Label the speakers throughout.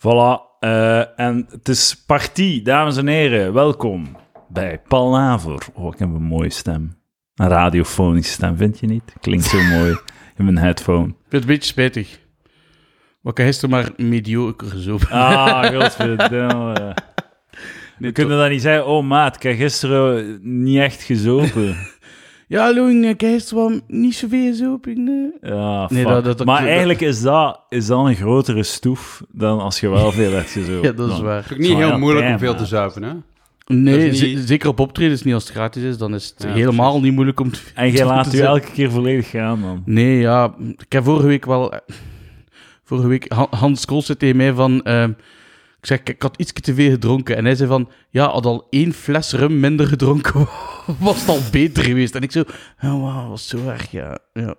Speaker 1: Voilà. eh, en het is partie, dames en heren. Welkom bij Palaver. Oh, ik heb een mooie stem. Een radiofonische stem, vind je niet? Klinkt zo mooi in mijn headphone.
Speaker 2: Ik vind het een beetje spijtig. Maar ik heb gisteren maar mediocre gezopen.
Speaker 1: Ah, godverdomme. We kunnen dan niet zeggen, oh maat, ik heb gisteren niet echt gezopen.
Speaker 2: Ja, Loen, ik heb gisteren wel niet zoveel eh, gezopen. nee.
Speaker 1: Ja, fuck.
Speaker 2: Nee, dat- dat- dat-
Speaker 1: maar
Speaker 2: dat-
Speaker 1: eigenlijk is dat, is dat een grotere stoef dan als je wel veel hebt gezopen.
Speaker 2: Ja, dat is
Speaker 1: Dan-
Speaker 2: waar.
Speaker 3: Het is ook niet
Speaker 1: Zo, ja,
Speaker 3: heel moeilijk
Speaker 1: damn,
Speaker 3: om veel
Speaker 1: ja.
Speaker 3: te zuipen, hè?
Speaker 2: Nee,
Speaker 3: Dat is niet-
Speaker 2: ze- zeker op optredens niet als het gratis is, dan is het
Speaker 3: Ja,
Speaker 2: helemaal niet moeilijk om te
Speaker 1: En jij laat
Speaker 2: te
Speaker 1: u
Speaker 2: zetten.
Speaker 1: elke keer volledig gaan, man.
Speaker 2: Nee, ja, ik heb vorige week wel... eh, Vorige week, Han- Hans Kool zei tegen mij van... ehm, ik zeg, ik had iets te veel gedronken. En hij zei van, ja, had al één fles rum minder gedronken, was het al beter geweest. En ik zo, ja, wauw, was zo erg, ja. ja.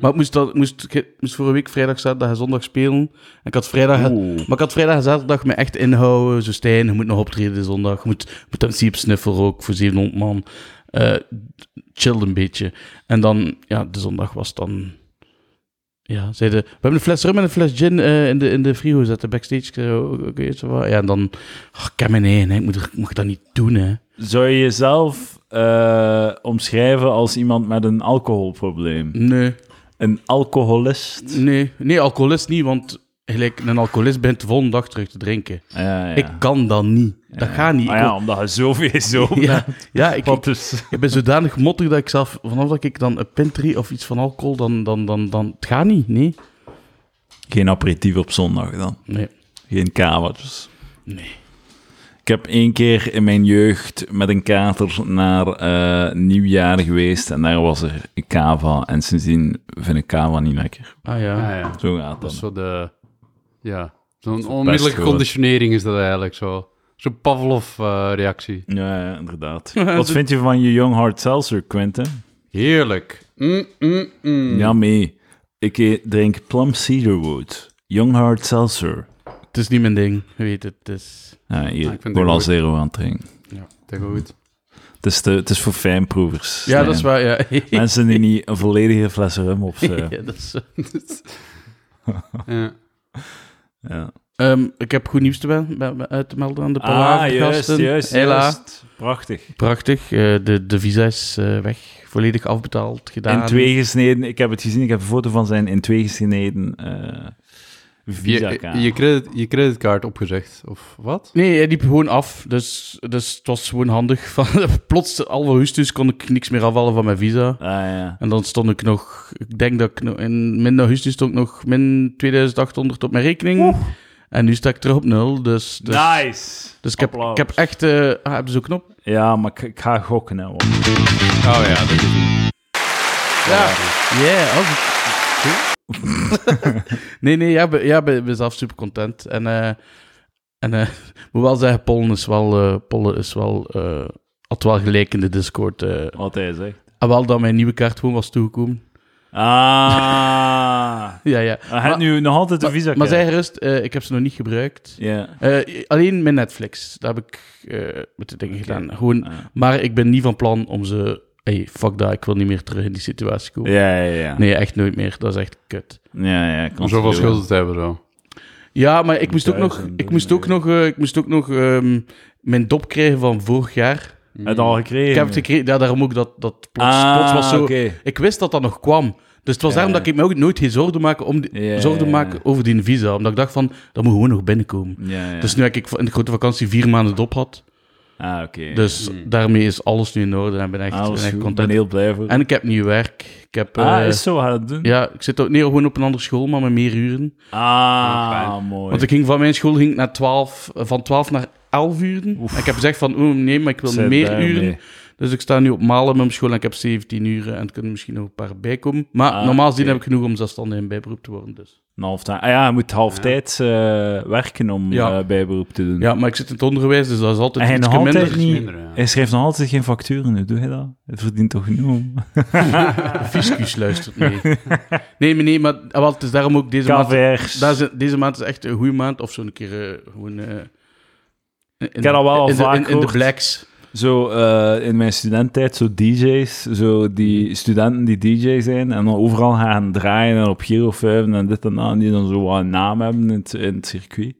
Speaker 2: Maar ik moest, dat, moest, ik moest vorige week vrijdag, zaterdag en zondag spelen. En ik had vrijdag...
Speaker 1: Oeh.
Speaker 2: Maar ik had vrijdag en zaterdag me echt inhouden. Zo Stijn, je moet nog optreden zondag. Je moet, je moet MC op Snuffel ook voor 700 man. Eh, chill een beetje. En dan, ja, de zondag was dan... Ja, zeiden, we hebben een fles rum en een fles gin eh, in, de, in de frigo zetten, backstage. Ik zei, oh, Oké, zo wat. Ja, en dan... ah, ik heb mijn eigen, hè. ik moet, ik mag dat niet doen, hè.
Speaker 1: Zou je jezelf eh, omschrijven als iemand met een alcoholprobleem?
Speaker 2: Nee,
Speaker 1: Een alcoholist?
Speaker 2: nee, nee, alcoholist niet, want gelijk, een alcoholist bent de volgende dag terug te drinken.
Speaker 1: Ja, ja.
Speaker 2: Ik kan dat niet. Dat gaat niet.
Speaker 1: Ah
Speaker 2: Ik
Speaker 1: ja, omdat je zoveel zo.
Speaker 2: wil- ja, ja, ik,
Speaker 1: Want dus...
Speaker 2: Ik ben zodanig mottig dat ik zelf, vanaf dat ik dan een pintry of iets van alcohol, dan, dan, dan, dan, het gaat niet, nee.
Speaker 1: Geen aperitief op zondag dan.
Speaker 2: Nee.
Speaker 1: Geen kamertjes.
Speaker 2: Nee.
Speaker 1: Ik heb één keer in mijn jeugd met een kater naar eh, nieuwjaar geweest en daar was er kava. En sindsdien vind ik kava niet lekker.
Speaker 2: Ah ja.
Speaker 3: Ja, ja.
Speaker 1: Zo gaat
Speaker 3: Dat
Speaker 1: dat.
Speaker 3: is zo de... Ja. Zo'n onmiddellijke
Speaker 1: gewoon.
Speaker 3: conditionering is dat eigenlijk zo. Zo'n Pavlov-reactie.
Speaker 1: Ja, ja, inderdaad. Wat vind je van je Young Hard Seltzer, Quentin?
Speaker 3: Heerlijk. Mm, mm, mm.
Speaker 1: Ja, mee. Ik eh, drink Plum Cedarwood. Young Hard Seltzer.
Speaker 2: Het is niet mijn ding, je weet het. het is...
Speaker 1: Ja, hier,
Speaker 3: Ah, ik vind het
Speaker 1: Cola
Speaker 3: goed.
Speaker 1: Zero aan het drinken.
Speaker 3: Dat is goed.
Speaker 1: Het is, te, het is voor fijnproevers.
Speaker 2: Ja, dat is
Speaker 1: Stijn.
Speaker 2: waar, ja.
Speaker 1: Mensen eh. die niet een volledige fles rum opzetten.
Speaker 2: ja dat is,
Speaker 3: Ja.
Speaker 1: ja.
Speaker 2: Ehm, ik heb goed nieuws te wel- bij- bij- uit te melden aan de
Speaker 1: Ah,
Speaker 2: palavergasten.
Speaker 1: juist, juist,
Speaker 2: Hela.
Speaker 1: juist. Prachtig.
Speaker 2: Prachtig, eh, de, de visa is eh, weg, volledig afbetaald, gedaan.
Speaker 1: In twee gesneden. Ik heb het gezien. Ik heb een foto van zijn in twee gesneden eh
Speaker 3: Je,
Speaker 1: visa-kaart.
Speaker 3: je, credit, je creditcard opgezegd, of wat?
Speaker 2: Nee, hij liep gewoon af, dus, dus het was gewoon handig. Van, plots, al augustus, kon ik niks meer afvallen van mijn visa.
Speaker 1: Ah, ja.
Speaker 2: En dan stond ik nog, ik denk dat ik nog, in min augustus stond ik nog min 2800 op mijn rekening. En nu sta ik terug op nul. Dus, dus,
Speaker 1: nice.
Speaker 2: dus ik, heb,
Speaker 1: Applaus.
Speaker 2: ik heb echt. eh ah, hebben ze een knop?
Speaker 1: Ja, maar ik, ik ga gokken. Hè, want-
Speaker 3: Oh ja, dat is
Speaker 2: Yeah. als- nee, nee, ja, we, ja, we, we zijn zelf super content. En, eh en eh moet wel zeggen, Pollen is wel. eh Pollen is wel eh, had wel gelijk in de Discord. eh
Speaker 1: Wat hij zegt.
Speaker 2: en wel dat mijn nieuwe kaart gewoon was toegekomen.
Speaker 1: Ah.
Speaker 2: Ja, ja.
Speaker 1: Hij heeft nu nog altijd de visa-kaart.
Speaker 2: Maar zij gerust, eh, ik heb ze nog niet gebruikt.
Speaker 1: Ja.
Speaker 2: Eh, alleen mijn Netflix. Daar heb ik eh, met de dingen gedaan. Gewoon,
Speaker 1: Ah.
Speaker 2: maar ik ben niet van plan om ze... Hey, fuck dat, ik wil niet meer terug in die situatie komen.
Speaker 1: Ja, ja, ja.
Speaker 2: Nee, echt nooit meer. Dat is echt kut.
Speaker 1: Ja, ja. ik kan
Speaker 3: Om
Speaker 1: het
Speaker 3: zoveel
Speaker 1: wel.
Speaker 3: schulden te hebben, zo.
Speaker 2: Ja, maar ik moest ook nog,
Speaker 1: Duizend,
Speaker 2: ik moest ook
Speaker 1: nee.
Speaker 2: nog, eh, ik moest ook nog ehm, mijn dop krijgen van vorig jaar.
Speaker 1: Heb je het al gekregen?
Speaker 2: Ik heb het gekregen, ja, daarom ook dat, dat plots,
Speaker 1: Ah,
Speaker 2: plots was zo.
Speaker 1: oké.
Speaker 2: Ik wist dat dat nog kwam. Dus het was
Speaker 1: Ja,
Speaker 2: daarom
Speaker 1: ja.
Speaker 2: dat ik me ook nooit geen zorgen maakte, om die,
Speaker 1: Ja,
Speaker 2: zorgen
Speaker 1: ja, ja.
Speaker 2: maken over die visa. Omdat ik dacht van, dat moet gewoon nog binnenkomen.
Speaker 1: Ja, ja.
Speaker 2: Dus nu heb ik in de grote vakantie vier maanden dop had.
Speaker 1: ah, oké.
Speaker 2: Dus daarmee is alles nu in orde en ik ben echt,
Speaker 1: Alles
Speaker 2: ben echt
Speaker 1: goed, ik
Speaker 2: content.
Speaker 1: ben heel blij voor.
Speaker 2: En ik heb nieuw werk. Ik heb,
Speaker 1: ah,
Speaker 2: eh,
Speaker 1: is zo gaan het doen?
Speaker 2: ja, ik zit ook nee, gewoon op een andere school, maar met meer
Speaker 1: Oh,
Speaker 2: uren.
Speaker 1: Ah, mooi.
Speaker 2: Want ik ging van mijn school ging ik naar 12, eh, van 12 naar 11 uren. En ik heb gezegd van, oh nee, maar ik wil
Speaker 1: Zit
Speaker 2: meer
Speaker 1: daarmee.
Speaker 2: uren. Dus ik sta nu op Malen met mijn school en ik heb 17 uren. En er kunnen misschien nog een paar bijkomen. Maar
Speaker 1: Ah,
Speaker 2: normaal gezien
Speaker 1: oké.
Speaker 2: heb ik genoeg om zelfstandig in bijberoep te worden. Dus.
Speaker 1: Een half tijd. Ah ja, je moet halftijds eh, werken om
Speaker 2: Ja.
Speaker 1: eh, bijberoep te doen.
Speaker 2: Ja, maar ik zit in het onderwijs, dus dat is
Speaker 1: En hij
Speaker 2: altijd iets
Speaker 1: nog altijd
Speaker 2: minder.
Speaker 1: niet-
Speaker 3: Minder, ja.
Speaker 1: Hij schrijft nog altijd geen facturen, hoe doe je dat? Het verdient toch genoeg?
Speaker 2: Fiscus luistert mee. nee, maar nee, maar ah, wel, het is daarom ook deze maand...
Speaker 1: KVR's.
Speaker 2: Dat is- deze maand is echt een goede maand. Of zo'n keer eh, gewoon... eh, in,
Speaker 1: heb dat wel al
Speaker 2: in de,
Speaker 1: vaak
Speaker 2: in, in de
Speaker 1: gehoord.
Speaker 2: blacks.
Speaker 1: zo eh, in mijn studententijd, zo DJ's, zo die studenten die DJ zijn en dan overal gaan draaien en op Giro 5 en dit en dat, en die dan zo wat een naam hebben in het, in het circuit,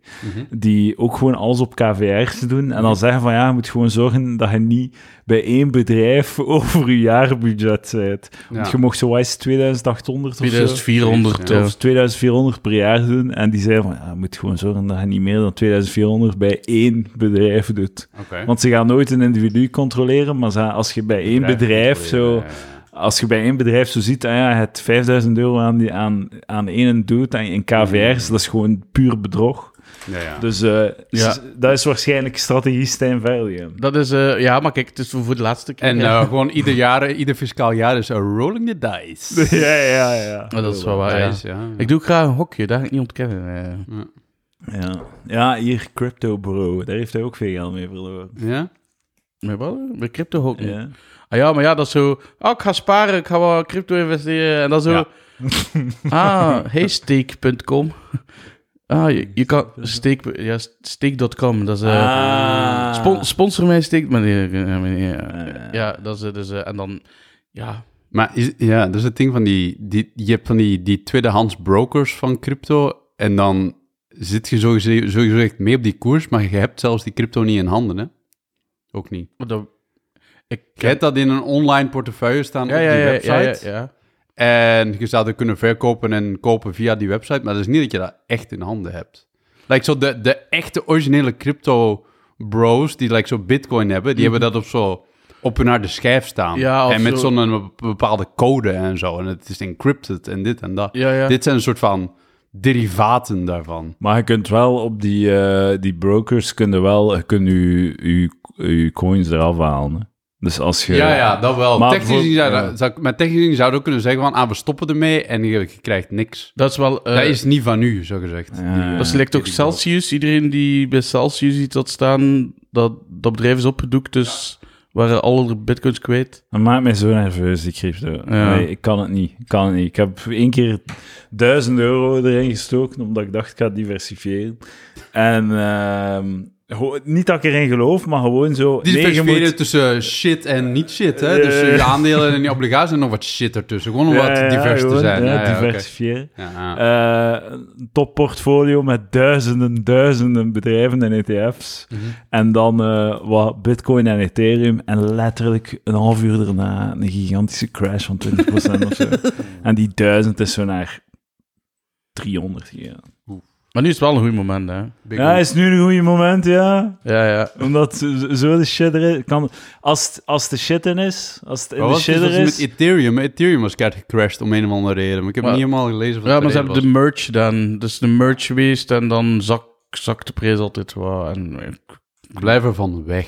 Speaker 1: die ook gewoon alles op KVR's doen en dan zeggen van ja, je moet gewoon zorgen dat je niet bij één bedrijf over je jaarbudget zit. Want je mocht zo wat is 2800
Speaker 2: eh,
Speaker 1: of zo.
Speaker 2: 2400
Speaker 3: Ja.
Speaker 2: eh,
Speaker 1: Of 2400 per jaar doen. En die zeiden van, ja, je moet gewoon zorgen dat je niet meer dan 2400 bij één bedrijf doet.
Speaker 3: Oké.
Speaker 1: Want ze gaan nooit een individu controleren, maar ze- als je bij één bedrijf zo...
Speaker 3: Ja, ja.
Speaker 1: Als je bij één bedrijf zo ziet, ah ja, het 5000 euro aan, die, aan, aan één doet en in KVR's,
Speaker 2: Mm.
Speaker 1: dat is gewoon puur bedrog.
Speaker 3: Ja, ja.
Speaker 1: Dus eh,
Speaker 2: Ja.
Speaker 1: s- dat is waarschijnlijk strategie Stijn Verligen.
Speaker 2: Dat is, eh, ja, maar kijk, het is voor voor de laatste keer.
Speaker 3: En
Speaker 2: Ja.
Speaker 3: eh, gewoon ieder jaar, eh, ieder fiscaal jaar is eh, rolling the dice.
Speaker 1: ja, ja, ja.
Speaker 2: Maar dat is wel waar, ja.
Speaker 3: Dice, ja.
Speaker 2: Ik doe ook graag een hokje, dat ga ik niet ontkennen. eh.
Speaker 1: Ja, ja hier Crypto Bro, daar heeft hij ook veel geld mee verloren.
Speaker 3: Ja?
Speaker 2: Met wat? Met crypto hokken.
Speaker 1: Ja.
Speaker 2: Ah ja, maar ja, dat is zo... Oh, ik ga sparen, ik ga wat crypto investeren. En dan zo...
Speaker 3: Ja.
Speaker 2: ah, heysteek.com. Ah, je, je kan... Steek, ja, steek.com, dat is... eh,
Speaker 1: Ah.
Speaker 2: spon- sponsor mij steek, meneer. eh, meneer. Eh,
Speaker 1: Ja.
Speaker 2: ja, dat is eh, dus... eh, en dan... Ja,
Speaker 3: Maar is, ja, dat is het ding van die, die... Je hebt van die, die tweedehands brokers van crypto en dan zit je sowieso, sowieso echt mee op die koers, maar je hebt zelfs die crypto niet in handen, hè? Ook niet.
Speaker 2: maar dan... Ik
Speaker 3: Je hebt dat in een online portefeuille staan
Speaker 2: ja,
Speaker 3: op
Speaker 2: ja,
Speaker 3: die
Speaker 2: ja,
Speaker 3: website.
Speaker 2: ja, ja, ja.
Speaker 3: En je zou er kunnen verkopen en kopen via die website, maar dat is niet dat je dat echt in handen hebt. Like zo de, de echte originele crypto bros die like zo bitcoin hebben, die hebben dat op zo op hun harde schijf staan.
Speaker 2: Ja, of
Speaker 3: en met
Speaker 2: zo-
Speaker 3: zo'n bep- bepaalde code en zo. En het is encrypted en dit en dat.
Speaker 2: Ja, ja.
Speaker 3: Dit zijn een soort van derivaten daarvan.
Speaker 1: Maar je kunt wel op die, eh, die brokers, kunnen wel, je kunt je, je, je coins eraf halen. hè. Dus als je...
Speaker 3: Ja, ja, dat wel.
Speaker 1: Maar
Speaker 3: technisch gezien zou,
Speaker 1: bijvoorbeeld-
Speaker 3: zou, maar technisch gezien zou je ook kunnen zeggen van, ah, we stoppen ermee en je, je krijgt niks.
Speaker 2: Dat is wel... eh,
Speaker 3: dat is niet van u, zo gezegd.
Speaker 1: Ja.
Speaker 2: Dat is lijkt ook Celsius. Iedereen die bij Celsius iets had staan, dat, dat bedrijf is opgedoekt, dus waren alle bitcoins kwijt.
Speaker 1: Dat maakt mij zo nerveus, die crypto.
Speaker 2: Ja.
Speaker 1: Nee, ik kan het niet. Ik kan het niet. Ik heb één keer duizend euro erin gestoken, omdat ik dacht, ik ga diversifiëren. En ehm, gewoon- niet dat ik erin geloof, maar gewoon zo...
Speaker 3: Die
Speaker 1: nee, je
Speaker 3: verschillen
Speaker 1: moet-
Speaker 3: tussen shit en niet shit. Hè?
Speaker 1: Ja,
Speaker 3: dus
Speaker 1: ja, ja.
Speaker 3: je aandelen en je obligaties en nog wat shit ertussen. Gewoon om
Speaker 1: Ja,
Speaker 3: wat
Speaker 1: ja,
Speaker 3: divers te
Speaker 1: gewoon,
Speaker 3: zijn. Ah,
Speaker 1: Ja,
Speaker 3: Ja, ja, oké.
Speaker 1: diversifiëren.
Speaker 3: Ja, ja.
Speaker 1: Eh, een topportfolio met duizenden, duizenden bedrijven en E ETF's.
Speaker 3: Mhm.
Speaker 1: En dan eh, wat Bitcoin en Ethereum. En letterlijk een half uur daarna een gigantische crash van 20% of zo. En die duizend is zo naar 300 gegaan.
Speaker 2: Maar nu is het wel een goed moment, hè?
Speaker 3: Big
Speaker 1: Ja, is nu een goede moment, ja.
Speaker 2: Ja, ja.
Speaker 1: Omdat zo- zo de shit er is. Kan, als, het- als de shit in is, als het in
Speaker 3: Maar
Speaker 1: de
Speaker 3: wat is dus
Speaker 1: shit
Speaker 3: dat
Speaker 1: er
Speaker 3: met
Speaker 1: is...
Speaker 3: Ethereum? Ethereum was keihard gecrashed om een of andere reden. Maar ik heb
Speaker 2: Maar-
Speaker 3: niet helemaal gelezen wat
Speaker 2: Ja,
Speaker 3: de
Speaker 2: maar ze
Speaker 3: reden
Speaker 2: hebben de merch dan. Dus de merch geweest en dan zak, zakt de prijs altijd wat. En, eh,
Speaker 3: was. Blijf er van weg.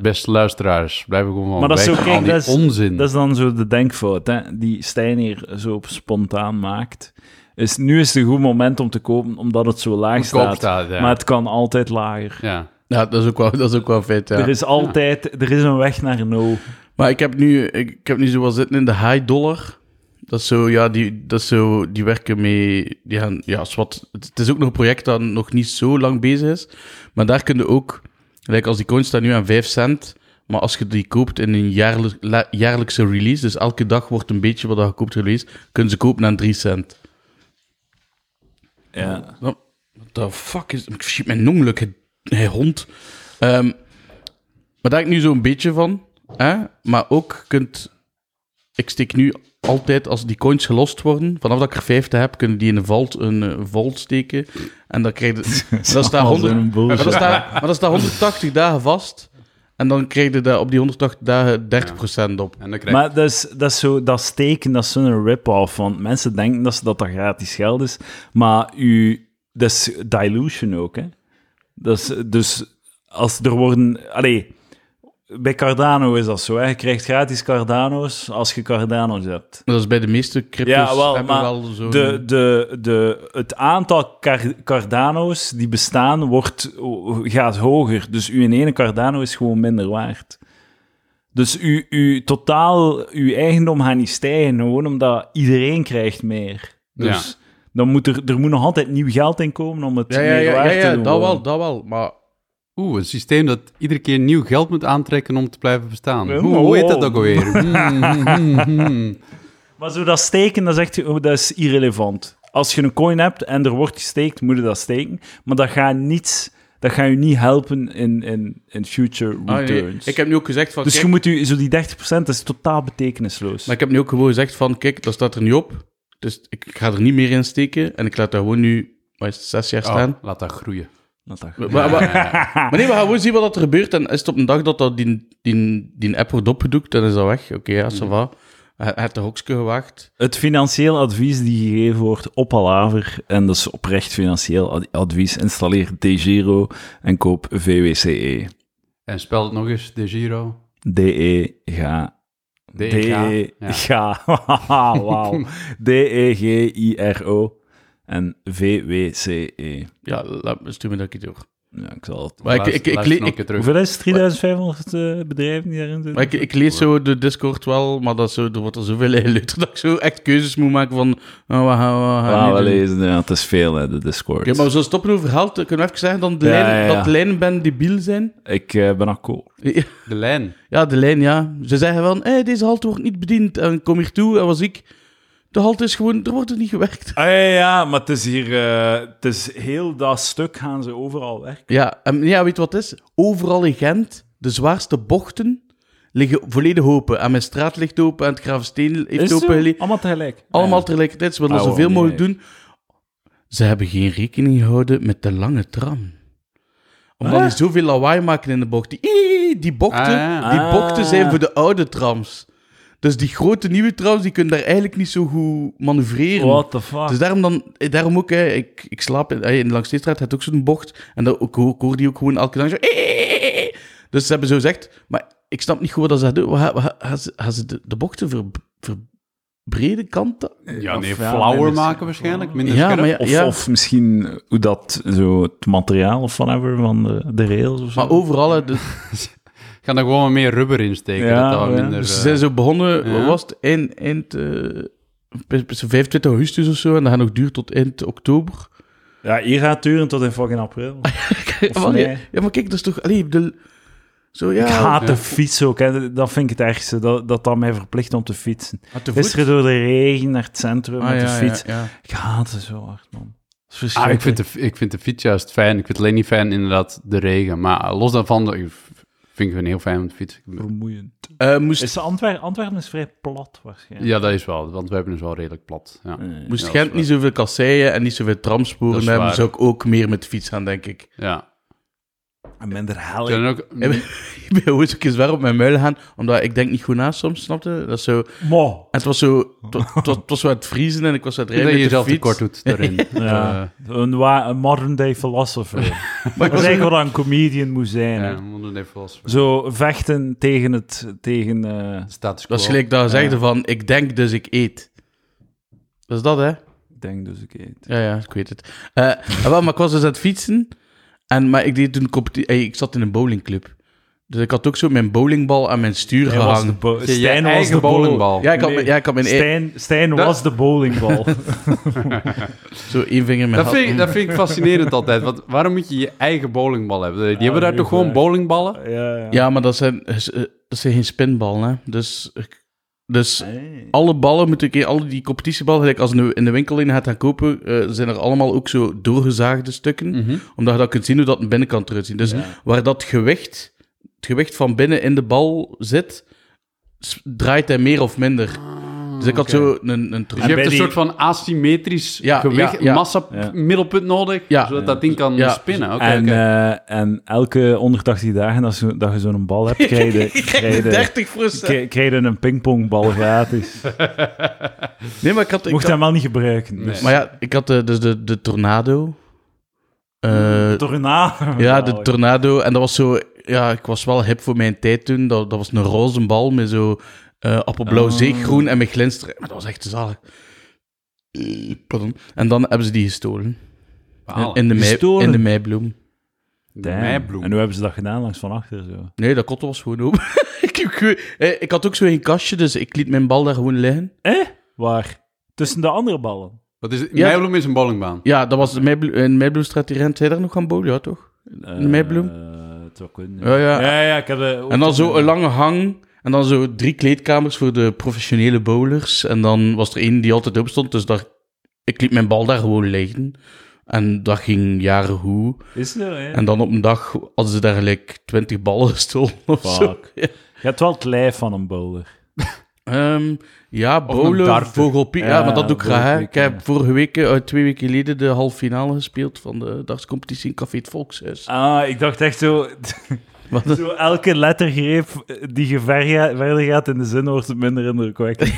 Speaker 3: Beste luisteraars, blijf er gewoon van
Speaker 1: Maar dat
Speaker 3: weg.
Speaker 1: is zo,
Speaker 3: van
Speaker 1: kijk,
Speaker 3: al die
Speaker 1: dat is-
Speaker 3: onzin.
Speaker 1: Dat is dan zo de denkfout hè, die Stijn hier zo op spontaan maakt. Is, nu is het een goed moment om te kopen, omdat het zo laag
Speaker 3: Goedkoop
Speaker 1: staat.
Speaker 3: staat, ja.
Speaker 1: Maar het kan altijd lager.
Speaker 3: ja.
Speaker 2: ja, dat is ook wel, dat is ook wel vet, ja.
Speaker 1: Er is altijd er is een weg naar no.
Speaker 2: Maar ik heb nu, ik, ik heb nu zo wat zitten in de high dollar. Dat is zo, ja, die, dat is zo, die werken mee. Die gaan, ja, zwart. Het, het is ook nog een project dat nog niet zo lang bezig is. Maar daar kun je ook, gelijk als die coins staan nu aan 5 cent. Maar als je die koopt in een jaarlijk, la- jaarlijkse release, dus elke dag wordt een beetje wat je koopt release, kunnen ze kopen aan 3 cent.
Speaker 1: Ja.
Speaker 2: Wat de fuck is. Ik schiet mijn ongeluk, hij- hij hond. Ehm, maar daar heb ik nu zo'n beetje van. Hè? Maar ook kunt. Ik steek nu altijd, als die coins gelost worden, vanaf dat ik er 50 heb, kunnen die in een vault, een eh, vault steken. En dan krijg je. Dat staat
Speaker 1: allemaal
Speaker 2: 100,
Speaker 1: zo'n bullshit.
Speaker 2: maar dat staat, maar dat staat 180 dagen vast. En dan krijg je daar op die 180 dagen 30% op.
Speaker 3: En dan krijg
Speaker 1: Maar dat is, dat is zo, dat steken, dat is zo'n rip-off. Want mensen denken dat ze- dat dat gratis geld is. Maar u, dat is dilution ook. Hè? Dat is, dus als er worden. Allee, bij Cardano is dat zo. Hè? Je krijgt gratis Cardano's als je Cardano's hebt.
Speaker 2: Dat is bij de meeste crypto's.
Speaker 1: Ja, wel,
Speaker 2: hebben
Speaker 1: maar
Speaker 2: wel zo'n-
Speaker 1: de, de, de, het aantal car- Cardano's die bestaan wordt, gaat hoger. Dus uw in ene Cardano is gewoon minder waard. Dus uw, uw totaal, uw eigendom gaat niet stijgen, gewoon omdat iedereen krijgt meer. Dus dan moet er, er moet nog altijd nieuw geld in komen om het
Speaker 2: Ja, ja,
Speaker 1: meer
Speaker 2: ja, ja,
Speaker 1: waard
Speaker 2: ja,
Speaker 1: te doen.
Speaker 2: dat wel,
Speaker 1: worden.
Speaker 2: dat wel. Maar
Speaker 3: Oeh, een systeem dat iedere keer nieuw geld moet aantrekken om te blijven bestaan.
Speaker 1: Oh.
Speaker 3: Hoe, hoe heet dat ook alweer? Hmm, hmm, hmm.
Speaker 1: Maar zo dat steken, dat is echt oh, dat is irrelevant. Als je een coin hebt en er wordt gesteekt, moet je dat steken. Maar dat gaat niets, dat gaat je niet helpen in, in, in future
Speaker 2: Ah,
Speaker 1: returns.
Speaker 2: nee. Ik heb nu ook gezegd van...
Speaker 1: Dus
Speaker 2: kijk-
Speaker 1: je moet u, zo die 30% dat is totaal betekenisloos.
Speaker 2: Maar ik heb nu ook gewoon gezegd van, kijk, dat staat er niet op. Dus ik ga er niet meer in steken. En ik laat daar gewoon nu, wat is het, zes jaar
Speaker 3: Oh,
Speaker 2: staan.
Speaker 3: laat dat groeien.
Speaker 1: Dat dat-
Speaker 2: Maar, maar, maar-
Speaker 1: Ah.
Speaker 2: maar nee, we gaan gewoon zien wat er gebeurt. En is het op een dag dat, dat die, die, die app wordt opgedoekt, dan is dat weg. Oké, ja,
Speaker 1: Mm.
Speaker 2: ça va. Hij hij heeft de hokske gewaagd.
Speaker 1: Het financieel advies die gegeven wordt op Alaver, en dat is oprecht financieel ad- advies, installeer DGiro en koop VWCE.
Speaker 3: En spel het nog eens, De Giro.
Speaker 1: DE ga.
Speaker 3: DE
Speaker 1: DE
Speaker 3: ja.
Speaker 1: ga. E Wauw. E D-E-G-I-R-O en VWCE.
Speaker 2: Ja, laat, stuur me dat keer door.
Speaker 1: E. Ja, ik zal het.
Speaker 2: Maar ik,
Speaker 3: Luister-
Speaker 2: ik, ik,
Speaker 3: luister
Speaker 2: le-
Speaker 3: nog een
Speaker 2: ik,
Speaker 3: keer terug.
Speaker 1: Hoeveel is het? 3500 eh, bedrijven die daarin zitten?
Speaker 2: maar ik, ik lees zo de Discord wel, maar dat is zo, er wordt er zoveel in geleuter dat ik zo echt keuzes moet maken van... Oh, wat gaan we- wat gaan we
Speaker 1: Ah,
Speaker 2: nu
Speaker 1: we
Speaker 2: doen?
Speaker 1: lezen, ja, het is veel, hè, de Discord.
Speaker 2: Oké, maar we zullen stoppen over geld. Kunnen we even zeggen dan de
Speaker 1: Ja,
Speaker 2: lijnen,
Speaker 1: ja, ja.
Speaker 2: dat de lijnen ben debiel zijn?
Speaker 1: Ik eh, ben akkoord.
Speaker 3: De lijn.
Speaker 2: Ja, de lijn, ja. Ze zeggen van, hey, deze halte wordt niet bediend. En kom hier toe, en was ik... De halte is gewoon, er wordt er niet gewerkt.
Speaker 1: Ah, ja, ja, ja, maar het is hier... eh, het is heel dat stuk gaan ze overal werken.
Speaker 2: Ja, en ja, weet je wat het is? Overal in Gent, de zwaarste bochten liggen volledig open. En mijn straat ligt open, en het Gravensteen heeft
Speaker 1: Is het
Speaker 2: open
Speaker 1: zo?
Speaker 2: gelegen.
Speaker 1: Allemaal tegelijk.
Speaker 2: Allemaal
Speaker 1: Ja.
Speaker 2: tegelijkertijd, ze willen
Speaker 1: Ah,
Speaker 2: zoveel
Speaker 1: waarom
Speaker 2: mogelijk
Speaker 1: niet
Speaker 2: doen. Ze hebben geen rekening gehouden met de lange tram. Omdat
Speaker 1: Wat?
Speaker 2: die zoveel lawaai maken in de bocht. Die, die bochten,
Speaker 3: Ah, ja.
Speaker 2: die
Speaker 1: Ah.
Speaker 2: bochten zijn voor de oude trams. Dus die grote nieuwe trams, die kunnen daar eigenlijk niet zo goed manoeuvreren.
Speaker 1: What the fuck?
Speaker 2: Dus daarom, dan, eh, daarom ook, hè, ik, ik slaap in, eh, in de Langsteestraat, had ook zo'n bocht. En dat, ik, hoor, ik hoor die ook gewoon elke dag zo... Dus ze hebben zo gezegd, maar ik snap niet goed wat ze dat doen. Wat Gaan wat gaan ze, gaan ze de, de bochten ver, verbreden kanten?
Speaker 3: Ja, nee,
Speaker 1: Of ja, dus- Oh,
Speaker 3: flauwer
Speaker 1: minder-
Speaker 3: maken waarschijnlijk. Minder
Speaker 2: Ja,
Speaker 3: scherp.
Speaker 2: maar ja,
Speaker 1: Of, of misschien hoe dat, zo het materiaal of whatever van de, de rails of zo.
Speaker 2: Maar overal, hè, dus,
Speaker 3: Gaan er gewoon wat meer rubber in steken.
Speaker 1: Ja,
Speaker 3: dat dat wat
Speaker 1: ja.
Speaker 3: minder,
Speaker 2: dus ze
Speaker 3: eh,
Speaker 2: zijn zo begonnen,
Speaker 3: ja.
Speaker 2: wat was het, eind, eind eh, 25 augustus of zo, en dat gaat nog duren tot eind oktober.
Speaker 1: Ja, hier gaat het duren tot in fucking april. Of
Speaker 2: Maar,
Speaker 1: nee.
Speaker 2: Ja, maar kijk, dat is toch... Allee, de, zo, ja,
Speaker 1: Ik haat de fiets ook. Hè. Dat vind ik het ergste, dat, dat dat mij verplicht om te fietsen.
Speaker 2: Maar te voet?
Speaker 1: Gisteren door de regen naar het centrum
Speaker 2: Ah,
Speaker 1: met de
Speaker 2: ja,
Speaker 1: fiets.
Speaker 2: ja, ja.
Speaker 1: Ik haat het zo hard, man. Dat is
Speaker 3: Ah, ik,
Speaker 1: verschrikkelijk.
Speaker 3: vind de, ik vind de fiets juist fijn. Ik vind het alleen niet fijn, inderdaad, de regen. Maar eh, los daarvan ik v- vind ik het heel fijn om te fietsen.
Speaker 1: vermoeiend.
Speaker 2: Eh, moest
Speaker 1: Is Antwerpen, Antwerpen is vrij plat waarschijnlijk.
Speaker 3: Ja, dat is wel. Want we hebben dus wel redelijk plat. Ja,
Speaker 1: Eh,
Speaker 2: Moest
Speaker 3: Ja, dat is
Speaker 2: Gent
Speaker 3: waar.
Speaker 2: niet zoveel kasseien en niet zoveel
Speaker 3: Dat
Speaker 2: tramsporen
Speaker 3: is
Speaker 2: hebben,
Speaker 3: waar.
Speaker 2: zou ik ook meer met de fiets gaan, denk ik.
Speaker 3: ja.
Speaker 1: en minder
Speaker 3: Zijn
Speaker 1: helling.
Speaker 3: er ook...
Speaker 2: ik ben gewoon eens een keer zwaar op mijn muil gaan, omdat ik denk niet goed na soms, snapte? Dat is zo... En
Speaker 1: Mo.
Speaker 2: het was zo... Het, wa- het was, het was zo aan het vriezen en ik was aan het
Speaker 3: Dat je
Speaker 2: rijden met de
Speaker 3: jezelf
Speaker 2: fiets.
Speaker 3: tekort doet daarin. Eh,
Speaker 1: Ja. Een, wa- een modern day philosopher.
Speaker 2: Maar ik
Speaker 1: dat
Speaker 2: was
Speaker 1: is
Speaker 2: zo-
Speaker 1: eigenlijk wat een comedian moet
Speaker 3: Eh,
Speaker 1: zijn. hè.
Speaker 3: ja, we moeten even los.
Speaker 1: Zo vechten tegen het... Tegen, eh,
Speaker 3: Status quo.
Speaker 2: Dat is gelijk dat je zegt van, ik denk dus ik eet. Dat is dat, hè?
Speaker 1: ik denk dus ik eet.
Speaker 2: Ja, ja, ik weet het. Eh, ah, wel, maar ik was dus aan het fietsen. En, maar ik, deed toen competi- eh, ik zat in een bowlingclub. Dus ik had ook zo mijn bowlingbal aan mijn stuur
Speaker 1: Hij was de
Speaker 2: gehangen.
Speaker 1: bo-
Speaker 3: Je- je
Speaker 1: Stijn was
Speaker 3: eigen
Speaker 1: de bo-
Speaker 3: bowlingbal.
Speaker 2: Ja, ik had, mijn-
Speaker 1: Nee.
Speaker 2: ja, ik had mijn e-
Speaker 1: Stijn, Stijn
Speaker 3: Dat-
Speaker 1: was de bowlingbal.
Speaker 2: e- zo één vinger in mijn
Speaker 3: Dat vind, ik, dat vind ik fascinerend altijd. Want waarom moet je je eigen bowlingbal hebben? Die hebben daar
Speaker 1: heel
Speaker 3: toch gewoon
Speaker 1: erg.
Speaker 3: bowlingballen?
Speaker 1: ja, ja.
Speaker 2: Ja, maar dat zijn, eh, dat zijn geen spinballen, hè. Dus, ik- dus
Speaker 1: Nee.
Speaker 2: alle ballen moeten ik alle die competitieballen, gelijk als je nu in de winkel in gaat gaan kopen, eh, zijn er allemaal ook zo doorgezaagde stukken,
Speaker 3: Mhm.
Speaker 2: omdat je dat kunt zien hoe dat een binnenkant eruit ziet. Dus waar dat gewicht, het gewicht van binnen in de bal zit, s- draait hij meer of minder. Dus ik had
Speaker 3: oké.
Speaker 2: zo een, een
Speaker 3: Dus
Speaker 2: trui-
Speaker 3: je
Speaker 1: En
Speaker 3: hebt een
Speaker 1: bij
Speaker 3: soort
Speaker 1: die-
Speaker 3: van asymmetrisch
Speaker 2: Ja,
Speaker 3: gewicht,
Speaker 2: ja, ja.
Speaker 3: massa
Speaker 1: Ja.
Speaker 3: middelpunt nodig,
Speaker 2: Ja.
Speaker 3: zodat dat ding kan
Speaker 2: Ja.
Speaker 3: spinnen. Oké,
Speaker 1: en,
Speaker 3: oké.
Speaker 1: eh, en elke 180 dagen dat, zo, dat je zo'n bal hebt, krijg je, krijg je,
Speaker 2: 30 procent.
Speaker 1: krijg- krijg je een pingpongbal gratis.
Speaker 2: Nee, maar ik had... Ik
Speaker 1: Mocht
Speaker 2: had-
Speaker 1: hem wel niet gebruiken. Dus.
Speaker 2: maar ja, ik had eh, dus de, de tornado. Eh,
Speaker 1: Tornado.
Speaker 2: Ja, de tornado. En dat was zo... Ja, ik was wel hip voor mijn tijd toen. Dat, dat was een roze bal met zo eh, appelblauw
Speaker 1: Ah.
Speaker 2: zeegroen en met glinster. Maar dat was echt zalig. Eh, Pardon. En dan hebben ze die gestolen. In,
Speaker 3: Balen.
Speaker 2: in de mei,
Speaker 1: Gestolen?
Speaker 2: in de meibloem.
Speaker 1: Damn.
Speaker 3: Meibloem.
Speaker 1: En hoe hebben ze dat gedaan? Langs van achter zo.
Speaker 2: Nee, dat kot was gewoon open. ik, heb gewoon- eh, ik had ook zo een kastje, dus ik liet mijn bal daar gewoon liggen.
Speaker 1: Eh? Waar? Tussen de andere ballen.
Speaker 3: Wat is het?
Speaker 2: Ja.
Speaker 3: Meibloem is een bowlingbaan.
Speaker 2: eh, Ja, dat was de Meibloem, in de Meibloemstraat. Die rent hij daar nog aan bowlen, ja, toch?
Speaker 1: Eh,
Speaker 2: Meibloem?
Speaker 1: het wel kunnen.
Speaker 2: Ja, ja.
Speaker 1: ja, ja, ik heb, eh, ook
Speaker 2: En dan
Speaker 1: een-
Speaker 2: zo een lange hang. En dan zo drie kleedkamers voor de professionele bowlers. En dan was er één die altijd open stond. Dus daar, ik liet mijn bal daar gewoon liggen. En dat ging jaren hoe.
Speaker 1: Is er, hè?
Speaker 2: En dan op een dag hadden ze daar gelijk twintig ballen stonden of zo.
Speaker 1: Fuck. Je hebt wel het lijf van een bowler.
Speaker 2: Ehm, ja,
Speaker 3: een
Speaker 2: bowlen,
Speaker 3: darter.
Speaker 2: vogelpiek. Ja,
Speaker 1: Ja,
Speaker 2: maar dat doe ik graag. hè. Ik
Speaker 1: vogelpiek,
Speaker 2: heb
Speaker 1: ja.
Speaker 2: vorige week, eh, twee weken geleden, de halve finale gespeeld van de dartscompetitie in Café het eh, Volkshuis.
Speaker 1: Ah, ik dacht echt zo...
Speaker 2: Wat-
Speaker 1: zo elke lettergreep die je ver ga- verder gaat in de zin, wordt het minder indrukwekkend.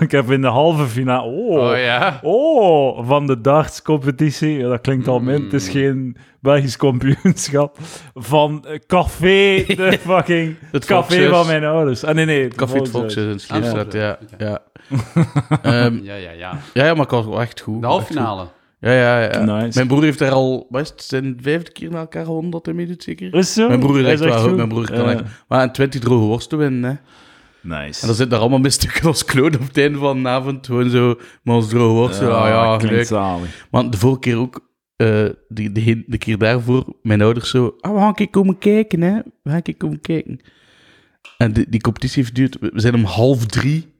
Speaker 1: ik heb in de halve finale... Oh,
Speaker 3: Oh ja.
Speaker 1: Oh, van de dartscompetitie. Ja, dat klinkt
Speaker 2: Hmm.
Speaker 1: al min. Het is geen Belgisch kampioenschap. Van eh, café, de fucking
Speaker 2: Het
Speaker 1: café
Speaker 2: Volkshuis.
Speaker 1: van mijn ouders. Ah, nee, nee. het
Speaker 2: Café het
Speaker 1: Volkshuis.
Speaker 2: Volkshuis in Sleefstraat,
Speaker 3: Ah,
Speaker 2: ja. Ja. Ehm,
Speaker 3: Ja, ja, ja.
Speaker 2: ja, ja, maar ik was wel echt goed.
Speaker 1: Oh,
Speaker 3: De
Speaker 2: Echt
Speaker 3: halve
Speaker 2: goed.
Speaker 3: finale.
Speaker 2: Ja, ja, ja.
Speaker 1: Nice.
Speaker 2: Mijn broer heeft daar al, wat is het, zijn vijfde keer na elkaar gewonnen dat hij meedoet, zeker?
Speaker 1: Is het zo?
Speaker 2: Mijn broer is
Speaker 1: Hij
Speaker 2: echt wel goed,
Speaker 1: goed.
Speaker 2: mijn broer kan
Speaker 1: Ja.
Speaker 2: echt... Maar een 20 droge worsten winnen, hè. En
Speaker 1: Nice.
Speaker 2: dan zit daar allemaal misstukken als kloot op het einde van de avond. Gewoon zo, maar als droge worsten, ah ja,
Speaker 1: klinkt
Speaker 2: leuk.
Speaker 1: zalig.
Speaker 2: Want de vorige keer ook, eh de, de, de keer daarvoor, mijn ouders zo... Ah, we gaan een keer komen kijken, hè. We gaan een keer komen kijken. En die, die competitie heeft duurt. We zijn om half drie.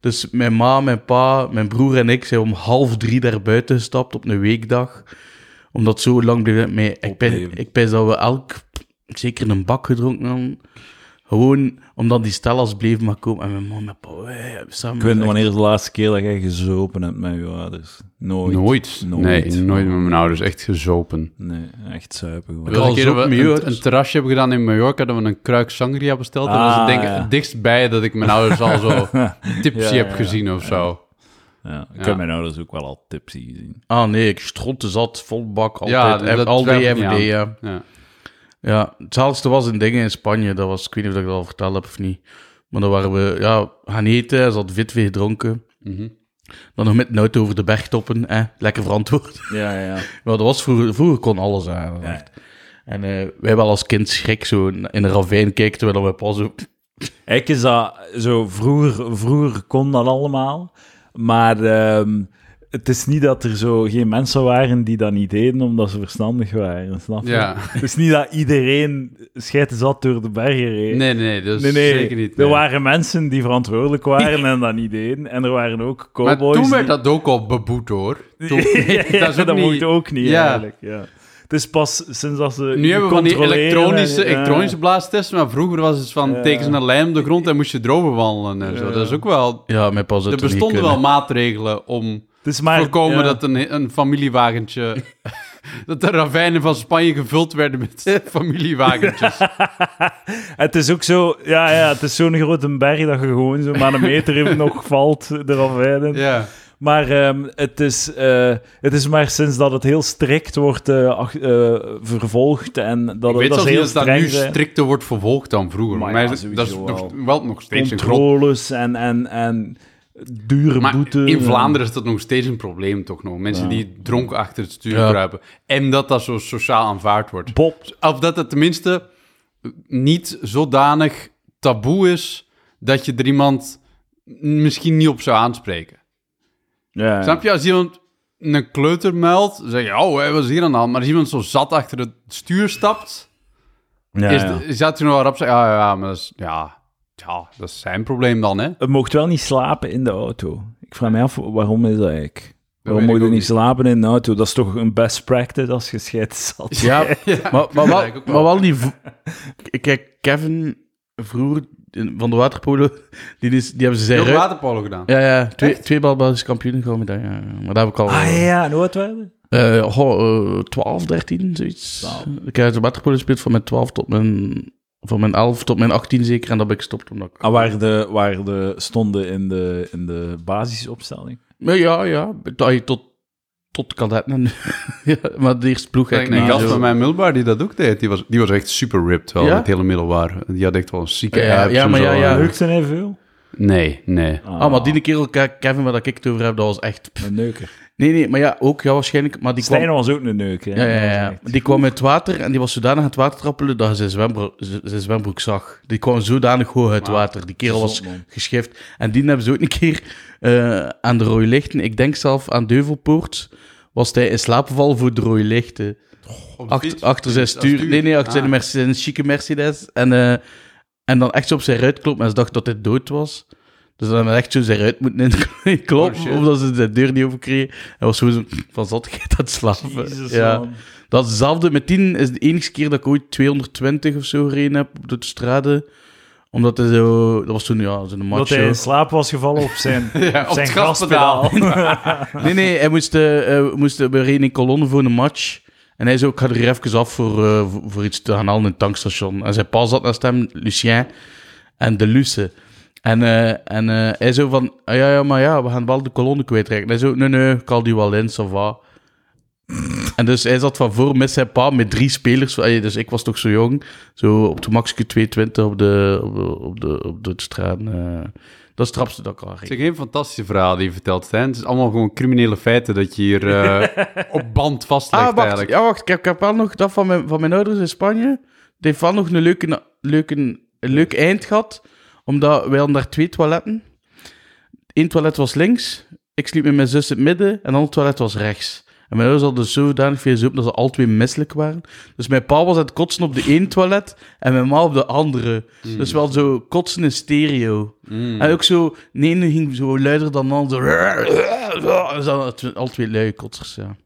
Speaker 2: Dus mijn ma, mijn pa, mijn broer en ik zijn om half drie daar buiten gestapt op een weekdag. Omdat het zo lang bleef het mij... Ik ben,
Speaker 1: Opleven.
Speaker 2: ik ben dat we elk zeker een bak gedronken hadden. Gewoon omdat die stellas bleven maar komen. En mijn ma en mijn pa... eh, samen
Speaker 1: Ik weet niet wanneer de laatste keer dat jij gezopen hebt met je ouders. Nooit.
Speaker 3: Nooit.
Speaker 1: Nooit.
Speaker 3: Nee, nooit met mijn ouders. Echt gezopen.
Speaker 1: Nee, echt zuipen gewoon.
Speaker 3: De
Speaker 2: Wel
Speaker 3: een keer dat we
Speaker 2: zopen, joh,
Speaker 3: een,
Speaker 2: het is-
Speaker 3: een terrasje hebben gedaan in Mallorca, dat we een kruik sangria besteld. en dat is
Speaker 1: Ah,
Speaker 3: het denk ik
Speaker 1: ja.
Speaker 3: het dichtst bij dat ik mijn ouders al zo tipsy
Speaker 1: Ja, ja,
Speaker 3: heb
Speaker 1: ja.
Speaker 3: gezien of zo.
Speaker 1: Ja, ik
Speaker 3: Ja.
Speaker 1: heb mijn ouders ook wel al tipsy gezien.
Speaker 2: Ah nee, ik stronte zat, vol bak,
Speaker 3: Ja,
Speaker 2: altijd.
Speaker 3: dat
Speaker 2: al die
Speaker 3: twijfel ik
Speaker 2: everyday,
Speaker 3: niet
Speaker 2: ja.
Speaker 3: Ja.
Speaker 2: Ja, hetzelfde was in dingen in Spanje. Dat was, ik weet niet of ik dat al verteld heb of niet. Maar dan waren we ja, gaan eten, ze had witwee gedronken.
Speaker 3: Mhm.
Speaker 2: Dan nog met een auto over de bergtoppen, hè? lekker verantwoord.
Speaker 1: Ja, ja, ja.
Speaker 2: Maar dat was vroeger, vroeger kon alles aan.
Speaker 1: Ja.
Speaker 2: En eh, wij hebben al als kind schrik zo in een ravijn kijken, terwijl we pas op...
Speaker 1: Ik is dat zo, vroeger, vroeger kon dat allemaal, maar ehm, het is niet dat er zo geen mensen waren die dat niet deden omdat ze verstandig waren, snap je?
Speaker 3: Ja.
Speaker 1: Het is niet dat iedereen schijten zat door de bergen reed.
Speaker 3: Nee, nee, nee, dat is
Speaker 1: Nee, nee,
Speaker 3: Dus zeker niet.
Speaker 1: er
Speaker 3: nee.
Speaker 1: waren mensen die verantwoordelijk waren en dat niet deden. En er waren ook
Speaker 3: maar
Speaker 1: cowboys
Speaker 3: toen werd
Speaker 1: die-
Speaker 3: dat ook al beboet hoor. Toen,
Speaker 1: ja,
Speaker 3: dat is ook niet-
Speaker 1: mocht ook niet,
Speaker 3: Ja.
Speaker 1: eigenlijk. Ja. Het is pas sinds dat ze
Speaker 3: Nu hebben we van die
Speaker 1: controleren
Speaker 3: elektronische,
Speaker 1: en- ja.
Speaker 3: elektronische blaastesten, maar vroeger was het van
Speaker 1: Ja.
Speaker 3: tekenen een lijn op de grond en moest je erover wandelen en zo. Dat is ook wel...
Speaker 2: Ja, met pas
Speaker 3: Er
Speaker 2: uit
Speaker 3: bestonden wel maatregelen om
Speaker 1: Het is maar,
Speaker 3: voorkomen
Speaker 1: ja.
Speaker 3: dat een, een familiewagentje... dat de ravijnen van Spanje gevuld werden met familiewagentjes.
Speaker 1: Het is ook zo, ja, ja, het is zo'n grote berg dat je gewoon zo maar een meter even nog valt eraf rijden.
Speaker 3: ja.
Speaker 1: Maar ehm, het, is, eh, het is maar sinds dat het heel strikt wordt eh, ach- eh, vervolgd en dat,
Speaker 3: Ik weet
Speaker 1: dat
Speaker 3: zelfs
Speaker 1: ze heel
Speaker 3: niet dat dat nu
Speaker 1: streng zijn.
Speaker 3: strikter wordt vervolgd dan vroeger.
Speaker 1: Maar
Speaker 3: Maar, mij
Speaker 1: ja,
Speaker 3: is- dat is
Speaker 1: sowieso
Speaker 3: nog,
Speaker 1: wel.
Speaker 3: wel nog steeds een groot...
Speaker 1: Controles en, en, en dure
Speaker 3: Maar
Speaker 1: boete.
Speaker 3: in Vlaanderen is dat nog steeds een probleem toch nog. Mensen die dronken achter het stuur
Speaker 2: Ja.
Speaker 3: kruipen. En dat dat zo sociaal aanvaard wordt.
Speaker 1: Bob,
Speaker 3: Of dat het tenminste niet zodanig taboe is dat je er iemand misschien niet op zou aanspreken.
Speaker 1: ja, ja.
Speaker 3: Snap je? Als iemand een kleuter meldt, dan zeg je, oh, hé, wat is hier aan de hand? Maar als iemand zo zat achter het stuur stapt,
Speaker 1: Ja,
Speaker 3: is,
Speaker 1: ja.
Speaker 3: is dat toen wel rap zeggen, ah, ja, maar dat is, ja, ja, dat is zijn probleem dan, hè?
Speaker 1: Het mocht wel niet slapen in de auto. Ik vraag me af, waarom is dat eigenlijk? Waarom
Speaker 3: weet
Speaker 1: mocht
Speaker 3: ik
Speaker 1: je
Speaker 3: ook
Speaker 1: niet
Speaker 3: niet.
Speaker 1: slapen in de auto? Dat is toch een best practice als je scheid zat?
Speaker 2: Ja, maar, maar, wel,
Speaker 3: ik ook wel.
Speaker 2: maar wel die... v- Kijk, Kevin vroeger in- van de waterpolo, die, is, die hebben ze zijn
Speaker 3: Heel
Speaker 2: ruit...
Speaker 3: waterpolo gedaan.
Speaker 2: Ja, ja. Twee, twee bal Belgische kampioenen gaan we daar. Ja, ja. Maar daar heb ik al...
Speaker 1: Ah ja, en hoe oud waren we?
Speaker 2: eh, goh, eh, 12, 13, zoiets.
Speaker 1: Twaalf.
Speaker 2: Ik heb de waterpolo gespeeld van mijn 12 tot mijn... Van mijn 11 tot mijn 18 zeker. En dat ben ik gestopt omdat ik...
Speaker 1: Ah, waar, de, waar de stonden in de, in de basisopstelling.
Speaker 2: Maar ja, ja. Dat je tot... Tot kadet. en- ja, maar de eerste ploeg...
Speaker 3: Kijk,
Speaker 2: heb ik
Speaker 3: een
Speaker 2: niet
Speaker 3: gast
Speaker 2: zo-
Speaker 3: van mijn middelbaar die dat ook deed, die was, die was echt super ripped wel,
Speaker 2: Ja?
Speaker 3: het hele middelbaar. Die had echt wel een zieke
Speaker 2: Ja,
Speaker 3: abs
Speaker 2: ja,
Speaker 3: en
Speaker 2: maar
Speaker 3: zo. eh,
Speaker 2: ja, ja.
Speaker 1: Leuk zijn even veel.
Speaker 3: Nee, nee.
Speaker 2: Ah, maar die kerel, Ke- Kevin, waar ik het over heb, dat was echt... pff.
Speaker 1: Een neuker.
Speaker 2: Nee, nee, maar ja, ook, ja, waarschijnlijk. Maar die kwam...
Speaker 1: Stijn was ook een neuker.
Speaker 2: Ja,
Speaker 1: hè.
Speaker 2: ja,
Speaker 1: Dat
Speaker 2: ja.
Speaker 1: was echt-
Speaker 2: Die kwam uit het water en die was zodanig aan het water trappelen dat hij zijn zwembroek, z- zijn zwembroek zag. Die kwam zodanig hoog uit het water. Die kerel was
Speaker 1: Zot, man.
Speaker 2: geschift. En die hebben ze ook een keer eh, aan de rode lichten, ik denk zelf aan Deuvelpoort, was hij in slaap gevallen voor het rode lichten.
Speaker 3: Op de
Speaker 2: Achter,
Speaker 3: fiets?
Speaker 2: achter zijn
Speaker 3: Als
Speaker 2: stuur. Nee, nee, achter zijn,
Speaker 3: Ah.
Speaker 2: Mercedes, zijn chique Mercedes. En, eh, en dan echt zo op zijn ruit kloppen. En ze dacht dat hij dood was. Dus dan hebben we echt zo zijn ruit moeten in kloppen.
Speaker 3: Oh, shit.
Speaker 2: of dat ze de deur niet overkregen. Hij was gewoon zo van zattigheid aan het slapen. ja.
Speaker 1: man.
Speaker 2: Dat is hetzelfde. Met 10 is de enige keer dat ik ooit 220 of zo gereden heb op de straten. Omdat hij zo... Dat was toen, ja, zo'n
Speaker 1: Dat
Speaker 2: macho.
Speaker 1: hij in slaap was gevallen op zijn,
Speaker 3: Ja, op
Speaker 1: zijn
Speaker 3: het gaspedaal.
Speaker 1: gaspedaal.
Speaker 2: Nee, nee, hij moest, eh, eh, we moesten we reden in kolonne voor een match. En hij zei ook, ik ga er hier even af voor, eh, voor, voor iets te gaan halen in het tankstation. En zijn pa zat naast hem, Lucien en de Luce. En, eh, en eh, hij zo van, ah, ja, ja, maar ja, we gaan wel de kolonne kwijtraken. En hij zo, nee, nee, ik haal die wel in, ça va. En dus hij zat van voor met zijn pa, met drie spelers. Allee, Dus ik was toch zo jong. Zo op de maxke 220 op de, op de, op de, op de straat. eh. dat is het rapste dat ik al
Speaker 3: Het
Speaker 2: reed.
Speaker 3: zijn geen fantastische verhalen die je vertelt, Stijn. Het is allemaal gewoon criminele feiten dat je hier eh, op band vastlegt
Speaker 2: Ah, wacht.
Speaker 3: eigenlijk.
Speaker 2: Ja, wacht. Ik heb, ik heb wel nog dat van mijn, van mijn ouders in Spanje. Die heeft wel nog een, leuke, leuke, een leuk eind gehad. Omdat wij hadden daar twee toiletten. Eén toilet was links. Ik sliep met mijn zus in het midden. En een ander toilet was rechts. En mijn ouders hadden zodanig veel zoep dat ze al twee misselijk waren. Dus mijn pa was aan het kotsen op de één toilet. En mijn ma op de andere. Dus wel zo kotsen in stereo. En ook zo... De ene ging zo luider dan de andere. Dus dan tw- al twee luie kotsers, ja.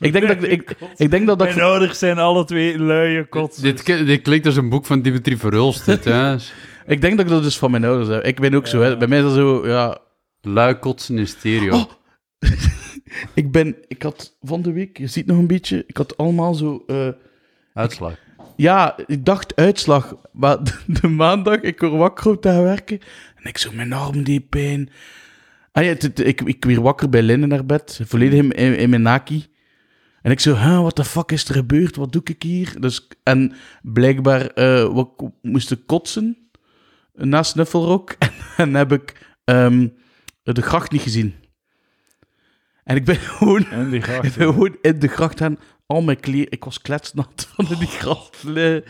Speaker 2: Ik denk dat ik, ik, ik denk dat, dat
Speaker 1: Mijn
Speaker 2: ik,
Speaker 1: ouders zijn alle twee luie kots.
Speaker 3: Dit, ki- dit klinkt als een boek van Dimitri Verhulst, dit, hè?
Speaker 2: ik denk dat ik dat dus van mijn ouders heb. Ik ben ook zo, hè. bij mij is dat zo, ja.
Speaker 3: Lui kotsen in stereo.
Speaker 2: Oh, Ik ben, ik had van de week, je ziet nog een beetje, ik had allemaal zo, eh,
Speaker 3: Uitslag.
Speaker 2: ja, ik dacht uitslag, maar de, de maandag, ik word wakker op te gaan werken en ik zo, mijn arm die pijn. Ah ja, het- het- ik, ik weer wakker bij Linnen naar bed, volledig in, in, in mijn naki. En ik zo, huh, what the fuck is er gebeurd? Wat doe ik hier? Dus, en blijkbaar eh, wat, moest ik kotsen na Snuffelrock. En, heb ik ehm, de gracht niet gezien. En ik ben gewoon,
Speaker 1: En die
Speaker 2: ik
Speaker 1: gracht.
Speaker 2: ben gewoon in de gracht gaan. Al mijn kleren, ik was kletsnat van in die gracht. Nee.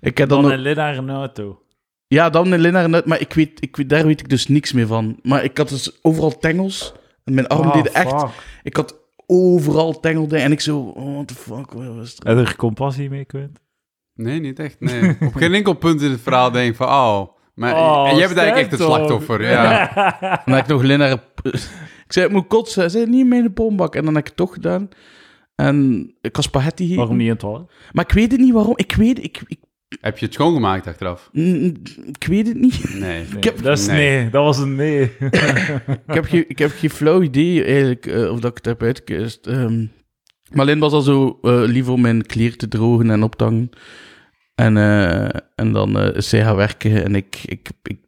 Speaker 2: Ik heb dan
Speaker 1: Dan
Speaker 2: nog-
Speaker 1: een lid naar een auto.
Speaker 2: ja, dan in Linnaar net, maar ik weet, ik weet, daar weet ik dus niks meer van. Maar ik had dus overal tengels. En mijn arm
Speaker 1: Ah,
Speaker 2: deed echt...
Speaker 1: fuck.
Speaker 2: Ik had overal tengelde en ik zo... Oh, what the fuck, wat was er?
Speaker 1: Heb je er compassie mee kwijt?
Speaker 3: Nee, niet echt, nee. Op geen enkel punt in het verhaal denk ik van, oh... Maar
Speaker 1: Oh,
Speaker 3: en jij bent eigenlijk
Speaker 1: Stijn
Speaker 3: echt het
Speaker 1: toch?
Speaker 3: slachtoffer, ja.
Speaker 2: En dan heb ik nog Linnaar... op- Ik zei, ik moet kotsen. Hij zei, niet mee in de pompbak. En dan heb ik het toch gedaan. En ik had spaghetti hier.
Speaker 1: Waarom niet in het toilet?
Speaker 2: Maar ik weet het niet waarom. Ik weet, ik, ik,
Speaker 3: Heb je het schoongemaakt achteraf?
Speaker 2: mm, ik weet het niet.
Speaker 3: Nee.
Speaker 1: Nee,
Speaker 2: heb-
Speaker 1: dat is nee.
Speaker 3: Nee.
Speaker 1: Dat was een nee.
Speaker 2: ik, heb geen, ik heb geen flauw idee eigenlijk eh, of dat ik het heb uitgekust. Ehm, maar Lin was al zo eh, lief om mijn kleren te drogen en op te hangen. En, eh, en dan eh, is zij gaan werken en ik, ik, ik,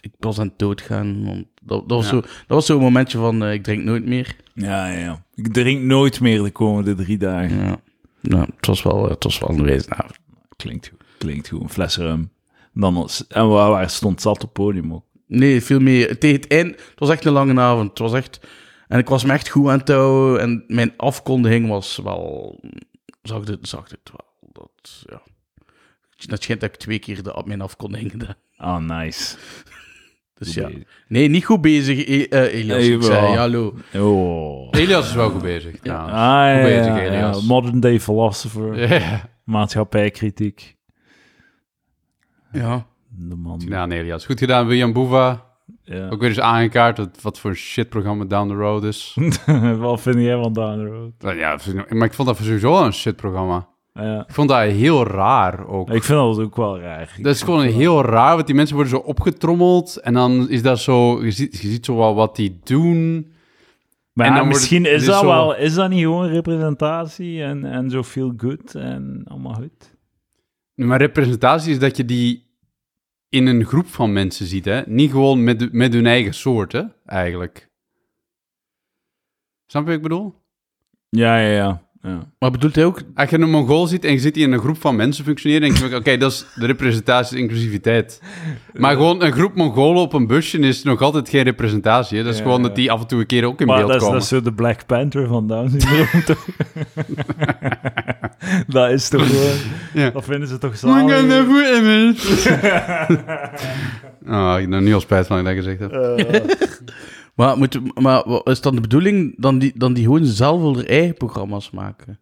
Speaker 2: ik was aan het doodgaan. Want dat, dat was
Speaker 3: Ja.
Speaker 2: zo- dat was zo'n momentje van eh, ik drink nooit meer.
Speaker 1: Ja, ja. Ik drink nooit meer de komende drie dagen.
Speaker 2: Ja. Nou, het was wel, het was wel een wezenavond.
Speaker 1: Klinkt goed. Klinkt goed. Een fles rum. Dan ons- en waar, waar stond zat op het podium ook.
Speaker 2: Nee, veel meer. Tegen het eind, het was echt een lange avond. Het was echt, en ik was me echt goed aan het houden. En mijn afkondiging was wel... Zag dit, zag dit wel. Dat, ja. dat schijnt dat ik twee keer de, mijn afkondiging gedaan.
Speaker 1: Ah, nice.
Speaker 2: Dus ja. Nee, niet goed bezig, E- eh, Elias.
Speaker 1: Eh,
Speaker 2: ik zei,
Speaker 1: jawel.
Speaker 2: hallo.
Speaker 1: Oh.
Speaker 3: Elias is wel goed bezig,
Speaker 1: Ah,
Speaker 3: trouwens.
Speaker 1: ja,
Speaker 3: Hoe bezig,
Speaker 1: ja,
Speaker 3: Elias?
Speaker 1: ja. Modern day philosopher.
Speaker 3: Ja.
Speaker 1: Maatschappijkritiek.
Speaker 2: Ja.
Speaker 1: De man.
Speaker 3: Goed gedaan, Elias. Goed gedaan, William Boeva.
Speaker 1: Ja.
Speaker 3: Ook weer eens aangekaart wat- wat voor een shitprogramma Down the Road is.
Speaker 1: Wat vind jij van Down the Road?
Speaker 3: Nou Ja, maar ik vond dat sowieso wel een shitprogramma.
Speaker 1: Nou Ja.
Speaker 3: Ik vond dat heel raar ook.
Speaker 1: Ik vind dat ook wel raar.
Speaker 3: Dat is gewoon heel raar, want die mensen worden zo opgetrommeld. En dan is dat zo... Je ziet, je ziet zo wel wat die doen.
Speaker 1: Maar
Speaker 3: En
Speaker 1: ja,
Speaker 3: dan wordt
Speaker 1: misschien
Speaker 3: het-
Speaker 1: is
Speaker 3: dit is
Speaker 1: dat
Speaker 3: zo-
Speaker 1: wel... Is dat niet gewoon representatie en, en zo feel good en allemaal goed?
Speaker 3: Maar representatie is dat je die in een groep van mensen ziet, hè. Niet gewoon met, met hun eigen soort, hè, eigenlijk. Snap je wat ik bedoel?
Speaker 1: Ja, ja, ja. ja.
Speaker 2: Maar bedoelt hij ook...
Speaker 3: Als je een Mongool ziet en je zit hier in een groep van mensen functioneren, denk je, oké, dat is de representatie is inclusiviteit. Maar gewoon een groep Mongolen op een busje is nog altijd geen representatie. Hè? Dat is
Speaker 1: Ja,
Speaker 3: gewoon
Speaker 1: ja.
Speaker 3: dat die af en toe een keer ook in
Speaker 1: Maar
Speaker 3: beeld
Speaker 1: dat is, dat
Speaker 3: komen.
Speaker 1: is zo de Black Panther van Down syndroom, toch? dat is toch gewoon...
Speaker 3: Ja.
Speaker 1: Dat vinden ze toch
Speaker 3: Oh, ik heb een
Speaker 1: zalig?
Speaker 3: goed Ah, image. oh, ik heb er nu al spijt van dat ik dat gezegd heb.
Speaker 1: Eh,
Speaker 2: Maar, moet, maar wat is dan de bedoeling dan die, dan die gewoon zelf wel haar eigen programma's maken?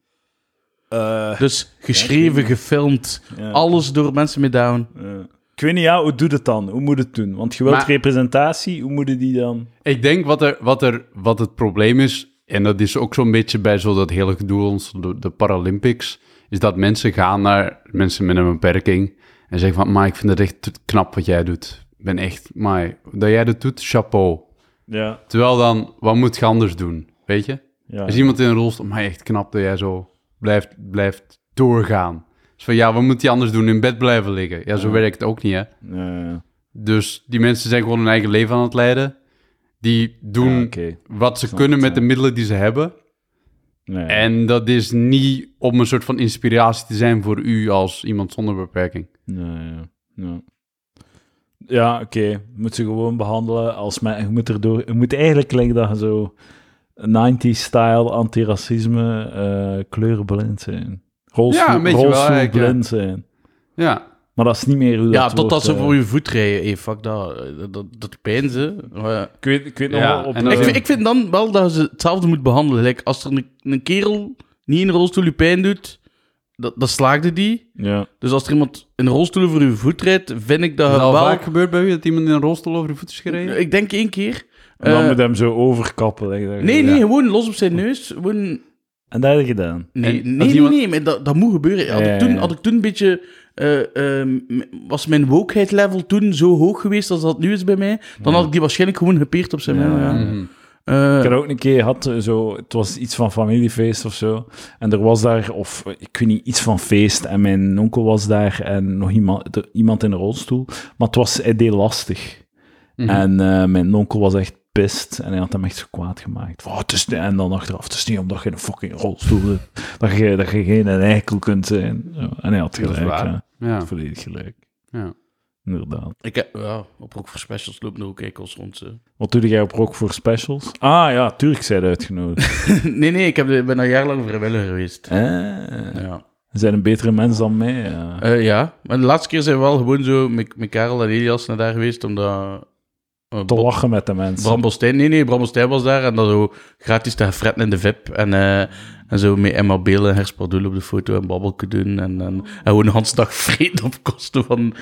Speaker 2: Dus geschreven, gefilmd,
Speaker 1: Eh, Ja.
Speaker 2: alles door mensen met down.
Speaker 1: Ja. Ik weet niet, ja, hoe doe dat dan? Hoe moet het doen? Want je wilt
Speaker 3: Maar-
Speaker 1: representatie, hoe moet je die dan...
Speaker 3: Ik denk wat, er, wat, er, wat het probleem is, en dat is ook zo'n beetje bij zo dat hele gedoe ons de, de Paralympics, is dat mensen gaan naar mensen met een beperking en zeggen van, maar ik vind het echt knap wat jij doet. Ik ben echt, maar dat jij dat doet, chapeau.
Speaker 1: Ja,
Speaker 3: Terwijl dan, wat moet je anders doen, weet je?
Speaker 1: ja.
Speaker 3: Als iemand in een rol stond, maar echt knap dat jij zo blijft, blijft doorgaan. Dus van, ja, wat moet hij anders doen? In bed blijven liggen. Ja, zo werkt het ook niet, hè?
Speaker 1: Ja,
Speaker 3: Dus die mensen zijn gewoon hun eigen leven aan het leiden. Die doen
Speaker 1: ja, oké.
Speaker 3: wat ze
Speaker 1: Snap
Speaker 3: kunnen
Speaker 1: het,
Speaker 3: met de
Speaker 1: ja.
Speaker 3: middelen die ze hebben.
Speaker 1: Nee.
Speaker 3: En dat is niet om een soort van inspiratie te zijn voor u als iemand zonder beperking.
Speaker 1: Ja, ja. Ja, ja oké. Moet ze gewoon behandelen als men. Je moet, erdoor, je moet eigenlijk klinken dat je zo 90-style antiracisme eh kleurenblind zijn. Rolstoel,
Speaker 3: Ja, een beetje wel eigenlijk, ja.
Speaker 1: rolstoelblind zijn.
Speaker 3: Ja,
Speaker 1: Maar dat is niet meer hoe dat
Speaker 2: Ja,
Speaker 1: wordt,
Speaker 2: totdat ze
Speaker 1: eh,
Speaker 2: voor je voet rijden. Hey, fuck dat. eh, Dat, dat, dat pijnzen. Maar ja.
Speaker 1: Ik weet, ik weet nog
Speaker 3: Ja,
Speaker 1: wel op...
Speaker 3: en dan-
Speaker 1: eh,
Speaker 2: Ik, vind- ik vind dan wel dat ze hetzelfde moet behandelen. Like, als er een, een kerel niet in een rolstoel je pijn doet, dat, dat slaagde die.
Speaker 1: ja.
Speaker 2: Dus als er iemand in een rolstoel voor je voet rijdt, vind ik dat
Speaker 3: is al
Speaker 2: Eh, wel...
Speaker 3: vaak gebeurd bij u dat iemand in een rolstoel over de voet is gereden?
Speaker 2: Ik denk één keer.
Speaker 1: En dan
Speaker 2: Eh,
Speaker 1: moet hem zo overkappen. denk ik.
Speaker 2: nee,
Speaker 1: Ja.
Speaker 2: nee, gewoon los op zijn neus. Gewoon
Speaker 1: En dat heb je gedaan.
Speaker 2: Nee,
Speaker 3: En
Speaker 2: nee,
Speaker 3: als
Speaker 2: nee,
Speaker 3: iemand-
Speaker 2: nee, maar dat, dat moet gebeuren. Had,
Speaker 1: Ja,
Speaker 2: ik
Speaker 1: ja,
Speaker 2: toen,
Speaker 1: ja.
Speaker 2: had ik toen een beetje... eh, ehm, was mijn wokeheid level toen zo hoog geweest als dat nu is bij mij, dan had ik die waarschijnlijk gewoon gepeerd op zijn
Speaker 1: Ja,
Speaker 2: man, ja.
Speaker 1: ja.
Speaker 3: Mhm.
Speaker 2: Eh,
Speaker 1: Ik had ook een keer had zo, het was iets van familiefeest of zo. En er was daar, of eh, ik weet niet, iets van feest. En mijn onkel was daar en nog iemand, er- iemand in een rolstoel. Maar het was, hij deed lastig.
Speaker 3: Mhm.
Speaker 1: En eh, mijn onkel was echt pist. En hij had hem echt zo kwaad gemaakt. Van, "Oh, het is, niet-" en dan achteraf, het is niet omdat je in een fucking rolstoel zit. dat, je, dat je geen een eikel kunt zijn. Zo. En hij had
Speaker 3: Dat is
Speaker 1: gelijk.
Speaker 3: waar.
Speaker 1: Ja.
Speaker 3: Ja.
Speaker 1: Volledig gelijk.
Speaker 3: Ja.
Speaker 1: Inderdaad.
Speaker 2: ik heb, ja, op Rock voor Specials lopen er ook eikels rond. eh. hè.
Speaker 1: Wat doe jij op Rock voor Specials? Ah ja, Turk zijn uitgenodigd.
Speaker 2: nee, nee, ik heb, de- ben al jarenlang vrijwilliger geweest.
Speaker 1: Eh.
Speaker 2: Ja.
Speaker 1: Ze zijn een betere mens dan mij. ja.
Speaker 2: Eh, ja, maar de laatste keer zijn we wel gewoon zo met, met Karel en Elias naar daar geweest, omdat... eh,
Speaker 1: Te
Speaker 2: Bob-
Speaker 1: lachen met de mensen.
Speaker 2: Bram Bostijn, nee, nee, Bram Bostijn was daar en dan zo gratis te gaan fretten in de VIP. En, eh, en zo met Emma Beel en Herspardoel op de foto en babbelke doen. En, en, en gewoon een handslag vreten op kosten van,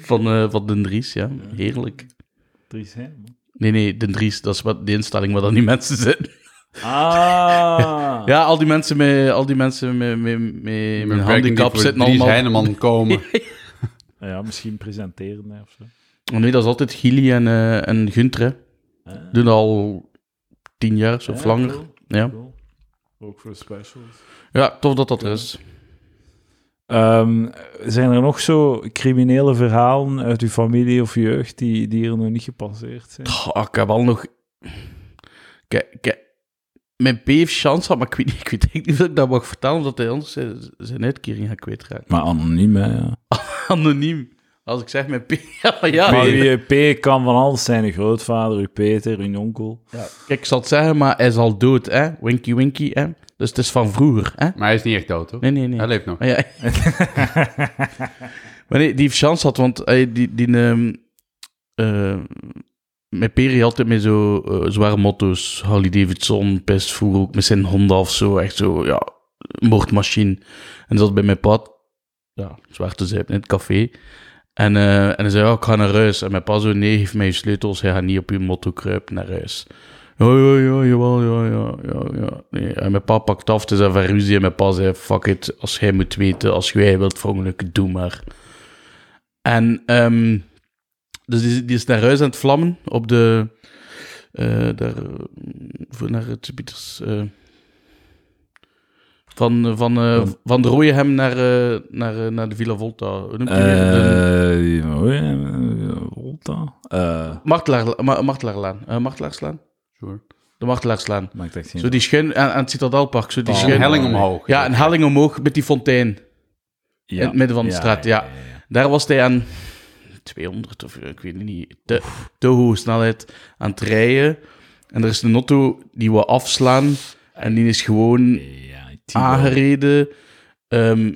Speaker 2: van, eh, van Den Dries, ja. Heerlijk.
Speaker 1: Dries Heijmans.
Speaker 2: Nee, nee, Den Dries, dat is wat de instelling waar dan die mensen zijn.
Speaker 1: Ah.
Speaker 2: Ja, al die mensen met, al die mensen met, met, met, met een
Speaker 3: Beperking
Speaker 2: handicap
Speaker 3: die voor
Speaker 2: zitten
Speaker 3: Dries
Speaker 2: allemaal...
Speaker 3: Heineman komen.
Speaker 1: ja. misschien presenteren hè, of zo.
Speaker 2: Oh nee, dat is altijd Gili en, eh en Gunther, hè.
Speaker 1: Ah.
Speaker 2: Doen dat al tien jaar, zo, of
Speaker 1: Ja,
Speaker 2: langer.
Speaker 1: cool,
Speaker 2: Ja.
Speaker 1: cool. Ook voor specials.
Speaker 2: ja, tof dat dat er is.
Speaker 1: Ehm, zijn er nog zo criminele verhalen uit uw familie of jeugd die, die hier nog niet gepasseerd zijn?
Speaker 2: Goh, ik heb al nog. Kijk, kijk. Mijn P heeft chance had, maar ik weet, niet, ik weet eigenlijk niet of ik dat mag vertellen, omdat hij anders zijn, zijn uitkering gaat kwijtraken.
Speaker 1: Maar anoniem, hè, ja.
Speaker 2: Anoniem. Als ik zeg mijn P. Ja, maar ja.
Speaker 1: Maar
Speaker 2: nee.
Speaker 1: uw P kan van alles zijn. Uw grootvader, uw Peter, uw onkel.
Speaker 2: Kijk, ik zal het zeggen, maar hij is al dood, hè? Winky Winky, hè? Dus het is van vroeger, hè?
Speaker 3: Maar hij is niet echt dood, hoor.
Speaker 2: Nee, nee, nee.
Speaker 3: Hij leeft nog.
Speaker 2: Maar, ja. maar nee, die heeft chance had, want hij die, die, ehm, eh, mijn peri had altijd met zo eh, zware motto's. Harley Davidson, pest vroeger ook met zijn Honda of zo. Echt zo, ja, moordmachine. En zat bij mijn pad, ja, zwaar te zuipen in het café. En, eh, en hij zei, ja, ik ga naar huis. En mijn pa zo, nee, geef mij je sleutels. Hij gaat niet op je motto kruipen naar huis. Ja, ja, ja, jawel, ja, ja, ja, ja. Nee. En mijn pa pakt af, het is een verruzie. En mijn pa zei, fuck it, als jij moet weten, als jij wilt verongelukken, doe maar. En ehm, dus die, die is naar huis aan het vlammen op de... eh, daar, eh, voor naar het Pieters... eh, van, eh, van, eh, van de Rooiehem naar, eh, naar, eh, naar de Villa Volta. Hoe noemt die weer? De-
Speaker 1: Eh, hoe, eh, Volta? Eh,
Speaker 2: Martelaar, Ma- Martelaarlaan. Eh, Martelaarslaan?
Speaker 3: Sure.
Speaker 2: De Martelaarslaan.
Speaker 1: maakt echt geen
Speaker 2: Zo die schuin aan, aan het Citadelpark. Zo die
Speaker 1: Oh.
Speaker 3: Een
Speaker 2: schuin.
Speaker 3: Ah, helling omhoog.
Speaker 2: Ja, een helling omhoog met die fontein.
Speaker 1: Ja.
Speaker 2: In het midden van de straat, ja.
Speaker 1: ja, ja.
Speaker 2: Daar was hij aan 200 of eh, ik weet het niet, te, te hoge snelheid aan het rijden. En er is een auto die we afslaan. En die is gewoon
Speaker 1: Ja, Timo.
Speaker 2: aangereden. Ehm,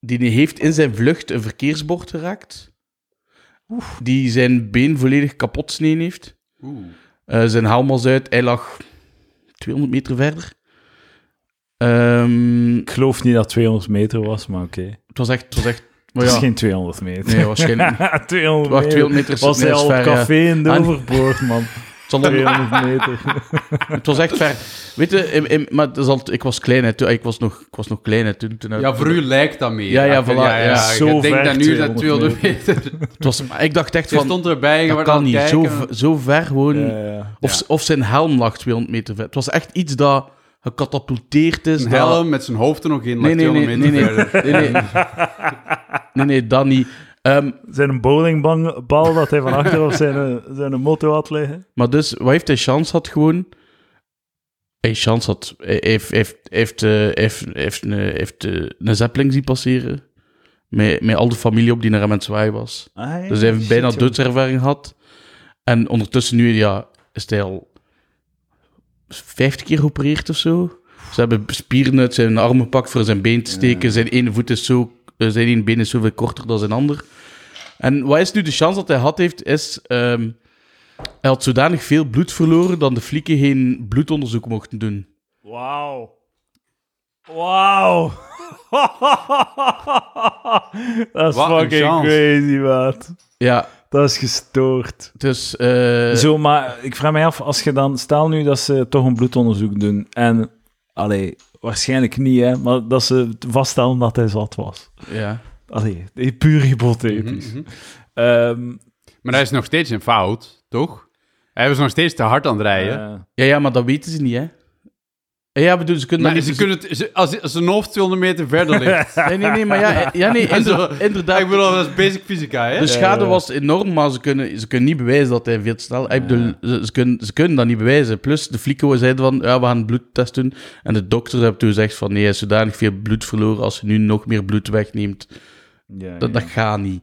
Speaker 2: die heeft in zijn vlucht een verkeersbord geraakt. Die zijn been volledig kapot sneden heeft.
Speaker 3: Oeh.
Speaker 2: Eh, zijn helm was uit. Hij lag 200 meter verder. Ehm,
Speaker 1: Ik geloof niet dat 200 meter was, maar oké.
Speaker 2: het was echt... Het was echt maar
Speaker 1: Het is
Speaker 2: ja,
Speaker 1: geen 200 meter.
Speaker 2: nee, waarschijnlijk.
Speaker 1: 200
Speaker 2: Wacht,
Speaker 1: meter.
Speaker 2: 200 meter is-
Speaker 1: was
Speaker 2: nee,
Speaker 1: hij
Speaker 2: is
Speaker 1: al op
Speaker 2: ver, ja.
Speaker 1: café in de
Speaker 2: Ah,
Speaker 1: overboord, man.
Speaker 2: Het zal dan-
Speaker 1: 200 meter.
Speaker 2: Het was echt ver. Weet je, in- in- maar het is al, ik was klein, hè, toen, ik, was nog, ik was nog klein hè, toen. toen
Speaker 3: Ja, voor u lijkt dat meer.
Speaker 2: Ja, ja, voilà, ja.
Speaker 1: Zo
Speaker 3: ik denk
Speaker 1: ver
Speaker 3: dat nu dat
Speaker 1: 200
Speaker 3: 200 meter.
Speaker 2: het was, maar ik dacht echt
Speaker 3: Je
Speaker 2: van,
Speaker 3: stond erbij. je
Speaker 2: dat
Speaker 3: werd
Speaker 2: kan
Speaker 3: aan het
Speaker 2: niet. Zo,
Speaker 3: kijken.
Speaker 2: v- zo ver gewoon.
Speaker 1: Ja, ja.
Speaker 2: Of, of zijn helm lag 200 meter ver. Het was echt iets dat gecatapulteerd is.
Speaker 3: Een
Speaker 2: dat-
Speaker 3: helm met zijn hoofd er nog in.
Speaker 2: Nee,
Speaker 3: Nee,
Speaker 2: nee, nee,
Speaker 3: 200
Speaker 2: nee, nee.
Speaker 3: meter verder.
Speaker 2: Nee, nee. nee, nee, dat niet. Ehm,
Speaker 1: Zijn een bowlingbal dat hij van achter op zijn, eh, zijn motto had liggen.
Speaker 2: maar dus, wat heeft hij chance had gewoon? Hij chance had. Hij heeft, heeft, heeft, eh, heeft, heeft, een- heeft eh, een zeppeling zien passeren. Met, met al de familie op die naar hem aan het zwaaien was. Dus hij heeft bijna doodservaring gehad. En ondertussen nu, ja, is hij al 50 keer geopereerd of zo. Ze hebben spieren uit zijn armen gepakt voor zijn been te steken. Zijn ene voet is zo, eh, zijn ene been is zoveel korter dan zijn ander. En wat is nu de kans dat hij had heeft, is... ehm, hij had zodanig veel bloed verloren dat de flieken geen bloedonderzoek mochten doen.
Speaker 1: Wauw. Wauw. dat is
Speaker 3: Wat een
Speaker 1: fucking
Speaker 3: chance.
Speaker 1: crazy, maat.
Speaker 2: Ja,
Speaker 1: Dat is gestoord.
Speaker 2: dus... eh,
Speaker 1: Zo, maar ik vraag mij af, als je dan... Stel nu dat ze toch een bloedonderzoek doen en... Allee, waarschijnlijk niet, hè. Maar dat ze vaststellen dat hij zat was.
Speaker 2: ja.
Speaker 1: Allee, eh, puur hypothetisch.
Speaker 3: Mhm, mhm.
Speaker 1: Ehm,
Speaker 3: Maar hij is nog steeds in fout, toch? Hij was nog steeds te hard aan het rijden.
Speaker 1: eh,
Speaker 2: Ja, ja, maar dat weten ze niet, hè. Ja, bedoel, ze kunnen
Speaker 3: maar
Speaker 2: dat
Speaker 3: ze
Speaker 2: niet...
Speaker 3: kunnen het, ze- als, als zijn hoofd 200 meter verder ligt.
Speaker 2: Nee, nee, nee, maar ja, eh, ja nee, inder-
Speaker 3: Zo.
Speaker 2: inderdaad.
Speaker 3: ik bedoel, dat is basic fysica, hè?
Speaker 2: De
Speaker 1: Ja,
Speaker 2: schade
Speaker 1: ja.
Speaker 2: was enorm, maar ze kunnen, ze kunnen niet bewijzen dat hij veel te snel... Ik bedoel,
Speaker 1: Ja.
Speaker 2: ze, ze kunnen, ze kunnen dat niet bewijzen. Plus, de flico zeiden van, ja, we gaan een bloedtest doen. En de dokter heeft toen gezegd van, nee, hij is zodanig veel bloed verloren. Als je nu nog meer bloed wegneemt,
Speaker 1: ja,
Speaker 2: dat,
Speaker 1: ja.
Speaker 2: dat gaat niet.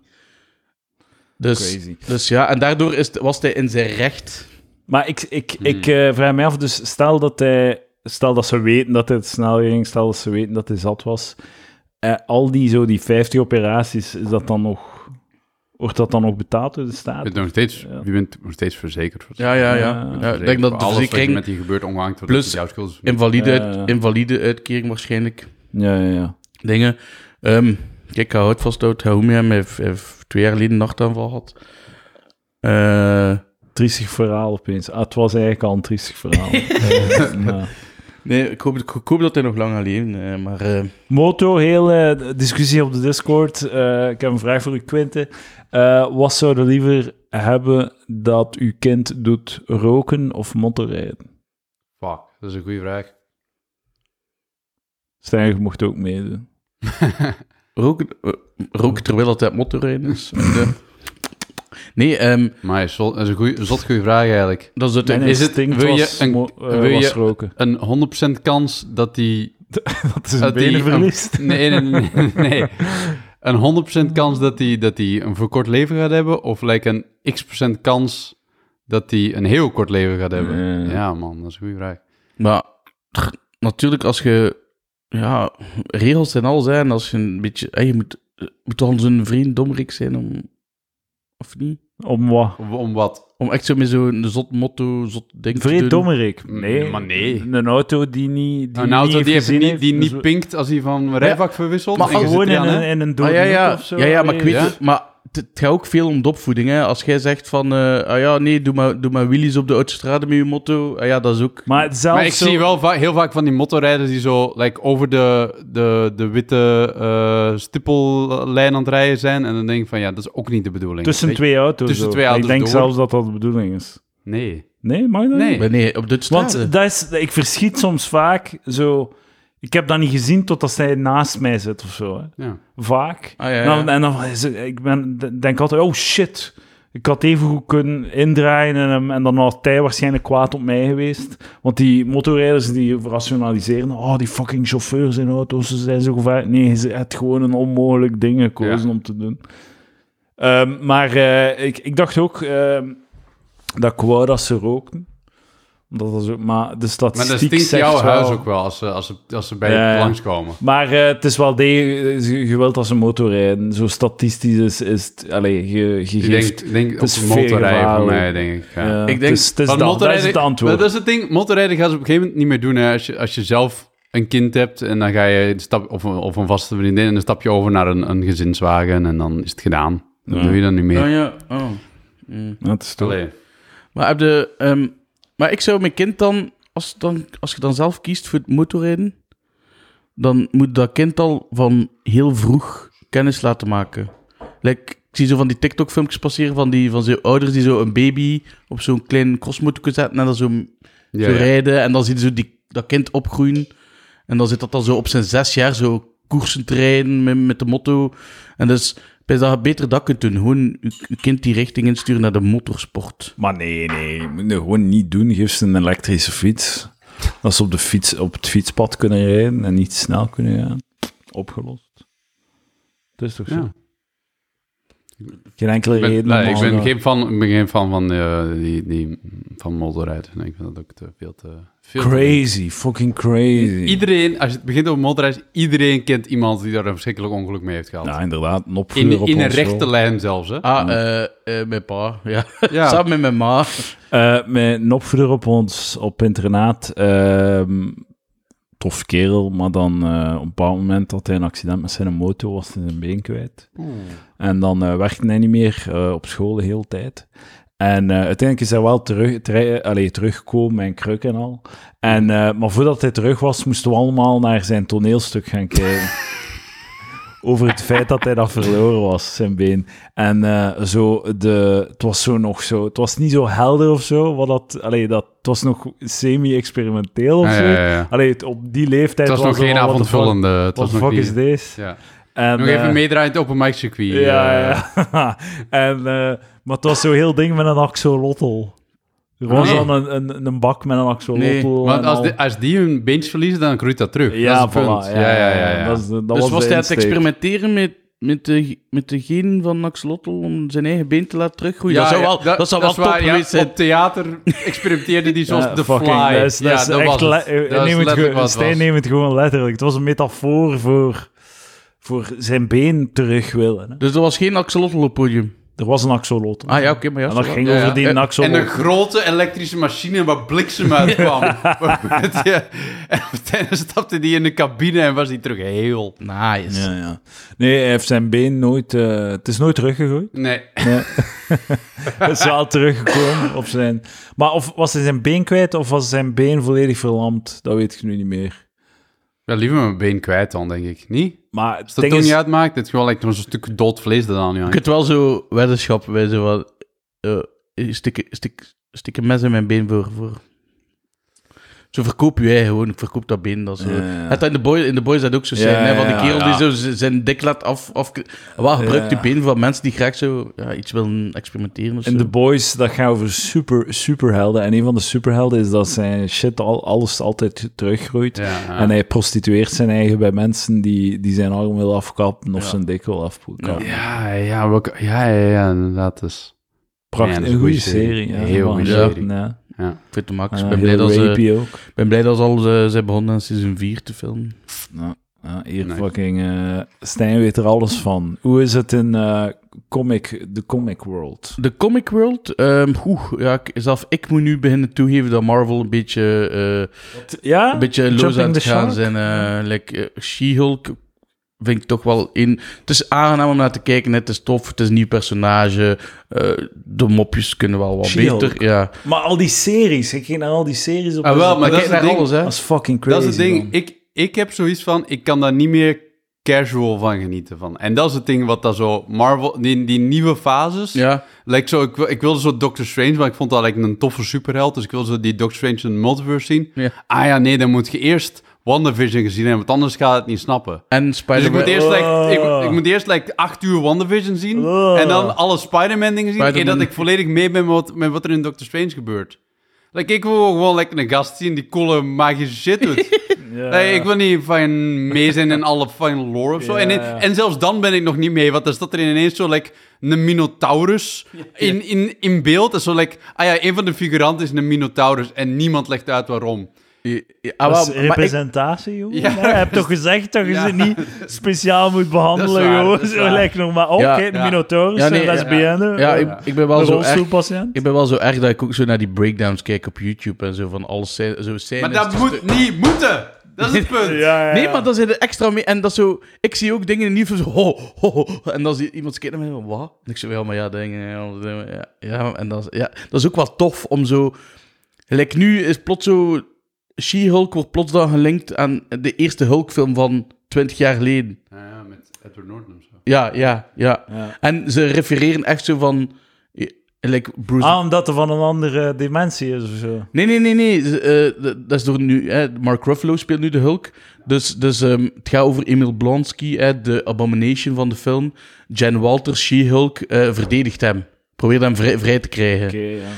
Speaker 2: Dus,
Speaker 1: Crazy.
Speaker 2: dus ja, en daardoor is, het- was hij in zijn recht.
Speaker 1: Maar ik, ik,
Speaker 2: Mhm.
Speaker 1: ik eh, vraag mij af, dus stel dat hij... Stel dat ze weten dat hij te snel ging, stel dat ze weten dat hij zat was. Eh, al die, zo, die 50 operaties, is dat dan nog... Wordt dat dan nog betaald door de staat?
Speaker 3: Je bent nog steeds, je bent nog steeds verzekerd. Voor
Speaker 2: Ja, ja, ja.
Speaker 1: Ja,
Speaker 2: Ja, ik denk dat de
Speaker 3: alles wat je
Speaker 2: verzekering
Speaker 3: met die gebeurt ongehangt wordt.
Speaker 2: Plus-
Speaker 3: dat het jouw schuld is.
Speaker 2: invalide,
Speaker 1: Ja,
Speaker 2: uit-
Speaker 1: ja.
Speaker 2: invalide uitkering waarschijnlijk.
Speaker 1: Ja, ja, ja.
Speaker 2: dingen. Ehm, kijk, ik houdt vasthouden. Haoumi hem heeft, heeft twee jaar geleden een nachtaanval gehad. Eh,
Speaker 1: Triestig verhaal opeens. Ah, het was eigenlijk al een triestig verhaal. Eh, ja.
Speaker 2: nee, ik hoop, ik hoop dat hij nog lang alleen. maar eh,
Speaker 1: Moto, heel eh, discussie op de Discord. Eh, ik heb een vraag voor u, Quinte. Eh, wat zou je liever hebben dat uw kind doet roken of motorrijden?
Speaker 3: Fuck, dat is een goede vraag.
Speaker 1: Stijn, je mocht ook meedoen.
Speaker 2: roken, eh, roken terwijl dat hij op motorrijden is. Eh, nee, ehm,
Speaker 3: Maar is zot- dat is een goeie, zot goede vraag eigenlijk.
Speaker 2: dat is het.
Speaker 1: Mijn
Speaker 3: is het-
Speaker 1: instinct
Speaker 3: wil je
Speaker 1: was,
Speaker 3: een-
Speaker 1: mo- eh,
Speaker 3: wil
Speaker 1: was
Speaker 3: je-
Speaker 1: roken.
Speaker 3: Een 100% kans dat die...
Speaker 1: Dat is een
Speaker 3: dat die
Speaker 1: benen
Speaker 3: een-
Speaker 1: verliest.
Speaker 3: Nee, nee, nee. nee, nee. Een 100% kans dat die, dat die een verkort leven gaat hebben? Of lijkt een x% kans dat die een heel kort leven gaat hebben?
Speaker 1: Nee.
Speaker 3: Ja, man, dat is een goede vraag.
Speaker 2: Maar tch, natuurlijk, als je... Ja, regels zijn al zijn. Als je een beetje... eh, je moet, eh, moet dan zo'n vriend domrik zijn om... Of niet?
Speaker 1: Om wat?
Speaker 3: Om, om wat?
Speaker 2: Om echt zo met zo'n zot motto, zot ding te
Speaker 1: Vreed
Speaker 2: doen.
Speaker 1: dommerik. Nee.
Speaker 3: Mm, Maar nee.
Speaker 1: Een auto die niet die
Speaker 3: een auto
Speaker 1: niet
Speaker 3: Nou, die, even
Speaker 1: gezien
Speaker 3: niet, die
Speaker 1: heeft,
Speaker 3: niet
Speaker 1: dus-
Speaker 3: pinkt als hij van rijvak verwisselt.
Speaker 2: Maar
Speaker 3: en je zit
Speaker 1: gewoon in
Speaker 3: eraan, hè?
Speaker 1: een, in een
Speaker 2: Ah,
Speaker 1: dode
Speaker 2: ja, ja.
Speaker 1: hoek of zo.
Speaker 2: ja, ja, maar ik
Speaker 1: Allee.
Speaker 2: weet
Speaker 3: Ja.
Speaker 2: het. Maar het, het gaat ook veel om de opvoeding. Hè. Als jij zegt van, eh, ah ja, nee, doe maar, doe maar wheelies op de autostrade met je motto. Ah ja, dat is ook...
Speaker 1: Maar zelfs
Speaker 3: Maar ik
Speaker 1: zo-
Speaker 3: zie wel va- heel vaak van die motorrijders die zo like, over de, de, de witte eh, stippellijn aan het rijden zijn. En dan denk ik van ja, dat is ook niet de bedoeling.
Speaker 1: Tussen
Speaker 3: Weet je?
Speaker 1: twee auto's.
Speaker 3: tussen
Speaker 1: ook.
Speaker 3: twee auto's
Speaker 1: Ik denk
Speaker 3: door.
Speaker 1: zelfs dat dat de bedoeling is.
Speaker 3: Nee.
Speaker 1: Nee, mag dat
Speaker 3: Nee.
Speaker 1: niet?
Speaker 2: Maar nee, op de autostrade.
Speaker 1: Want dat is, ik verschiet soms vaak zo... Ik heb dat niet gezien totdat zij naast mij zit of zo. Hè.
Speaker 3: Ja.
Speaker 1: Vaak.
Speaker 2: Ah, ja, ja.
Speaker 1: En dan, en dan is het- ik ben, denk altijd, oh shit. Ik had even goed kunnen indraaien en, hem- en dan had hij waarschijnlijk kwaad op mij geweest. Want die motorrijders die rationaliseren, oh die fucking chauffeurs in auto's, ze zijn zo gevaarlijk. Nee, ze had gewoon een onmogelijk ding gekozen om te doen. Ehm, maar eh, ik, ik dacht ook ehm, dat ik wou dat ze rookten. Dat was ook, maar de statistiek
Speaker 3: Maar dan stinkt
Speaker 1: zegt
Speaker 3: jouw
Speaker 1: wel-
Speaker 3: huis ook wel als ze, als ze, als ze bij
Speaker 1: Ja,
Speaker 3: je
Speaker 1: ja.
Speaker 3: langskomen.
Speaker 1: Maar eh, het is wel degelijk, eh, je- je wilt als een motorrijden. Zo statistisch is, is het, allee, je, je
Speaker 3: Ik
Speaker 1: geeft...
Speaker 3: denk, denk op
Speaker 1: is
Speaker 3: een motorrijden voor
Speaker 1: veel
Speaker 3: mij, denk ik. Ja.
Speaker 1: Ja,
Speaker 3: Ik
Speaker 1: het
Speaker 3: denk,
Speaker 1: is- het is
Speaker 3: want
Speaker 1: dat. Dat is
Speaker 3: motorrijden-
Speaker 1: het antwoord.
Speaker 3: Dat is het ding. Motorrijden gaan ze op een gegeven moment niet meer doen. Hè. Als, je, als je zelf een kind hebt en dan ga je een stap, of, een- of een vaste vriendin en dan stap je over naar een, een gezinswagen en dan is het gedaan. Dat
Speaker 1: Ja.
Speaker 3: doe je dan niet meer.
Speaker 2: Oh ja, oh. Mm.
Speaker 1: Dat is toch...
Speaker 3: Allee.
Speaker 2: Maar, heb je, ehm, maar ik zou mijn kind dan als, dan, als je dan zelf kiest voor het motorrijden, dan moet dat kind al van heel vroeg kennis laten maken. Like, ik zie zo van die TikTok-filmpjes passeren van, die, van zo'n ouders die zo een baby op zo'n klein crossmotor kunnen zetten en dan zo,
Speaker 3: Ja,
Speaker 2: zo
Speaker 3: ja.
Speaker 2: rijden. En dan zie je zo die, dat kind opgroeien. En dan zit dat dan zo op zijn zes jaar zo koersen te rijden met, met de motto. En dus bij dat je beter dat kunt doen. Gewoon je, je kind die richting insturen naar de motorsport.
Speaker 1: Maar nee, nee, je moet het gewoon niet doen. Geef ze een elektrische fiets. Dat ze op, de fiets, op het fietspad kunnen rijden en niet snel kunnen gaan. Opgelost. Dat is toch zo?
Speaker 3: Ja.
Speaker 1: Geen enkele
Speaker 3: Ik ben,
Speaker 1: reden.
Speaker 3: nee,
Speaker 1: om
Speaker 3: ik
Speaker 1: al
Speaker 3: ben
Speaker 1: dat-
Speaker 3: geen fan, ik ben geen fan van, eh, die, die, van motorrijden. Nee, ik vind dat ook te veel te... Veel te-
Speaker 1: Crazy, fucking crazy.
Speaker 3: Iedereen, als je het begint over motorrijden, iedereen kent iemand die daar een verschrikkelijk ongeluk mee heeft gehad.
Speaker 1: nou, inderdaad, een opvuur
Speaker 3: in,
Speaker 1: op
Speaker 3: in een
Speaker 1: ons
Speaker 3: rechte
Speaker 1: wel.
Speaker 3: lijn zelfs, hè?
Speaker 2: Ah, eh eh, mijn pa, ja.
Speaker 3: Ja.
Speaker 2: Samen met mijn ma.
Speaker 1: Eh, met een opvoeder op ons, op internaat. ehm tof kerel, maar dan eh, op een bepaald moment had hij een accident met zijn motor, was hij zijn been kwijt.
Speaker 3: Hmm.
Speaker 1: En dan eh, werkte hij niet meer eh, op school de hele tijd. En eh, uiteindelijk is hij wel terug, ter, allee, teruggekomen en kruk en al. En, eh, maar voordat hij terug was, moesten we allemaal naar zijn toneelstuk gaan kijken. Over het feit dat hij dat verloren was, zijn been. En eh, zo de, het was zo nog zo... Het was niet zo helder of zo. Wat dat, allee, dat, het was nog semi-experimenteel of
Speaker 3: Ah, Ja,
Speaker 1: zo.
Speaker 3: ja, ja, ja.
Speaker 1: Allee, het- op die leeftijd
Speaker 3: Het was nog
Speaker 1: het
Speaker 3: geen
Speaker 1: al, what the fuck-
Speaker 3: avondvullende.
Speaker 1: What
Speaker 3: Het was
Speaker 1: the
Speaker 3: nog
Speaker 1: fuck
Speaker 3: niet...
Speaker 1: is this?
Speaker 3: Ja.
Speaker 1: En,
Speaker 3: Nog
Speaker 1: eh,
Speaker 3: even meedraaien op een mic circuit. eh.
Speaker 1: ja, ja, ja. en, eh, maar het was zo'n heel ding met een axolotl. Er was
Speaker 3: Nee.
Speaker 1: dan een, een, een bak met een axolotl.
Speaker 2: Nee,
Speaker 1: en
Speaker 3: Want als,
Speaker 1: al.
Speaker 3: die- als die hun beentjes verliezen, dan groeit dat terug.
Speaker 1: ja,
Speaker 3: dat is het punt.
Speaker 1: voilà,
Speaker 3: Ja, ja, ja. ja.
Speaker 1: Dat is de- dat
Speaker 2: dus was
Speaker 1: de
Speaker 2: hij aan het
Speaker 1: insteek.
Speaker 2: experimenteren met, met, de, met de genen van Axolotl om zijn eigen been te laten teruggroeien?
Speaker 3: Ja,
Speaker 2: dat zou
Speaker 3: ja,
Speaker 2: wel, dat, zou wel
Speaker 3: is waar,
Speaker 2: top
Speaker 3: ja,
Speaker 2: geweest zijn.
Speaker 3: Op theater experimenteerde die zoals
Speaker 1: Ja,
Speaker 3: The
Speaker 1: fucking,
Speaker 3: Fly.
Speaker 1: dat is- dat
Speaker 3: ja,
Speaker 1: is
Speaker 3: dat
Speaker 1: echt
Speaker 3: was
Speaker 1: le-
Speaker 3: het.
Speaker 1: eh,
Speaker 3: Dat is
Speaker 1: neem het
Speaker 3: letterlijk
Speaker 1: gewoon-
Speaker 3: wat het
Speaker 1: Stijn
Speaker 3: was.
Speaker 1: neemt het gewoon letterlijk. Het was een metafoor voor, voor zijn been terug willen. hè.
Speaker 2: Dus er was geen Axolotl op het podium.
Speaker 1: Er was een axolotl.
Speaker 2: Ah ja, oké, maar ja.
Speaker 1: en dat
Speaker 2: zo-
Speaker 1: ging
Speaker 3: Ja, ja.
Speaker 1: over die
Speaker 3: En-
Speaker 1: axolotl.
Speaker 3: En een grote elektrische machine waar bliksem uit kwam. Waar met je- en tijdens stapte die in de cabine en was die terug heel.
Speaker 2: Nice.
Speaker 1: Ja, ja. Nee, hij heeft zijn been nooit... eh, het is nooit teruggegooid.
Speaker 3: Nee,
Speaker 1: Het is wel teruggekomen op zijn... Maar of was hij zijn been kwijt of was zijn been volledig verlamd? Dat weet ik nu niet meer.
Speaker 3: wel liever mijn been kwijt dan, denk ik. Niet?
Speaker 1: Maar het
Speaker 3: Als dat
Speaker 1: ding
Speaker 3: toch
Speaker 1: is...
Speaker 3: niet uitmaakt, het is gewoon like, zo'n stuk dood vlees dat aan je
Speaker 2: Je
Speaker 3: hangt.
Speaker 2: kunt wel zo weddenschappen bij zo wat... eh stik, stik, stik een mes in mijn been voor... voor. Zo verkoop je eigen gewoon. Ik verkoop dat been. Dat is zo.
Speaker 1: Ja, ja.
Speaker 2: Het in de boys, in de boys dat ook zo
Speaker 1: Ja,
Speaker 2: zijn, hè, van die
Speaker 1: ja,
Speaker 2: kerel
Speaker 1: ja.
Speaker 2: die zo z- zijn dik laat af, af wel gebruikt
Speaker 1: Ja.
Speaker 2: die been van mensen die graag zo ja, iets willen experimenteren of zo.
Speaker 1: In The Boys, dat gaat over super, superhelden. En een van de superhelden is dat zijn shit al, alles altijd teruggroeit.
Speaker 3: Ja, ja.
Speaker 1: En hij prostitueert zijn eigen bij mensen die, die zijn arm wil afkappen of zijn dik wil afkappen.
Speaker 3: Ja, ja, welke- ja, ja, ja, inderdaad. Dus.
Speaker 1: Prachtig,
Speaker 3: Ja, dat is
Speaker 1: een goede serie. ja.
Speaker 3: Heel
Speaker 1: Ja,
Speaker 3: goede
Speaker 1: ja.
Speaker 3: serie.
Speaker 1: Ja.
Speaker 3: Ja.
Speaker 2: Ik vind het max. Ik
Speaker 1: Ja,
Speaker 2: ben, blij
Speaker 1: heel
Speaker 2: dat ze,
Speaker 1: rapey ook.
Speaker 2: ik ben blij dat ze al eh, zijn begonnen aan seizoen 4 te filmen.
Speaker 1: Ja, ja, hier
Speaker 3: Nee.
Speaker 1: fucking... eh, Stijn weet er alles van. Hoe is het in eh, comic, de comic world?
Speaker 2: De comic world, ehm oeh, ja, ik- zelf ik moet nu beginnen toegeven dat Marvel een beetje, eh,
Speaker 1: Ja?
Speaker 2: een beetje
Speaker 1: Jumping
Speaker 2: los aan
Speaker 1: the
Speaker 2: het gaan
Speaker 1: shark?
Speaker 2: zijn. eh, like, eh, She-Hulk vind ik toch wel in... Het is aangenaam om naar te kijken, het is tof, het is een nieuw personage, eh, de mopjes kunnen wel wat
Speaker 1: She-Hulk.
Speaker 2: beter. Ja.
Speaker 1: Maar al die series, ik ging naar al die series op.
Speaker 3: Ah, wel, maar
Speaker 2: Maar
Speaker 3: dat
Speaker 2: kijk
Speaker 3: is het
Speaker 2: naar
Speaker 3: ding.
Speaker 2: alles, hè.
Speaker 1: Dat is fucking crazy.
Speaker 3: Dat is het ding.
Speaker 1: man.
Speaker 3: Ik, ik heb zoiets van, ik kan daar niet meer casual van genieten van. En dat is het ding wat daar zo Marvel, die, die nieuwe fases.
Speaker 2: Ja.
Speaker 3: Like zo, ik, wil- ik wilde zo Doctor Strange, maar ik vond dat like, een toffe superheld. Dus ik wilde zo die Doctor Strange in de multiverse zien.
Speaker 2: Ja.
Speaker 3: Ah ja, nee, dan moet je eerst WandaVision gezien hebben, want anders ga je het niet snappen.
Speaker 2: En
Speaker 3: Dus ik
Speaker 2: Spider-Man.
Speaker 3: moet eerst, like, ik,
Speaker 1: Oh.
Speaker 3: moet- ik moet eerst like, acht uur WandaVision zien.
Speaker 1: Oh.
Speaker 3: En dan alle Spider-Man dingen zien.
Speaker 2: Spider-Man.
Speaker 3: Eer dat ik volledig mee ben met wat, met wat er in Doctor Strange gebeurt. Like, ik wil gewoon like, een gast zien die coole magische shit doet.
Speaker 1: Ja.
Speaker 3: Nee, ik wil niet van mee zijn in alle fijn lore of zo.
Speaker 1: Ja,
Speaker 3: en,
Speaker 1: ja.
Speaker 3: en zelfs dan ben ik nog niet mee, want dan staat er ineens zo like, een Minotaurus in, in, in beeld. En zo like, ah ja, een van de figuranten is een Minotaurus en niemand legt uit waarom.
Speaker 2: Ja, ah,
Speaker 3: Ah,
Speaker 1: Dat is
Speaker 2: maar- maar ik-
Speaker 1: representatie, joh.
Speaker 3: Ja.
Speaker 1: Nee, je hebt toch gezegd dat je
Speaker 3: Ja.
Speaker 1: ze niet speciaal moet behandelen,
Speaker 3: Dat is waar,
Speaker 1: joh.
Speaker 3: dat is
Speaker 1: Zo
Speaker 3: waar.
Speaker 1: lijkt nog maar op,
Speaker 2: Ja,
Speaker 1: hè, de
Speaker 3: ja.
Speaker 1: Minotaurus,
Speaker 2: Ja,
Speaker 1: de
Speaker 2: nee, ja.
Speaker 1: lesbienne,
Speaker 2: ja,
Speaker 1: eh,
Speaker 2: ik, ik ben
Speaker 1: de
Speaker 2: wel zo erg...
Speaker 1: rolstoelpatiënt.
Speaker 2: Ik ben wel zo erg dat ik ook zo naar die breakdowns kijk op YouTube en zo van alles zijn, zo scènes.
Speaker 3: Maar dat moet niet moeten. Dat is het punt.
Speaker 1: Ja, ja,
Speaker 2: Nee,
Speaker 1: ja.
Speaker 2: maar dan zit er extra mee. En dat is zo. Ik zie ook dingen in het nieuws. Zo, ho, ho, ho. En dan zie iemand kijkt naar mij. van, Wat? En ik zeg ja, maar ja, dingen. Ja, ja, ja, en dat is, ja, dat is ook wel tof om zo. Like nu is plots zo. She-Hulk wordt plots dan gelinkt aan de eerste Hulk-film van 20 jaar geleden.
Speaker 3: Ja, Ah ja, met Edward Norton of zo.
Speaker 2: Ja, ja, ja.
Speaker 1: Ja.
Speaker 2: En ze refereren echt zo van. eh, Like Bruce
Speaker 1: Ah, omdat er van een andere dimensie is of zo.
Speaker 2: Nee, nee, nee, nee. Z- eh, d- dat is door nu. Hè. Mark Ruffalo speelt nu de Hulk. Dus, dus ehm, het gaat over Emil Blonsky, hè, de abomination van de film. Jan Walters, She-Hulk, eh, verdedigt hem. Probeert hem vrij, vrij te krijgen.
Speaker 1: Oké, ja.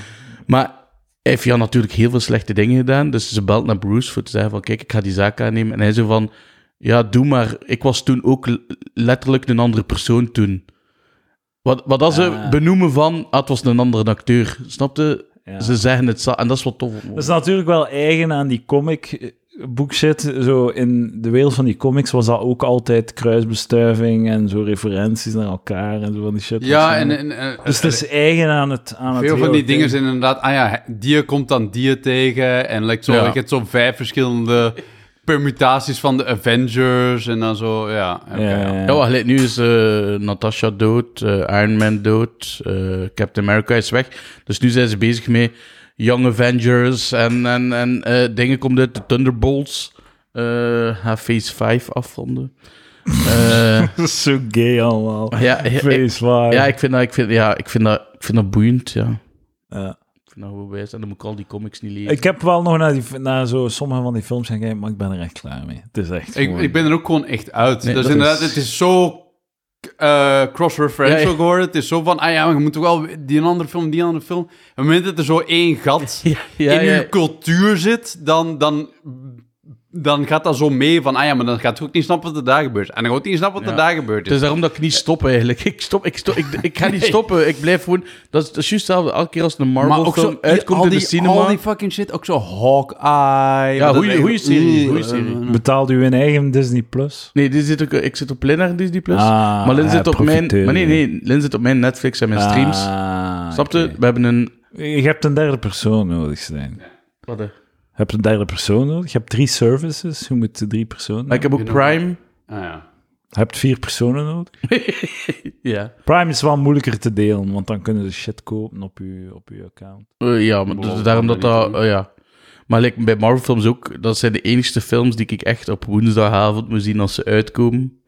Speaker 2: Maar hij heeft ja natuurlijk heel veel slechte dingen gedaan. Dus ze belt naar Bruce voor te zeggen van... Kijk, ik ga die zaak aannemen. En hij zo van... Ja, doe maar. Ik was toen ook l- letterlijk een andere persoon toen. Wat, wat dat ze
Speaker 1: Ah.
Speaker 2: benoemen van... Ah, het was een andere acteur. Snapte?
Speaker 1: Ja.
Speaker 2: Ze zeggen het... za- En dat is wat tof. om-
Speaker 1: Dat is natuurlijk wel eigen aan die comic boekshit. Zo in de wereld van die comics was dat ook altijd kruisbestuiving en zo referenties naar elkaar en zo van die shit.
Speaker 3: Ja, en,
Speaker 1: waarschijnlijk.
Speaker 3: en, en-
Speaker 1: dus het is eigen aan het aan het
Speaker 3: Veel van
Speaker 1: hele
Speaker 3: die dingen
Speaker 1: ding.
Speaker 3: zijn inderdaad, ah ja, dier komt dan dier tegen. En like, zo,
Speaker 2: Ja.
Speaker 3: je hebt zo'n vijf verschillende permutaties van de Avengers. En dan zo, ja. oké,
Speaker 1: Ja,
Speaker 3: ja.
Speaker 1: ja,
Speaker 2: Ja,
Speaker 1: ja.
Speaker 2: wacht, gelijk, nu is eh, Natasha dood, eh, Iron Man dood, eh, Captain America is weg. Dus nu zijn ze bezig met Young Avengers en, en, en eh, dingen komt uit de Thunderbolts. eh haar Phase 5 afronden. Eh,
Speaker 1: Dat is zo gay allemaal.
Speaker 2: ja, ja, ik,
Speaker 1: Face waar.
Speaker 2: ja, ik vind dat, ik vind, ja, ik vind dat, ik vind dat boeiend, ja.
Speaker 1: Ja.
Speaker 2: Ik vind dat gewoon wijs. En dan moet ik al die comics niet lezen.
Speaker 1: Ik heb wel nog naar, die, naar zo sommige van die films gaan kijken, maar ik ben er echt klaar mee. Het is echt
Speaker 3: Ik,
Speaker 1: gewoon-
Speaker 3: ik ben er ook gewoon echt uit.
Speaker 2: Nee,
Speaker 3: dus
Speaker 2: dat
Speaker 3: inderdaad,
Speaker 2: is-
Speaker 3: het is zo eh, cross-referential
Speaker 2: Ja, ja.
Speaker 3: geworden. Het is zo van, ah ja, maar je moet toch wel die een andere film, die een andere film. Op het moment dat er zo één gat
Speaker 2: ja, ja,
Speaker 3: in
Speaker 2: ja.
Speaker 3: uw cultuur zit, dan, dan, dan gaat dat zo mee van, ah ja, maar dan gaat je ook niet snappen wat er daar gebeurt. En dan gaat je ook niet snappen wat
Speaker 2: Ja.
Speaker 3: er daar gebeurt.
Speaker 2: Het is daarom dat ik niet stop eigenlijk. Ik, stop, ik, stop, ik, ik ga niet stoppen. Ik blijf gewoon. Dat is, dat is juist hetzelfde. Elke keer als een Marvel film uitkomt
Speaker 3: al
Speaker 2: in de
Speaker 3: die,
Speaker 2: cinema.
Speaker 3: Al die fucking shit, ook zo Hawkeye.
Speaker 2: Ja,
Speaker 3: Dat
Speaker 2: goeie-
Speaker 3: is echt-
Speaker 2: goeie serie,
Speaker 3: Oeh,
Speaker 2: goeie serie.
Speaker 3: eh,
Speaker 1: Betaalt u een eigen Disney Plus?
Speaker 2: Nee, die zit ook, ik zit op Linner Disney Plus.
Speaker 1: Ah,
Speaker 2: maar Lin
Speaker 1: hij
Speaker 2: zit op mijn.
Speaker 1: profiteert.
Speaker 2: Maar nee, nee, Lin zit op mijn Netflix en mijn streams.
Speaker 1: Ah,
Speaker 2: Snap je?
Speaker 1: oké.
Speaker 2: We hebben een.
Speaker 1: Je hebt een derde persoon nodig, Stijn.
Speaker 2: Wat, hè?
Speaker 1: Je hebt een derde persoon nodig. Je hebt drie services. Je moet drie personen.
Speaker 2: Maar ik
Speaker 1: hebben.
Speaker 2: heb ook Prime.
Speaker 3: ah ja.
Speaker 1: Je hebt vier personen nodig.
Speaker 2: Ja.
Speaker 1: Prime is wel moeilijker te delen, want dan kunnen ze shit kopen op je, op je account.
Speaker 2: Eh, ja, maar dus
Speaker 3: Waarom
Speaker 2: daarom dat
Speaker 3: dat niet
Speaker 2: dat. eh, ja. Maar like, bij Marvel films ook. Dat zijn de enigste films die ik echt op woensdagavond moet zien als ze uitkomen.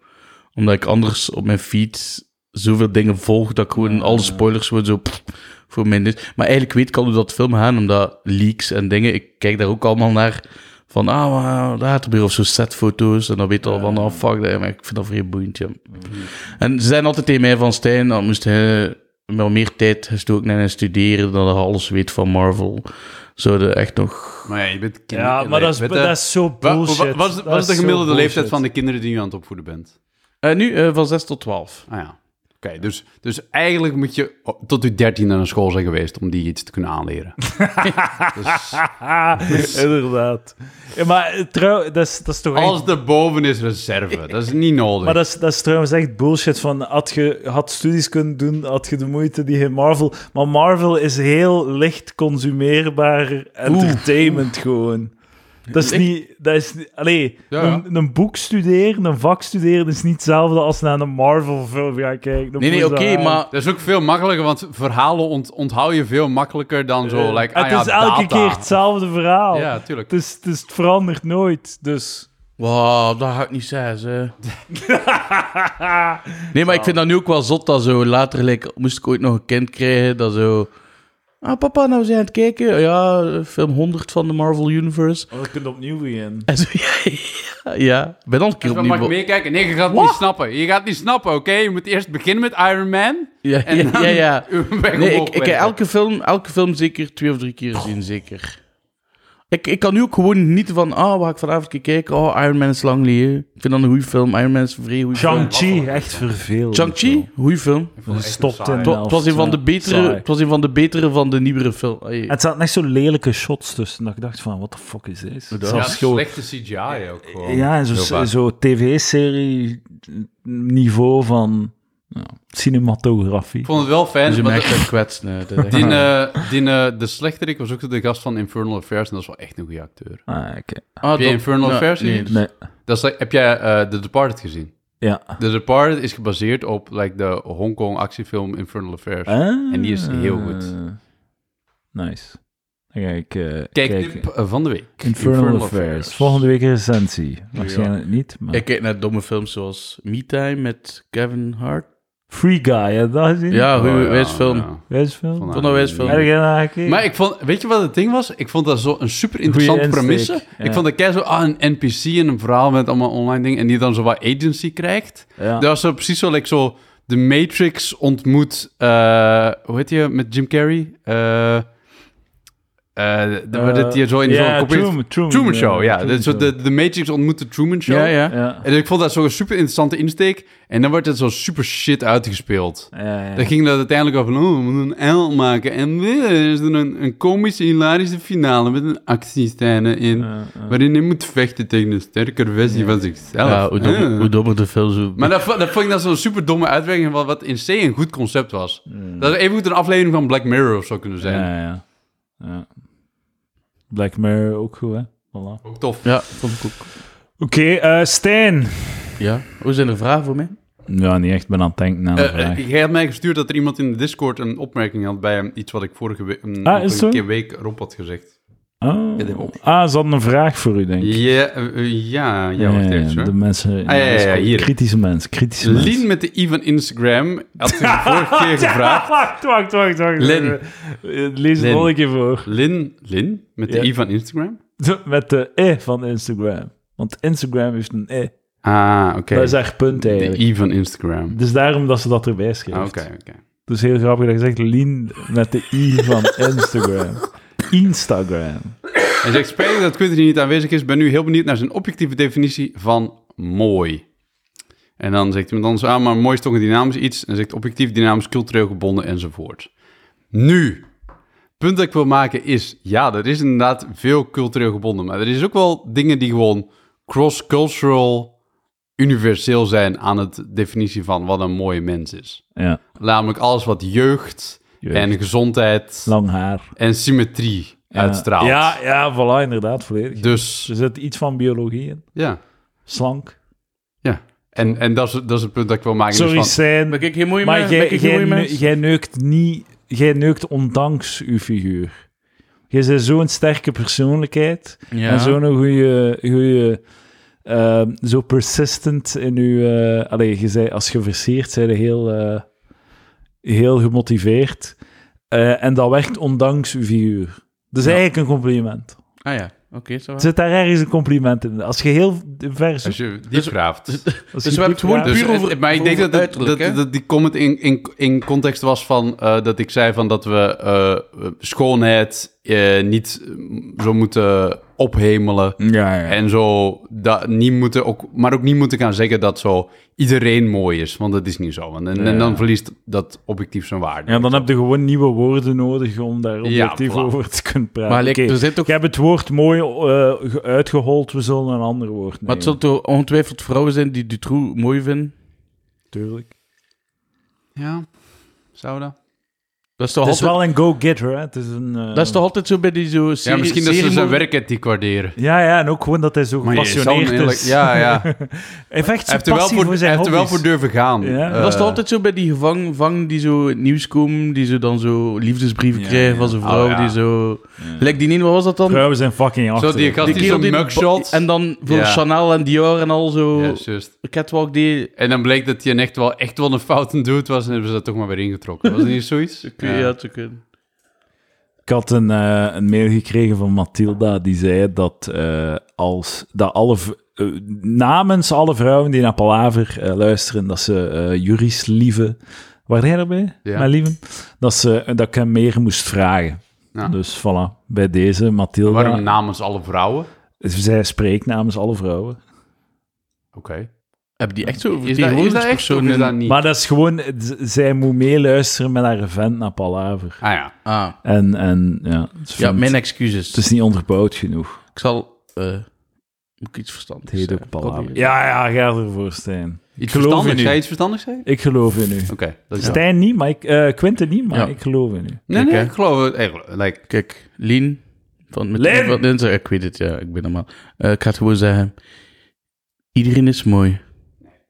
Speaker 2: Omdat ik anders op mijn feed zoveel dingen volg dat ik gewoon alle spoilers gewoon zo. pff, voor mijn dit. Maar eigenlijk weet ik al hoe dat film gaan, omdat leaks en dingen. Ik kijk daar ook allemaal naar. Van, ah, wow, daar had er weer of zo setfoto's. En dan weet je al van, ah, fuck, dat, maar ik vind dat vrij boeiend, ja. En ze zijn altijd tegen mij van, Stijn, dan moest hij wel meer tijd gestoken en studeren dan dat hij alles weet van Marvel. Zouden echt nog...
Speaker 3: Maar ja, je bent kinder-
Speaker 1: Ja, maar dat is,
Speaker 3: weet je,
Speaker 1: dat is zo
Speaker 3: wa- wa-
Speaker 1: bullshit.
Speaker 3: Wat is-
Speaker 1: Dat
Speaker 3: wat is de
Speaker 1: zo
Speaker 3: gemiddelde leeftijd
Speaker 1: bullshit.
Speaker 3: van de kinderen die je aan het opvoeden bent?
Speaker 2: Eh, nu, eh, van 6 tot 12.
Speaker 3: Ah ja. Oké, dus, dus eigenlijk moet je op- tot je dertien naar een school zijn geweest om die iets te kunnen aanleren.
Speaker 1: Haha, inderdaad. Ah, Ja, maar trouw, dat is, dat is toch echt...
Speaker 3: Alles erboven is reserve. Dat is niet nodig.
Speaker 1: Maar dat is, dat is trouwens echt bullshit. Van, had je had studies kunnen doen, had je de moeite die je Marvel... Maar Marvel is heel licht consumeerbaar entertainment gewoon. Dat is
Speaker 2: Ik-
Speaker 1: niet... Dat is, niet- allee,
Speaker 3: Ja, ja.
Speaker 1: een, een boek studeren, een vak studeren, is niet hetzelfde als naar een Marvel-film gaan kijken. Dan
Speaker 2: Nee, nee,
Speaker 1: moet
Speaker 2: oké,
Speaker 1: je aan.
Speaker 2: maar...
Speaker 3: Dat is ook veel makkelijker, want verhalen ont- onthoud je veel makkelijker dan zo. like, ah
Speaker 1: Eh, het
Speaker 3: ja,
Speaker 1: is elke
Speaker 3: data.
Speaker 1: keer hetzelfde verhaal.
Speaker 3: Ja, tuurlijk.
Speaker 1: Het, is, het, is, het verandert nooit, dus...
Speaker 2: Wow, dat ga ik niet zeggen, ze. nee, maar ik vind dat nu ook wel zot dat zo later like, moest ik ooit nog een kind krijgen dat zo. Ah, papa, nou we zijn aan het kijken. Ja, film 100 van de Marvel Universe.
Speaker 1: Oh, je kunt opnieuw beginnen.
Speaker 2: En zo, ja, ja, ja. ben al een keer
Speaker 3: Dus dan
Speaker 2: opnieuw.
Speaker 3: mag ik meekijken. Nee, je gaat het
Speaker 2: Wat?
Speaker 3: niet snappen. Je gaat het niet snappen, oké? Je moet eerst beginnen met Iron Man.
Speaker 2: Ja,
Speaker 3: En
Speaker 2: ja,
Speaker 3: dan
Speaker 2: ja, ja.
Speaker 3: uw weg
Speaker 2: Nee, ik,
Speaker 3: omhoog
Speaker 2: ik heb
Speaker 3: werken.
Speaker 2: elke film, elke film zeker twee of drie keer gezien, zeker. Ik, ik kan nu ook gewoon niet van, ah, oh, waar ik vanavond keer kijken, oh, Iron Man is lang geleden. Ik vind dat een goede film, Iron Man is een vrij goede film.
Speaker 1: Shang-Chi, echt vervelend.
Speaker 2: Shang-Chi, goede film.
Speaker 1: Het stopt in
Speaker 2: Het wa- het was, een van de betere,
Speaker 1: Saai.
Speaker 2: het was een van de betere van de nieuwere film. Ai,
Speaker 1: Het zaten echt zo lelijke shots tussen, dat ik dacht van, what the fuck is dit? Het
Speaker 3: Ja,
Speaker 1: was gewoon-
Speaker 3: slechte CGI ook gewoon.
Speaker 1: Ja, en
Speaker 3: Heel
Speaker 1: zo,
Speaker 3: vaak.
Speaker 1: zo tv-serie niveau van ja, cinematografie.
Speaker 3: Ik vond het wel fijn.
Speaker 2: dus je
Speaker 3: maar
Speaker 2: merkt
Speaker 3: de-
Speaker 2: dat kwets. Nee, dat is echt-
Speaker 3: die, eh, die, eh, de slechterik was ook de gast van Infernal Affairs en dat is wel echt een goede acteur.
Speaker 1: Ah, oké.
Speaker 2: Ah,
Speaker 3: Heb je
Speaker 2: dat-
Speaker 3: Infernal
Speaker 2: nou,
Speaker 3: Affairs
Speaker 2: nee,
Speaker 3: gezien?
Speaker 2: dus-
Speaker 1: Nee,
Speaker 3: Dat is, like, heb jij eh, The Departed gezien?
Speaker 1: ja.
Speaker 3: The Departed is gebaseerd op like, de Hongkong actiefilm Infernal Affairs. En die is heel goed.
Speaker 1: Ah, Nice. Dan ga ik eh,
Speaker 3: Kijk,
Speaker 1: kijken.
Speaker 3: tip eh, van de week.
Speaker 1: Infernal, Affairs. Volgende week recensie. Waarschijnlijk niet, maar...
Speaker 2: Ik kijk naar domme films zoals Me Time met Kevin Hart.
Speaker 1: Free Guy, heb je dat gezien?
Speaker 2: Ja, goede
Speaker 3: Oh, ja,
Speaker 2: film.
Speaker 3: ja.
Speaker 1: Wees film?
Speaker 2: Vond dat wijs film.
Speaker 1: Heb je daar gekeken?
Speaker 3: Maar ik vond, weet je wat het ding was? Ik vond dat zo'n super interessante
Speaker 1: Goeie
Speaker 3: premisse.
Speaker 1: insteek, ja.
Speaker 3: Ik vond dat kei zo ah, een NPC en een verhaal met allemaal online dingen en die dan zo wat agency krijgt.
Speaker 1: Ja.
Speaker 3: Dat was zo precies zo, like, zo de Matrix ontmoet, eh, hoe heet je, met Jim Carrey? Eh eh de- waar
Speaker 1: Eh,
Speaker 3: dat hij zo in
Speaker 1: ja,
Speaker 3: zo'n
Speaker 1: Truman, Truman,
Speaker 3: Truman Show,
Speaker 1: eh,
Speaker 3: ja.
Speaker 1: Truman
Speaker 3: Dus zo
Speaker 1: Show.
Speaker 3: de, de Matrix ontmoet de Truman Show.
Speaker 2: Ja, ja.
Speaker 1: Ja.
Speaker 3: En ik vond dat zo'n super interessante insteek. En dan wordt het zo super shit uitgespeeld.
Speaker 1: Ja, ja.
Speaker 3: Dan ging dat uiteindelijk over, oh, we moeten een L maken. En weer is er een, een komische, hilarische finale met een actiescène in.
Speaker 1: Ja, ja.
Speaker 3: Waarin hij moet vechten tegen een sterker versie van zichzelf.
Speaker 2: Ja, hoe, dommer,
Speaker 3: Ah.
Speaker 2: hoe dommer de film zo.
Speaker 3: Maar dat, vo- dat vond ik dan zo'n super domme uitwerking van wat in C een goed concept was. Dat er even goed een aflevering van Black Mirror of zo kunnen zijn.
Speaker 1: Hmm. Ja, ja. ja. Black Mirror ook goed, hè? Voilà.
Speaker 3: Ook tof.
Speaker 2: Ja, vond ik ook.
Speaker 1: Oké, eh, Stijn.
Speaker 2: Ja. Hoe zijn er vragen voor mij?
Speaker 1: Ja, niet echt. Ik ben aan het denken aan de
Speaker 3: Eh,
Speaker 1: vraag.
Speaker 3: eh, jij had mij gestuurd dat er iemand in de Discord een opmerking had bij hem, iets wat ik vorige we- mm, een,
Speaker 1: Ah, is
Speaker 3: vorige
Speaker 1: zo?
Speaker 3: keer week Rob had gezegd. dit heb ik
Speaker 1: Oh.
Speaker 3: ook.
Speaker 1: Ah, ze hadden een vraag voor u, denk ik.
Speaker 3: Ja, eh, eh, ja, ja, wacht
Speaker 1: Eh,
Speaker 3: even. hoor.
Speaker 1: de mensen...
Speaker 3: Ah, ja, ja, ja, hier.
Speaker 1: Kritische mensen, kritische
Speaker 3: Lien
Speaker 1: mensen.
Speaker 3: met de i van Instagram had zich de vorige keer gevraagd.
Speaker 1: Wacht, wacht, wacht. wacht.
Speaker 3: Lin.
Speaker 1: Eh, Lees het
Speaker 3: Lin.
Speaker 1: nog een keer voor.
Speaker 3: Lin, Lin met de
Speaker 1: Ja.
Speaker 3: i van Instagram.
Speaker 1: Met de E van Instagram. Want Instagram heeft een E.
Speaker 3: Ah, oké.
Speaker 1: Dat is haar punt
Speaker 3: De
Speaker 1: eigenlijk.
Speaker 3: i van Instagram.
Speaker 1: Dus daarom dat ze dat erbij schrijft.
Speaker 3: Ah, Oké, oké.
Speaker 1: Dus heel grappig dat je zegt Lien met de I van Instagram. Instagram.
Speaker 3: Hij zegt, spijtig dat Quinten hier niet aanwezig is. Ben nu heel benieuwd naar zijn objectieve definitie van mooi. En dan zegt iemand anders, ah, maar mooi is toch een dynamisch iets. En zegt objectief, dynamisch, cultureel gebonden enzovoort. Nu, punt dat ik wil maken is, ja, er is inderdaad veel cultureel gebonden. Maar er is ook wel dingen die gewoon cross-cultural universeel zijn aan het definitie van wat een mooie mens is.
Speaker 1: Ja,
Speaker 3: Namelijk alles wat jeugd,
Speaker 1: Jeugd.
Speaker 3: en gezondheid
Speaker 1: lang haar.
Speaker 3: en symmetrie uitstraalt.
Speaker 1: Ja, ja, voilà, inderdaad, volledig.
Speaker 3: Dus
Speaker 1: Er zit iets van biologie in.
Speaker 3: ja.
Speaker 1: Slank.
Speaker 3: Ja. En, en dat, is, dat is het punt dat ik wil maken.
Speaker 1: Sorry,
Speaker 3: Dus van,
Speaker 1: Stijn.
Speaker 2: Ben ik geen mooie
Speaker 1: Maar
Speaker 2: mens? Ben
Speaker 1: jij-
Speaker 2: ik geen mooie
Speaker 1: jij neu-
Speaker 2: mens?
Speaker 1: jij neukt niet... Jij neukt ondanks uw figuur. Je bent zo'n sterke persoonlijkheid.
Speaker 2: Ja.
Speaker 1: En zo'n goede, goede zo persistent in uw. eh allee, je zei, als je versiert, zijn heel, eh, heel gemotiveerd. Eh, en dat werkt ondanks uw figuur. Dat is eigenlijk een compliment.
Speaker 2: Ah ja, oké. zo.
Speaker 1: Er
Speaker 2: waar.
Speaker 1: zit daar ergens een compliment in. Als je heel ver zoekt,
Speaker 3: als je die vraagt.
Speaker 1: als
Speaker 2: dus
Speaker 1: je
Speaker 2: we hebben
Speaker 1: goed
Speaker 2: het gewoon
Speaker 1: vraagt-
Speaker 2: puur
Speaker 3: Dus,
Speaker 2: over-
Speaker 3: maar ik denk
Speaker 2: over
Speaker 3: dat, het-
Speaker 2: uiterlijk, hè?
Speaker 3: dat, dat die comment in, in, in context was van eh, dat ik zei van dat we eh, schoonheid eh, niet eh, zo moeten ophemelen.
Speaker 1: Ja, ja.
Speaker 3: En zo, dat niet moeten ook, maar ook niet moeten gaan zeggen dat zo iedereen mooi is. Want dat is niet zo. Want, en, en
Speaker 1: Ja.
Speaker 3: dan verliest dat objectief zijn waarde.
Speaker 1: Ja, dan heb je gewoon nieuwe woorden nodig om daar objectief
Speaker 3: voilà.
Speaker 1: over te kunnen praten.
Speaker 2: Maar dus- like,
Speaker 1: Oké,
Speaker 2: er zit ook-
Speaker 1: Ik heb het woord mooi eh, ge- uitgehold, we zullen een ander woord nemen.
Speaker 2: Maar het zullen toch ongetwijfeld vrouwen zijn die Dutroux mooi vinden?
Speaker 1: Tuurlijk.
Speaker 3: Ja, zou dat?
Speaker 2: Dat is toch,
Speaker 1: Het is
Speaker 2: altijd,
Speaker 1: wel een go-getter, hè? Het is een, eh,
Speaker 2: dat is toch altijd zo bij die zo
Speaker 3: Ja,
Speaker 2: serie-
Speaker 3: misschien dat ze zijn
Speaker 2: seriemoord-
Speaker 3: werkethiek waarderen.
Speaker 1: Ja, ja, en ook gewoon dat hij zo
Speaker 3: Maar je zou
Speaker 1: gepassioneerd
Speaker 3: een eerlijk-
Speaker 1: is.
Speaker 3: ja, ja.
Speaker 1: hij vecht
Speaker 3: Hij
Speaker 1: zijn
Speaker 3: heeft er wel
Speaker 1: passie
Speaker 3: voor,
Speaker 1: voor,
Speaker 3: hij
Speaker 1: zijn
Speaker 3: heeft er wel
Speaker 1: hobby's.
Speaker 3: voor durven gaan.
Speaker 1: Ja.
Speaker 3: Eh,
Speaker 2: Dat is toch altijd zo bij die gevangen vangen die zo het nieuws komen, die ze dan zo liefdesbrieven
Speaker 1: Ja,
Speaker 2: krijgen
Speaker 1: ja.
Speaker 2: van zijn vrouw,
Speaker 3: Oh, ja.
Speaker 2: die zo... Lek die niet, wat was dat dan?
Speaker 1: Vrouwen zijn fucking achter.
Speaker 3: Zo die gast die zo'n
Speaker 2: die de
Speaker 3: mugshot.
Speaker 2: ba- En dan voor
Speaker 3: Ja.
Speaker 2: Chanel en Dior en al zo...
Speaker 3: Ja, juist.
Speaker 2: Catwalk die...
Speaker 3: En dan bleek dat hij een echt wel, echt wel een fouten dude was en hebben ze dat toch maar weer ingetrokken. Was het niet zoiets?
Speaker 2: Ja,
Speaker 3: Ja.
Speaker 2: te kunnen.
Speaker 1: Ik had een, eh, een mail gekregen van Mathilda die zei dat, eh, als, dat alle, v- eh, namens alle vrouwen die naar Palaver eh, luisteren, dat ze eh juris lieven. Waar jij erbij,
Speaker 3: Ja.
Speaker 1: mijn lieven? Dat, ze, dat ik hem meer moest vragen.
Speaker 3: Ja.
Speaker 1: Dus voilà, bij deze, Mathilda.
Speaker 3: Waarom namens alle vrouwen?
Speaker 1: Zij spreekt namens alle vrouwen.
Speaker 3: Oké.
Speaker 2: Hebben die echt zo
Speaker 3: Is, dat, is dat echt of
Speaker 2: vertegenwoordigingspersoon
Speaker 3: is dat
Speaker 2: in-
Speaker 3: niet?
Speaker 1: Maar dat is gewoon, z- zij moet meeluisteren met haar vent naar Palaver.
Speaker 3: Ah ja.
Speaker 2: Ah,
Speaker 1: En, en ja, het is
Speaker 2: ja,
Speaker 1: van-
Speaker 2: mijn
Speaker 1: het
Speaker 2: excuses.
Speaker 1: is niet onderbouwd genoeg.
Speaker 2: Ik zal... eh moet ik iets verstandigs
Speaker 1: Het heet ook
Speaker 2: zeggen?
Speaker 1: Palaver.
Speaker 2: Probeer.
Speaker 1: Ja, ja, ga ervoor, Stijn.
Speaker 3: Iets
Speaker 1: geloof
Speaker 3: verstandigs.
Speaker 1: in u.
Speaker 3: Ga je iets verstandigs zeggen?
Speaker 1: Ik geloof in u.
Speaker 3: Oké. dat is-
Speaker 1: Stijn niet, maar ik, eh Quinten niet, maar
Speaker 2: Ja.
Speaker 1: ik geloof in u.
Speaker 3: Nee,
Speaker 2: Kijk,
Speaker 3: nee,
Speaker 2: hè.
Speaker 3: ik geloof het. Hey, like,
Speaker 2: Kijk, Lien... Van, met
Speaker 1: Lien!
Speaker 2: Van Dinsen, ik weet het, ja. Ik ben normaal. Eh, ik ga het gewoon zeggen. Iedereen is mooi.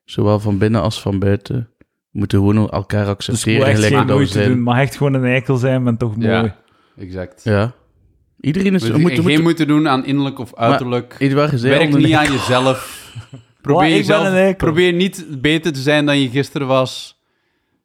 Speaker 2: Zowel van binnen als van buiten. We moeten gewoon elkaar
Speaker 1: Dus ik moet
Speaker 2: accepteren.
Speaker 1: echt
Speaker 2: gelijk
Speaker 1: geen
Speaker 2: dat we
Speaker 1: moeite
Speaker 2: zijn.
Speaker 1: doen, maar echt gewoon een eikel zijn, maar toch mooi.
Speaker 3: Ja. exact.
Speaker 2: Ja. Iedereen is...
Speaker 3: Dus
Speaker 2: We moeten...
Speaker 3: geen
Speaker 2: moeten
Speaker 3: moeten doen aan innerlijk of uiterlijk.
Speaker 2: Edouard is
Speaker 3: Werk
Speaker 2: eigenlijk-
Speaker 3: niet aan jezelf. Probeer,
Speaker 1: ik ben
Speaker 3: jezelf,
Speaker 1: een eikel.
Speaker 3: probeer niet beter te zijn dan je gisteren was.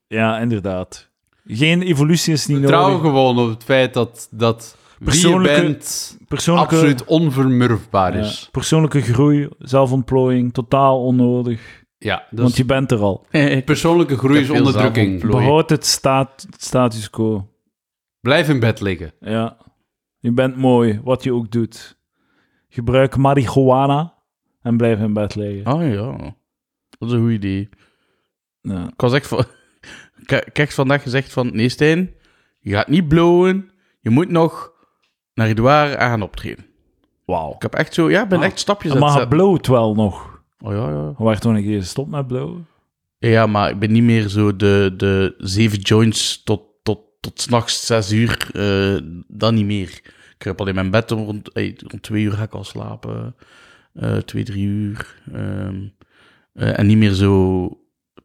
Speaker 1: Ja, inderdaad. Geen evolutie is niet
Speaker 3: Trouw
Speaker 1: nodig.
Speaker 3: gewoon op het feit dat, dat wie je
Speaker 1: Persoonlijke-
Speaker 3: bent
Speaker 1: Persoonlijke,
Speaker 3: absoluut onvermurfbaar
Speaker 1: ja,
Speaker 3: is.
Speaker 1: persoonlijke groei, zelfontplooiing, totaal onnodig.
Speaker 3: Ja, dat
Speaker 1: want
Speaker 3: is-
Speaker 1: je bent er al.
Speaker 3: persoonlijke groei
Speaker 2: heb
Speaker 3: is
Speaker 2: veel
Speaker 3: onderdrukking.
Speaker 2: zelfontplooiing. Plooi.
Speaker 1: Behoud het, staat, het status quo.
Speaker 3: Blijf in bed liggen.
Speaker 1: Ja. Je bent mooi, wat je ook doet. Gebruik marihuana en blijf in bed liggen.
Speaker 2: Ah ja, dat is een goed idee.
Speaker 1: Ja.
Speaker 2: Ik was echt van... Ik heb ik heb echt vandaag gezegd van... Nee, Stijn, je gaat niet blowen. Je moet nog naar Edouard aan optreden.
Speaker 1: Wauw. Ah.
Speaker 2: Ik heb echt zo... Ja, ik ben echt stapjes aan het
Speaker 1: Maar hij
Speaker 2: zetten.
Speaker 1: blowt wel nog.
Speaker 2: Oh ja, ja.
Speaker 1: Waar toen ik hier stop met blowen?
Speaker 2: Ja, maar ik ben niet meer zo de, de zeven joints tot, tot, tot s'nachts zes uur. eh dat niet meer. Ik kruip al in mijn bed. Om rond, eh, rond twee uur ga ik al slapen. Eh, twee, drie uur. ehm. Eh, en niet meer zo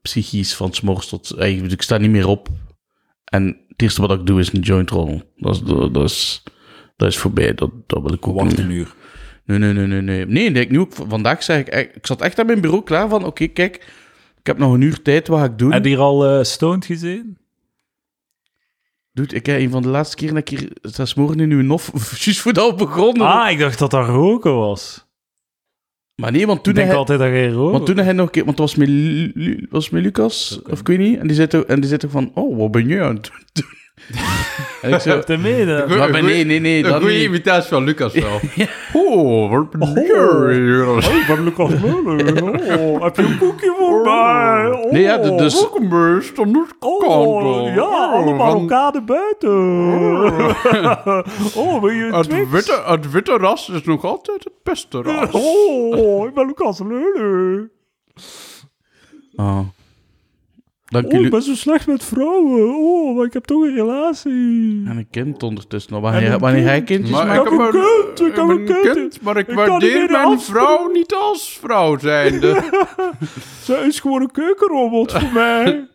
Speaker 2: psychisch van 's morgens tot... eh, ik bedoel, ik sta niet meer op. En het eerste wat ik doe is een joint rollen. Dat is, dat, dat is, dat is voorbij. Dat, dat wil ik ook niet meer.
Speaker 1: uur.
Speaker 2: Nee, nee, nee, nee. Nee, nee, nee, ik nu ook, v- vandaag zeg ik... echt- Ik zat echt aan mijn bureau klaar van... Oké, kijk, ik heb nog een uur tijd. Wat ga ik doen?
Speaker 1: Heb je hier al eh, stoned gezien?
Speaker 2: Dude, ik heb een van de laatste keren dat ik hier zes morgen in uw nof... Juist voordat we begonnen.
Speaker 1: Ah, ik dacht dat dat roken was.
Speaker 2: Maar nee, want
Speaker 1: Toen
Speaker 2: toen
Speaker 1: ik denk
Speaker 2: hij...
Speaker 1: altijd dat jij roken
Speaker 2: Want toen hij nog een keer... Want het was met, Lu- Lu- was met Lucas, of ik weet niet. En die zei toch- en die zei toch van... Oh, wat ben je aan het doen? en ik zo...
Speaker 1: Heb je mee dan?
Speaker 3: Een
Speaker 2: Maar
Speaker 3: goeie-
Speaker 2: nee, nee, nee,
Speaker 3: Een
Speaker 2: dat
Speaker 3: goede
Speaker 2: niet.
Speaker 3: imitatie van Lucas wel. Oh, wat ben
Speaker 1: Oh.
Speaker 3: je-
Speaker 1: van Lucas Muller. Oh, heb je een boekje voor mij? Oh,
Speaker 2: Nee, ja, d- dus-
Speaker 3: Ook een beest, anders
Speaker 1: Oh,
Speaker 3: kanten.
Speaker 1: ja, alle
Speaker 3: van-
Speaker 1: Marokkanen buiten. Oh, ben je
Speaker 3: Het
Speaker 1: Twix?
Speaker 3: witte, het witte ras is nog altijd het beste ras.
Speaker 1: Oh, ik ben Lucas Muller.
Speaker 2: Oh. Dank
Speaker 1: Oh,
Speaker 2: jullie.
Speaker 1: ik ben zo slecht met vrouwen. Oh, maar ik heb toch een relatie.
Speaker 2: En een kind ondertussen. Nou,
Speaker 1: En
Speaker 2: Wanneer,
Speaker 1: een
Speaker 2: wanneer hij
Speaker 1: kind.
Speaker 2: kindjes
Speaker 1: Maar
Speaker 2: maakt...
Speaker 1: ik heb een kind, ik heb een kind.
Speaker 3: maar ik,
Speaker 1: Ik kan niet
Speaker 3: waardeer
Speaker 1: meer
Speaker 3: mijn
Speaker 1: afspreken.
Speaker 3: vrouw niet als vrouw zijnde.
Speaker 1: Zij is gewoon een keukenrobot voor mij.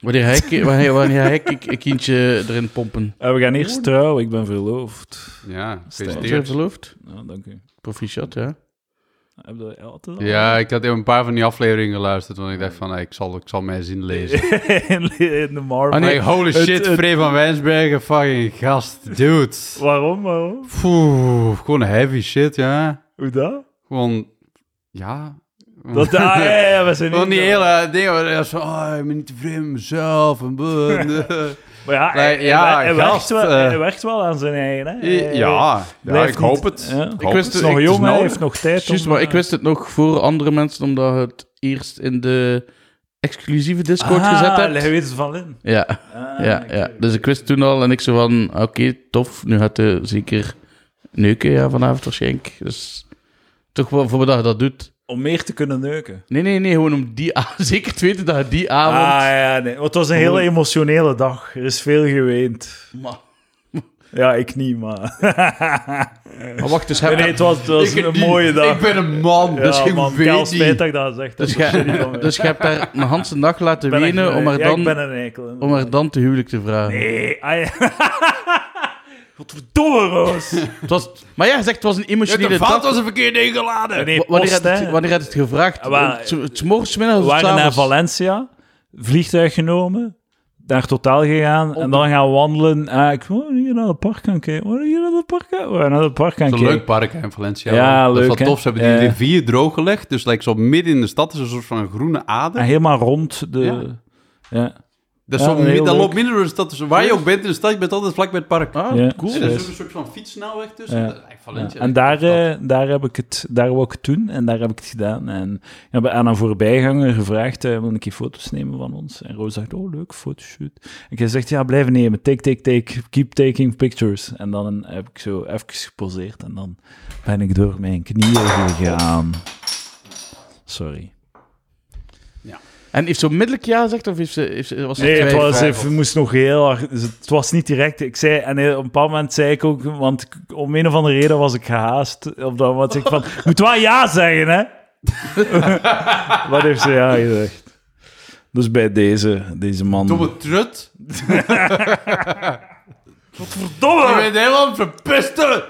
Speaker 2: Wanneer hij, ki- wanneer, wanneer hij ki- een kindje erin pompen.
Speaker 1: Eh, we gaan eerst trouwen, ik ben verloofd.
Speaker 3: ja,
Speaker 2: Wat je
Speaker 3: gefeliciteerd.
Speaker 2: verloofd?
Speaker 1: Nou, dank u.
Speaker 2: Proficiat, ja.
Speaker 1: Heb je dat altijd al?
Speaker 3: Ja, ik had even een paar van die afleveringen geluisterd, want ik dacht van, ik zal, ik zal mijn zin lezen.
Speaker 1: in de Marvel.
Speaker 2: Ah, nee.
Speaker 3: Like, holy
Speaker 1: Oh, het-
Speaker 3: shit,
Speaker 1: het-
Speaker 3: Frey van Wijnsbergen, fucking gast, dude.
Speaker 1: Waarom, waarom?
Speaker 3: Poeh, gewoon heavy shit, ja.
Speaker 1: Hoe dat?
Speaker 3: Gewoon, ja.
Speaker 1: Dat daar, ja, ja, ja, we zijn
Speaker 3: Gewoon die
Speaker 1: niet-
Speaker 3: hele dingen, waar je zo, oh, ik ben niet tevreden met mezelf. En bleh.
Speaker 1: Maar ja, hij,
Speaker 3: Nee, ja,
Speaker 1: hij- hij
Speaker 3: gast,
Speaker 1: werkt wel,
Speaker 3: eh.
Speaker 1: hij werkt wel aan zijn eigen. Hè? Hij-
Speaker 3: ja, ja,
Speaker 1: blijft
Speaker 3: ik hoop
Speaker 1: niet-
Speaker 3: het.
Speaker 1: ja.
Speaker 3: Ik
Speaker 1: Ik
Speaker 2: wist
Speaker 3: hoop
Speaker 1: Hij is
Speaker 3: het.
Speaker 1: nog
Speaker 2: Ik-
Speaker 1: jong,
Speaker 3: nou,
Speaker 1: hij heeft nog tijd.
Speaker 2: Juist,
Speaker 1: om,
Speaker 2: maar
Speaker 1: eh,
Speaker 2: ik wist het nog voor andere mensen, omdat je het eerst in de exclusieve Discord
Speaker 1: Ah,
Speaker 2: gezet hebt.
Speaker 1: Hij weet het van Eh, Lin.
Speaker 2: Ja, ja, ja. Dus ik wist toen al en ik zo van, oké, tof, nu gaat hij zeker neuken ja, vanavond waarschijnlijk. Dus toch wel voor dat je dat doet.
Speaker 1: Om meer te kunnen neuken.
Speaker 2: Nee, nee, nee, gewoon om die avond, zeker te weten dat je die
Speaker 1: Ah,
Speaker 2: avond...
Speaker 1: ja, nee. want Het was een hele emotionele dag. Er is veel geweend.
Speaker 2: Maar,
Speaker 1: Ja, ik niet, maar...
Speaker 2: maar wacht, dus
Speaker 1: Nee,
Speaker 2: heb,
Speaker 1: nee, het was, het was
Speaker 3: Ik-
Speaker 1: een
Speaker 3: die-
Speaker 1: mooie dag.
Speaker 3: Ik ben een man, dus
Speaker 1: ja,
Speaker 3: ik
Speaker 1: man,
Speaker 3: weet
Speaker 1: kei
Speaker 3: niet.
Speaker 1: spijt dat ik dat zeg.
Speaker 2: dus
Speaker 1: Dat is shitty van
Speaker 2: je
Speaker 1: mij.
Speaker 2: dus je hebt haar een hele dag laten
Speaker 1: Ik ben echt
Speaker 2: wenen
Speaker 1: een-
Speaker 2: om haar
Speaker 1: ja, ik ben
Speaker 2: dan,
Speaker 1: een eikel.
Speaker 2: om haar dan te huwelijk te vragen.
Speaker 1: Nee, ah, ja. Godverdomme, Roos.
Speaker 2: Het was, maar ja, hij zegt het was een
Speaker 3: Je hebt
Speaker 2: emotionele
Speaker 3: de
Speaker 2: dag.
Speaker 3: fout als een verkeerde ingeladen.
Speaker 1: Nee,
Speaker 2: Wa- Wanneer
Speaker 1: post,
Speaker 2: had het,
Speaker 1: hè.
Speaker 2: wanneer had het gevraagd?
Speaker 1: Ja, maar-
Speaker 2: Het- Het morgens, 's middags
Speaker 1: We
Speaker 2: of 's
Speaker 1: waren naar
Speaker 2: avonds?
Speaker 1: Valencia, vliegtuig genomen, daar totaal gegaan en dan gaan wandelen. Ah, ik wil hier naar het park gaan kijken. Wil hier naar het park gaan? We gaan naar het park gaan
Speaker 3: Het is
Speaker 1: kijken.
Speaker 3: een leuk park hè, in Valencia.
Speaker 1: Ja,
Speaker 3: dat is
Speaker 1: leuk,
Speaker 3: wat
Speaker 1: hè?
Speaker 3: tof. Ze hebben die
Speaker 1: Ja.
Speaker 3: rivier droog gelegd. Dus like, zo midden in de stad is een soort van groene
Speaker 1: En
Speaker 3: ader.
Speaker 1: helemaal rond de... Ja.
Speaker 3: Dat,
Speaker 1: Ja,
Speaker 3: is zo,
Speaker 1: heel
Speaker 3: mi- dat
Speaker 1: leuk.
Speaker 3: loopt minder door de stad. Dus waar je ook bent in de stad, je bent altijd vlak bij het park.
Speaker 2: Ah,
Speaker 1: Ja.
Speaker 2: cool.
Speaker 3: en er
Speaker 1: Ja.
Speaker 2: Ja.
Speaker 3: is ook een soort van fietsnelweg tussen.
Speaker 1: Ja.
Speaker 3: Dat is eigenlijk Valencia.
Speaker 1: en daar,
Speaker 3: Dat is
Speaker 1: eh, daar heb ik het, daar wou ik het doen en daar heb ik het gedaan. En ik heb aan een voorbijganger gevraagd, eh, wil ik een keer foto's nemen van ons? En Roos zegt, oh leuk, fotoshoot. En ik zegt, ja, blijven nemen, take, take, take, keep taking pictures. En dan heb ik zo even geposeerd en dan ben ik door mijn knieën gegaan. Sorry.
Speaker 2: En heeft ze onmiddellijk ja gezegd? Of heeft ze, heeft ze, was ze
Speaker 1: Nee, het
Speaker 2: twijfel?
Speaker 1: was, even- moest nog heel hard. dus Het was niet direct. Ik zei, en op een bepaald moment zei ik ook, want ik- om een of andere reden was ik gehaast. Op dat moment zei ik van, moet wel ja zeggen, hè? Wat heeft ze ja gezegd? Dus bij deze, deze man.
Speaker 3: Domme trut. Je
Speaker 1: Verdomme!
Speaker 3: bent helemaal verpesten.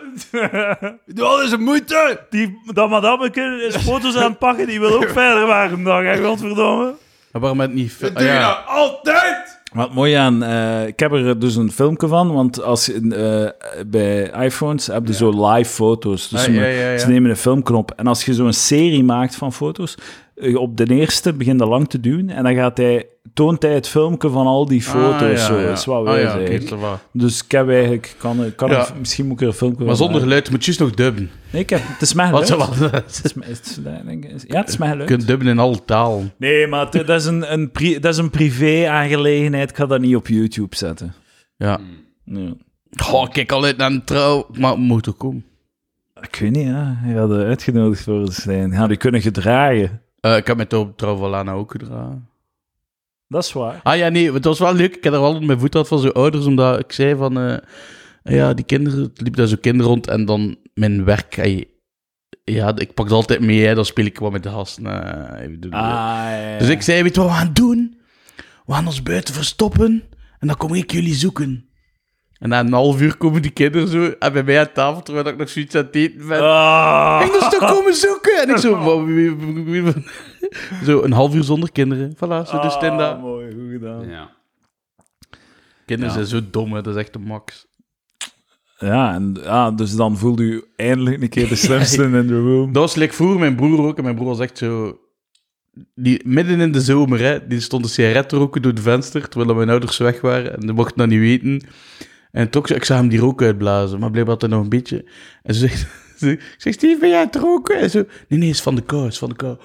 Speaker 3: Je doet al deze moeite.
Speaker 1: Die, dat madameke is foto's aan het pakken, die wil ook verder waren dan, hè, godverdomme.
Speaker 2: Maar waarom het niet...
Speaker 3: Dat
Speaker 2: ah,
Speaker 3: doe je
Speaker 2: ja.
Speaker 3: nou altijd.
Speaker 1: Wat mooi aan, eh, ik heb er dus een filmpje van, want als, je, eh, bij iPhones heb je zo live foto's. Dus
Speaker 2: Ah, ja,
Speaker 1: ze-
Speaker 2: ja, ja.
Speaker 1: ze nemen een filmknop. En als je zo'n serie maakt van foto's, eh, op de eerste begint dat lang te duwen en dan gaat hij, toont hij het filmpje van al die foto's.
Speaker 2: Ah, ja,
Speaker 1: zo.
Speaker 2: ja.
Speaker 1: Dat is wat
Speaker 2: Ah,
Speaker 1: wij
Speaker 2: ja, oké,
Speaker 1: zeggen.
Speaker 2: dat is waar.
Speaker 1: Dus ik heb eigenlijk, kan, kan
Speaker 2: Ja.
Speaker 1: er- misschien moet ik er een filmpje
Speaker 2: Maar
Speaker 1: van
Speaker 2: zonder
Speaker 1: maken.
Speaker 2: geluid moet je juist nog dubben.
Speaker 1: Nee, ik heb, het is mijn
Speaker 2: Wat
Speaker 1: geluid.
Speaker 2: ze wel.
Speaker 1: Het is mijn- het is- denk ik- Ja, het is mijn
Speaker 2: Je
Speaker 1: geluid.
Speaker 2: kunt dubben in alle talen.
Speaker 1: Nee, maar het- dat is een, een, pri- dat is een privé-aangelegenheid. Ik ga dat niet op YouTube zetten.
Speaker 2: Ja.
Speaker 1: Hmm. Ja.
Speaker 2: Goh, ik kijk al uit naar een trouw. Maar moet er komen.
Speaker 1: Ik weet niet, ja. Je had er uitgenodigd voor te zijn. Ja, die kunnen gedragen.
Speaker 2: Eh, ik heb mijn trouw op trouw van Lana ook gedragen.
Speaker 1: Dat is waar.
Speaker 2: Ah ja, nee, want het was wel leuk. Ik heb er wel op mijn voet had van zijn ouders, omdat ik zei van... eh, ja, die kinderen, het liep daar zo'n kinderen rond. En dan mijn werk... eh, ja, ik pak het altijd mee. Hè, dan speel ik wat met de gasten. eh, even doen.
Speaker 1: Ah, ja.
Speaker 2: Dus ik zei, weet je wat we gaan doen? We gaan ons buiten verstoppen en dan kom ik jullie zoeken. En na een half uur komen die kinderen zo en bij mij aan tafel, terwijl ik nog zoiets aan het eten ben.
Speaker 1: Ah.
Speaker 2: Ik moest toch komen zoeken? En ik zo... "Wa- wie- wie- wie- wie- Zo, een half uur zonder kinderen. Voilà, zo dus de
Speaker 1: Ah,
Speaker 2: stenda.
Speaker 1: mooi, goed gedaan. Ja.
Speaker 3: Ja.
Speaker 2: Kinderen
Speaker 1: Ja.
Speaker 2: zijn zo dom, hè. Dat is echt de max.
Speaker 1: en, ah, dus dan voelde u eindelijk een keer de slimste in de room.
Speaker 2: Dat was like vroeger mijn broer ook. En mijn broer was echt zo... Die, midden in de zomer, hè, die stond een sigaret te roken door het venster, terwijl mijn ouders weg waren. En die mochten dat niet weten. En toch, ik zag hem die rook uitblazen, maar bleef altijd nog een beetje. En ze zegt... ze- Ik zeg, Steve, ben jij aan het roken? En zo, nee, nee, is van de kou, is van de kou.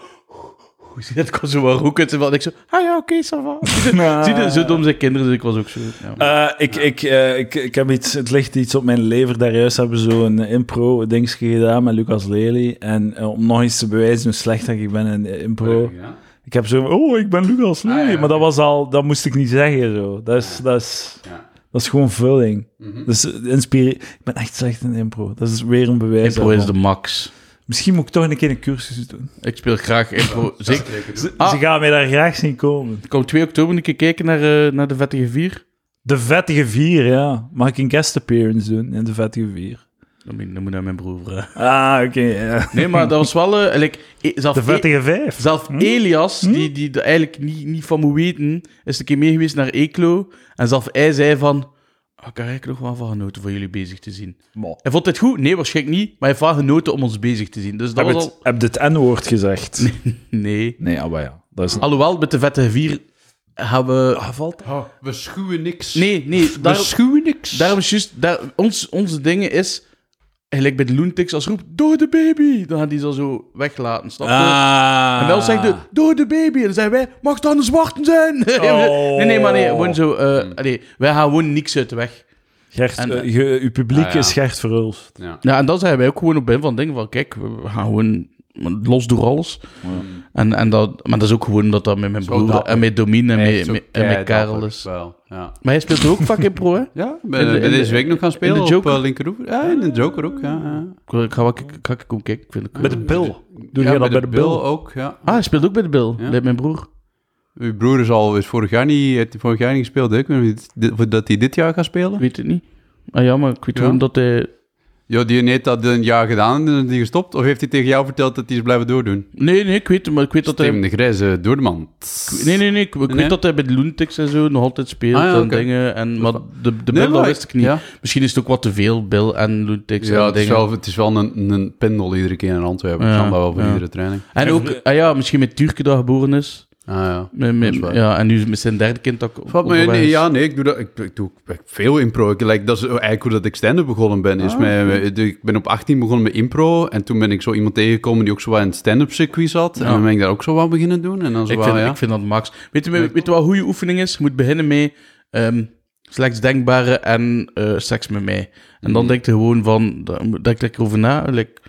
Speaker 2: Hoe zie je dat? Ik kon zo wel roken. uit zijn wel. En ik zo, ah ja, oké, ça va. Zie je, zo dom zijn kinderen, dus ik was ook zo. Ja.
Speaker 1: Ah. Eh, ik, ik, eh, ik, ik heb iets, het ligt iets op mijn lever. Daar juist hebben we zo'n impro-dingetje gedaan met Lucas Lely. En eh, om nog eens te bewijzen hoe slecht dat ik ben in eh, impro.
Speaker 3: Ja.
Speaker 1: Ik heb zo, oh, ik ben Lucas Lely.
Speaker 3: Ah, ja,
Speaker 1: Maar dat
Speaker 3: oké.
Speaker 1: was al, dat moest ik niet zeggen zo. Dat is, dat is,
Speaker 3: Ja.
Speaker 1: dat is gewoon vulling.
Speaker 3: Mhm.
Speaker 1: Dus eh, inspire... Ik ben echt slecht in impro. Dat is weer een bewijs.
Speaker 2: Impro is de
Speaker 1: daarvan.
Speaker 2: max.
Speaker 1: Misschien moet ik toch een keer een cursus doen.
Speaker 2: Ik speel graag impro. Zeker,
Speaker 1: Ze,
Speaker 2: Ah.
Speaker 1: ze gaan mij daar graag zien komen.
Speaker 2: Ik kom 2 oktober een keer kijken naar, eh, naar de Vettige Vier.
Speaker 1: De Vettige Vier, ja. Mag ik een guest appearance doen in De Vettige Vier?
Speaker 2: Dan moet, dan moet je aan mijn broer eh. vragen.
Speaker 1: Ah, oké. ja.
Speaker 2: Nee, maar dat was wel... eh, like, eh, zelf
Speaker 1: De
Speaker 2: E-
Speaker 1: Vettige Vijf.
Speaker 2: zelf Elias, die, die er eigenlijk niet, niet van moet weten, is een keer mee geweest naar Eeklo. En zelf hij zei van... "Ah, Ik heb eigenlijk nog wel van genoten voor jullie bezig te zien.
Speaker 1: Mo.
Speaker 2: Hij vond het goed? Nee, waarschijnlijk niet. Maar hij heeft wel genoten om ons bezig te zien. Dus dat
Speaker 1: Heb,
Speaker 2: was
Speaker 1: het,
Speaker 2: al...
Speaker 1: heb je het N-woord gezegd? Nee,
Speaker 2: Nee.
Speaker 1: ah, maar ja. Dat is...
Speaker 2: Alhoewel, met de Vettige Vier hebben we...
Speaker 1: valt
Speaker 3: Oh, We schuwen niks.
Speaker 2: Nee, nee.
Speaker 3: We
Speaker 2: Daar...
Speaker 3: schuwen niks.
Speaker 2: Daarom is juist, daar, ons, onze dingen is, gelijk bij de Loontix, als roept, door de baby, dan gaan die zo, zo weglaten, snap je?
Speaker 1: Ah.
Speaker 2: En wel zegt de, door de baby, en dan zeggen wij, mag dan de zwarten zijn? nee, nee, maar
Speaker 3: Oh.
Speaker 2: nee, gewoon zo, eh, allee, wij gaan gewoon niks uit de weg.
Speaker 1: Gert,
Speaker 2: En-
Speaker 1: eh, je- uw publiek
Speaker 3: Ah, ja.
Speaker 1: is Gert Verhulst.
Speaker 3: Ja.
Speaker 2: Ja, en dan zijn wij ook gewoon op begin van dingen van, kijk, we gaan gewoon los door alles. En, en dat, maar dat is ook gewoon omdat dat met mijn
Speaker 3: Zo
Speaker 2: broer
Speaker 3: dapper.
Speaker 2: en met Domine en,
Speaker 3: Echt
Speaker 2: met,
Speaker 3: zo
Speaker 2: met- en met
Speaker 3: keidapper
Speaker 2: Karel
Speaker 1: dus.
Speaker 2: is.
Speaker 3: wel, Ja.
Speaker 2: Maar hij speelt ook vaak in pro, hè?
Speaker 3: Ja,
Speaker 2: In de-
Speaker 3: ben,
Speaker 2: in
Speaker 3: ben deze
Speaker 2: de-
Speaker 3: week nog gaan spelen
Speaker 2: in de
Speaker 3: op
Speaker 2: Joker.
Speaker 3: eh, linkeroever. Ja, in de Joker ook, ja. ja.
Speaker 2: Ik ga wel kijken, ga ik ook kijken, ik vind het cool.
Speaker 1: Bij de Bill. Doe
Speaker 3: Ja,
Speaker 1: jij dat bij de Bill?
Speaker 3: ook, ja.
Speaker 2: Ah, hij speelt ook bij de Bill,
Speaker 3: Ja.
Speaker 2: met mijn broer.
Speaker 3: Uw broer is al is vorig jaar niet, heeft hij vorig jaar niet gespeeld, hè? Ik weet niet of dit- of dat hij dit jaar gaat
Speaker 2: Ik
Speaker 3: spelen.
Speaker 2: weet het niet. Ah ja, maar ik weet
Speaker 3: Ja.
Speaker 2: gewoon dat hij...
Speaker 3: Ja, die heeft dat een jaar gedaan en is die gestopt. Of heeft hij tegen jou verteld dat hij is blijven doordoen?
Speaker 2: Nee, nee, ik weet het, maar ik weet dat hij...
Speaker 3: Steven de Grijze, door de man.
Speaker 2: Nee, nee, nee, ik, ik
Speaker 3: Nee?
Speaker 2: weet dat hij bij de Luntex en zo nog altijd speelt
Speaker 3: Ah, ja,
Speaker 2: en
Speaker 3: oké.
Speaker 2: dingen. En, maar de, de
Speaker 3: Nee,
Speaker 2: Bill,
Speaker 3: maar
Speaker 2: dat
Speaker 3: ik-
Speaker 2: wist ik niet.
Speaker 3: ja.
Speaker 2: Misschien is het ook wat te veel, Bill en Luntex
Speaker 3: Ja,
Speaker 2: en
Speaker 3: het is
Speaker 2: dingen.
Speaker 3: wel, het is wel een, een pendel iedere keer in Antwerpen.
Speaker 2: Ja,
Speaker 3: Ik snap dat wel voor
Speaker 2: ja.
Speaker 3: iedere training.
Speaker 2: En ook, ah ja, misschien met Turken dat geboren is.
Speaker 3: Ah, ja.
Speaker 2: Met-
Speaker 3: Dat
Speaker 2: met-
Speaker 3: is waar.
Speaker 2: ja, en nu met zijn derde kind dat ik op-
Speaker 3: Wat mij-
Speaker 2: onderwijs-
Speaker 3: nee, ja, nee, ik doe dat. Ik, ik doe echt veel impro. Ik, like, dat is eigenlijk hoe dat ik stand-up begonnen ben.
Speaker 2: Ah,
Speaker 3: Is met- met- ik ben op 18 begonnen met impro. En toen ben ik zo iemand tegengekomen die ook zo wel in het stand-up circuit zat. En
Speaker 2: Ja.
Speaker 3: dan ben ik daar ook zo wat beginnen doen. En dan zo
Speaker 2: Ik
Speaker 3: wel,
Speaker 2: vind,
Speaker 3: ja.
Speaker 2: ik vind dat max. Weet je, weet je wat een goede oefening is? Je moet beginnen met ehm, slechts denkbare en eh, seks met mij. En
Speaker 3: Mhm.
Speaker 2: dan denk je gewoon van, daar moet- denk ik over na. Like,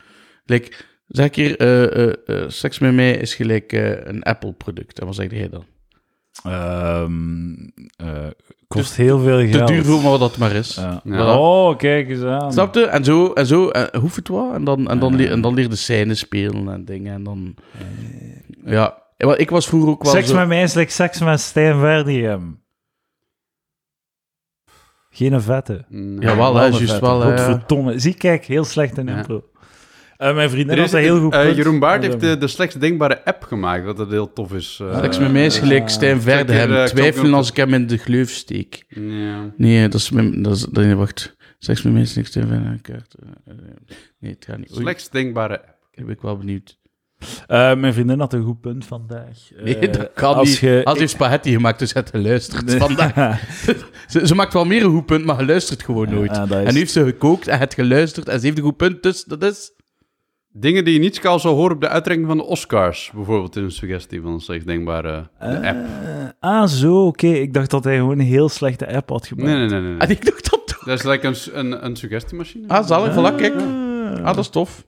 Speaker 2: like, zeg ik hier, eh, eh, eh, seks met mij is gelijk eh, een Apple-product. En wat zeg jij dan?
Speaker 1: Ehm, eh, kost heel veel
Speaker 2: Te
Speaker 1: geld.
Speaker 2: duur voor wat dat maar is.
Speaker 1: Ja.
Speaker 3: Ja.
Speaker 1: Oh, kijk eens aan.
Speaker 2: Snap je? En zo, en zo en hoeft het wel. En dan, en dan, leer, en dan leer je de scènes spelen en dingen. En dan...
Speaker 3: Eh.
Speaker 2: Ja. Want Ik was vroeger ook wel
Speaker 1: Seks
Speaker 2: zo...
Speaker 1: met mij is like seks met Stijn Verdiëm. Geen vette.
Speaker 3: Mm.
Speaker 2: Jawel, hè,
Speaker 1: Wel een
Speaker 2: juist
Speaker 1: vette.
Speaker 2: wel. hè.
Speaker 1: Godverdomme. Zie, kijk, heel slecht in
Speaker 3: Ja.
Speaker 1: impro. Eh, mijn vriendin
Speaker 3: Er
Speaker 1: was
Speaker 3: is-
Speaker 1: een heel goed
Speaker 3: eh,
Speaker 1: punt.
Speaker 3: Jeroen Baart
Speaker 1: Maar
Speaker 3: heeft
Speaker 1: dan-
Speaker 3: de, de slechtst denkbare app gemaakt. Dat dat heel tof is. eh.
Speaker 2: Seks met mij is gelijk Stijn Verde
Speaker 3: Kijk hier, eh,
Speaker 2: hebben.
Speaker 3: ik zal ook
Speaker 2: Twijfelen
Speaker 3: nog-
Speaker 2: als ik hem in de gleuf steek.
Speaker 3: Ja.
Speaker 2: Nee, dat is... mijn- Dat is dat, nee, wacht. Seks met mij is niks Stijn Verde. Kaart. Eh, eh, Nee, het gaat niet. Oei,
Speaker 3: Slechtst denkbare app.
Speaker 2: ik ben ik wel benieuwd.
Speaker 1: Eh, mijn vriendin had een goed punt vandaag. Eh,
Speaker 2: Nee, dat kan
Speaker 1: als
Speaker 2: niet.
Speaker 1: Je,
Speaker 2: Als hij heeft spaghetti gemaakt, dus het geluisterd
Speaker 1: Nee.
Speaker 2: vandaag.
Speaker 1: Ah,
Speaker 2: ze, ze maakt wel meer een goed punt, maar geluisterd gewoon nooit.
Speaker 1: Ja, dat is-
Speaker 2: En nu heeft ze gekookt en het geluisterd en ze heeft een goed punt, dus dat is...
Speaker 3: Dingen die je niet zou horen op de uitreiking van de Oscars. Bijvoorbeeld in een suggestie van een slechtst denkbare de
Speaker 1: Eh,
Speaker 3: app.
Speaker 1: ah, zo, oké. Ik dacht dat hij gewoon een heel slechte app had
Speaker 3: Nee,
Speaker 1: gebruikt.
Speaker 3: nee, nee. nee, nee.
Speaker 2: En ik dacht dat toch.
Speaker 3: Dat is like een, s- een, een suggestiemachine.
Speaker 2: Ah, zalig, voilà, kijk.
Speaker 1: Ah.
Speaker 2: Ah, dat is tof.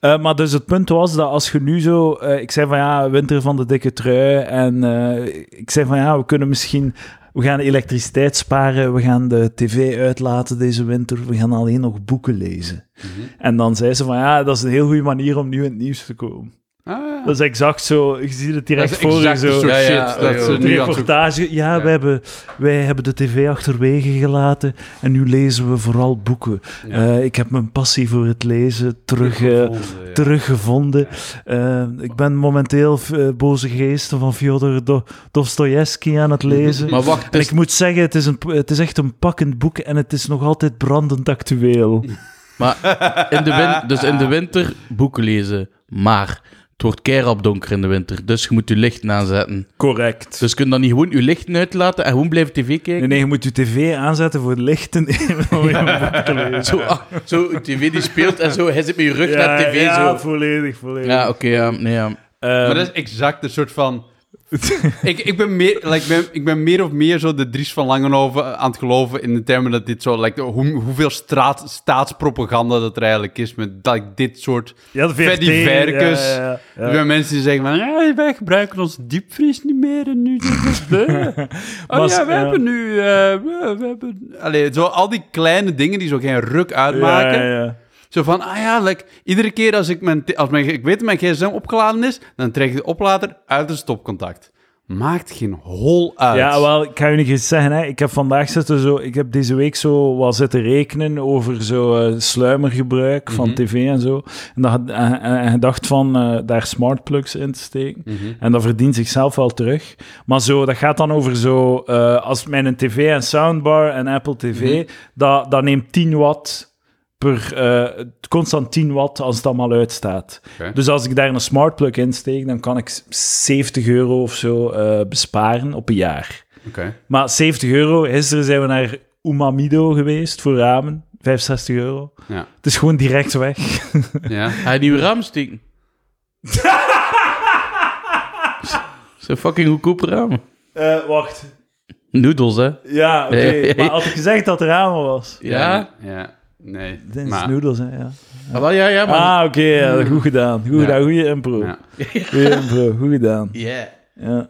Speaker 1: Eh, maar dus het punt was dat als je nu zo... eh, ik zei van ja, winter van de dikke trui. En eh, ik zei van ja, we kunnen misschien... We gaan elektriciteit sparen, we gaan de tv uitlaten deze winter, we gaan alleen nog boeken lezen.
Speaker 3: Mhm.
Speaker 1: En dan zei ze van ja, dat is een heel goede manier om nu in het nieuws te komen.
Speaker 3: Ah, ja.
Speaker 1: Dat is exact zo, je ziet het direct
Speaker 3: Dat is
Speaker 1: voor je
Speaker 3: exact
Speaker 1: zo.
Speaker 3: het soort
Speaker 2: Ja,
Speaker 3: shit
Speaker 2: ja,
Speaker 3: dat
Speaker 2: ja,
Speaker 3: ze
Speaker 1: De
Speaker 2: ja.
Speaker 3: nu aan het zoeken-
Speaker 1: reportage, ja,
Speaker 3: Ja.
Speaker 1: Wij, hebben, wij hebben de tv achterwege gelaten en nu lezen we vooral boeken.
Speaker 3: Ja.
Speaker 1: Eh, ik heb mijn passie voor het lezen terug, eh,
Speaker 3: Teruggevonden, ja.
Speaker 1: teruggevonden. Eh, ik ben momenteel eh, Boze Geesten van Fyodor Do- Dostoevsky aan het lezen.
Speaker 2: Maar wacht,
Speaker 1: en
Speaker 2: dus,
Speaker 1: ik moet zeggen, het is, een, het is echt een pakkend boek en het is nog altijd brandend actueel.
Speaker 2: maar in de win- dus in de winter boeken lezen, maar het wordt keirap donker in de winter, dus je moet je licht aanzetten.
Speaker 1: Correct.
Speaker 2: Dus je kunt dan niet gewoon je licht uitlaten en gewoon blijven tv kijken?
Speaker 1: Nee, nee, je moet je tv aanzetten voor het licht en om je een boek te lezen.
Speaker 2: Zo, ah, zo, je tv die speelt en zo, hij zit met je rug naar tv
Speaker 1: ja,
Speaker 2: zo.
Speaker 1: volledig, volledig. Ehm,
Speaker 2: Ja, oké, ja, nee, ja.
Speaker 3: Maar dat is exact een soort van... ik, ik, ben meer, like, ben, ik ben meer of meer zo de Dries van Langenhoven aan het geloven in de termen dat dit zo... Like, hoe, hoeveel straat, staatspropaganda dat er eigenlijk is met like, dit soort...
Speaker 1: Ja, de
Speaker 3: Freddy
Speaker 1: VRT,
Speaker 3: Verkes.
Speaker 1: ja, ja, ja.
Speaker 3: Er zijn mensen die zeggen van... "Ja, wij gebruiken onze diepvries niet meer en nu... oh
Speaker 1: Maar-
Speaker 3: ja, we
Speaker 1: ja.
Speaker 3: hebben nu... eh, we, we hebben... Allee, zo, al die kleine dingen die zo geen ruk uitmaken...
Speaker 1: Ja, ja.
Speaker 3: Zo van, ah ja, like, iedere keer als ik mijn, t- als mijn, ik weet dat mijn gsm opgeladen is, dan trek ik de oplader uit het stopcontact. Maakt geen hol uit.
Speaker 1: Ja, wel, ik ga je niet eens zeggen, hè. ik heb vandaag zitten zo, ik heb deze week zo wat zitten rekenen over zo eh, sluimergebruik van tv en zo. En, dat, had- en, en- en gedacht van eh, daar smartplugs in te steken. En dat verdient zichzelf wel terug. Maar zo, dat gaat dan over zo, eh, als mijn tv en soundbar en Apple TV, dat, dat neemt 10 watt per, eh, constant 10 watt als het allemaal uitstaat.
Speaker 3: Oké.
Speaker 1: Dus als ik daar een smart plug in steek, dan kan ik s- 70 euro of zo eh, besparen op een jaar.
Speaker 3: Oké.
Speaker 1: Maar 70 euro, gisteren zijn we naar Umamido geweest voor ramen. 65 euro.
Speaker 3: Ja.
Speaker 1: Het is gewoon direct weg.
Speaker 3: ja.
Speaker 2: Ga je nieuwe raam steken? Zo fucking goedkope ramen.
Speaker 1: Eh, wacht.
Speaker 2: Noedels, hè?
Speaker 1: Ja, oké.
Speaker 2: Nee.
Speaker 1: Maar had ik gezegd dat er ramen was?
Speaker 2: Ja?
Speaker 3: Ja. Nee.
Speaker 1: Dit is
Speaker 3: maar-
Speaker 1: noedels, hè. Ja.
Speaker 2: Ah, wel, ja, ja, maar...
Speaker 1: Ah, oké. ja, goed gedaan. Goed gedaan. Goeie impro.
Speaker 3: Ja.
Speaker 1: Goeie impro. Goed gedaan.
Speaker 2: Yeah.
Speaker 1: Ja.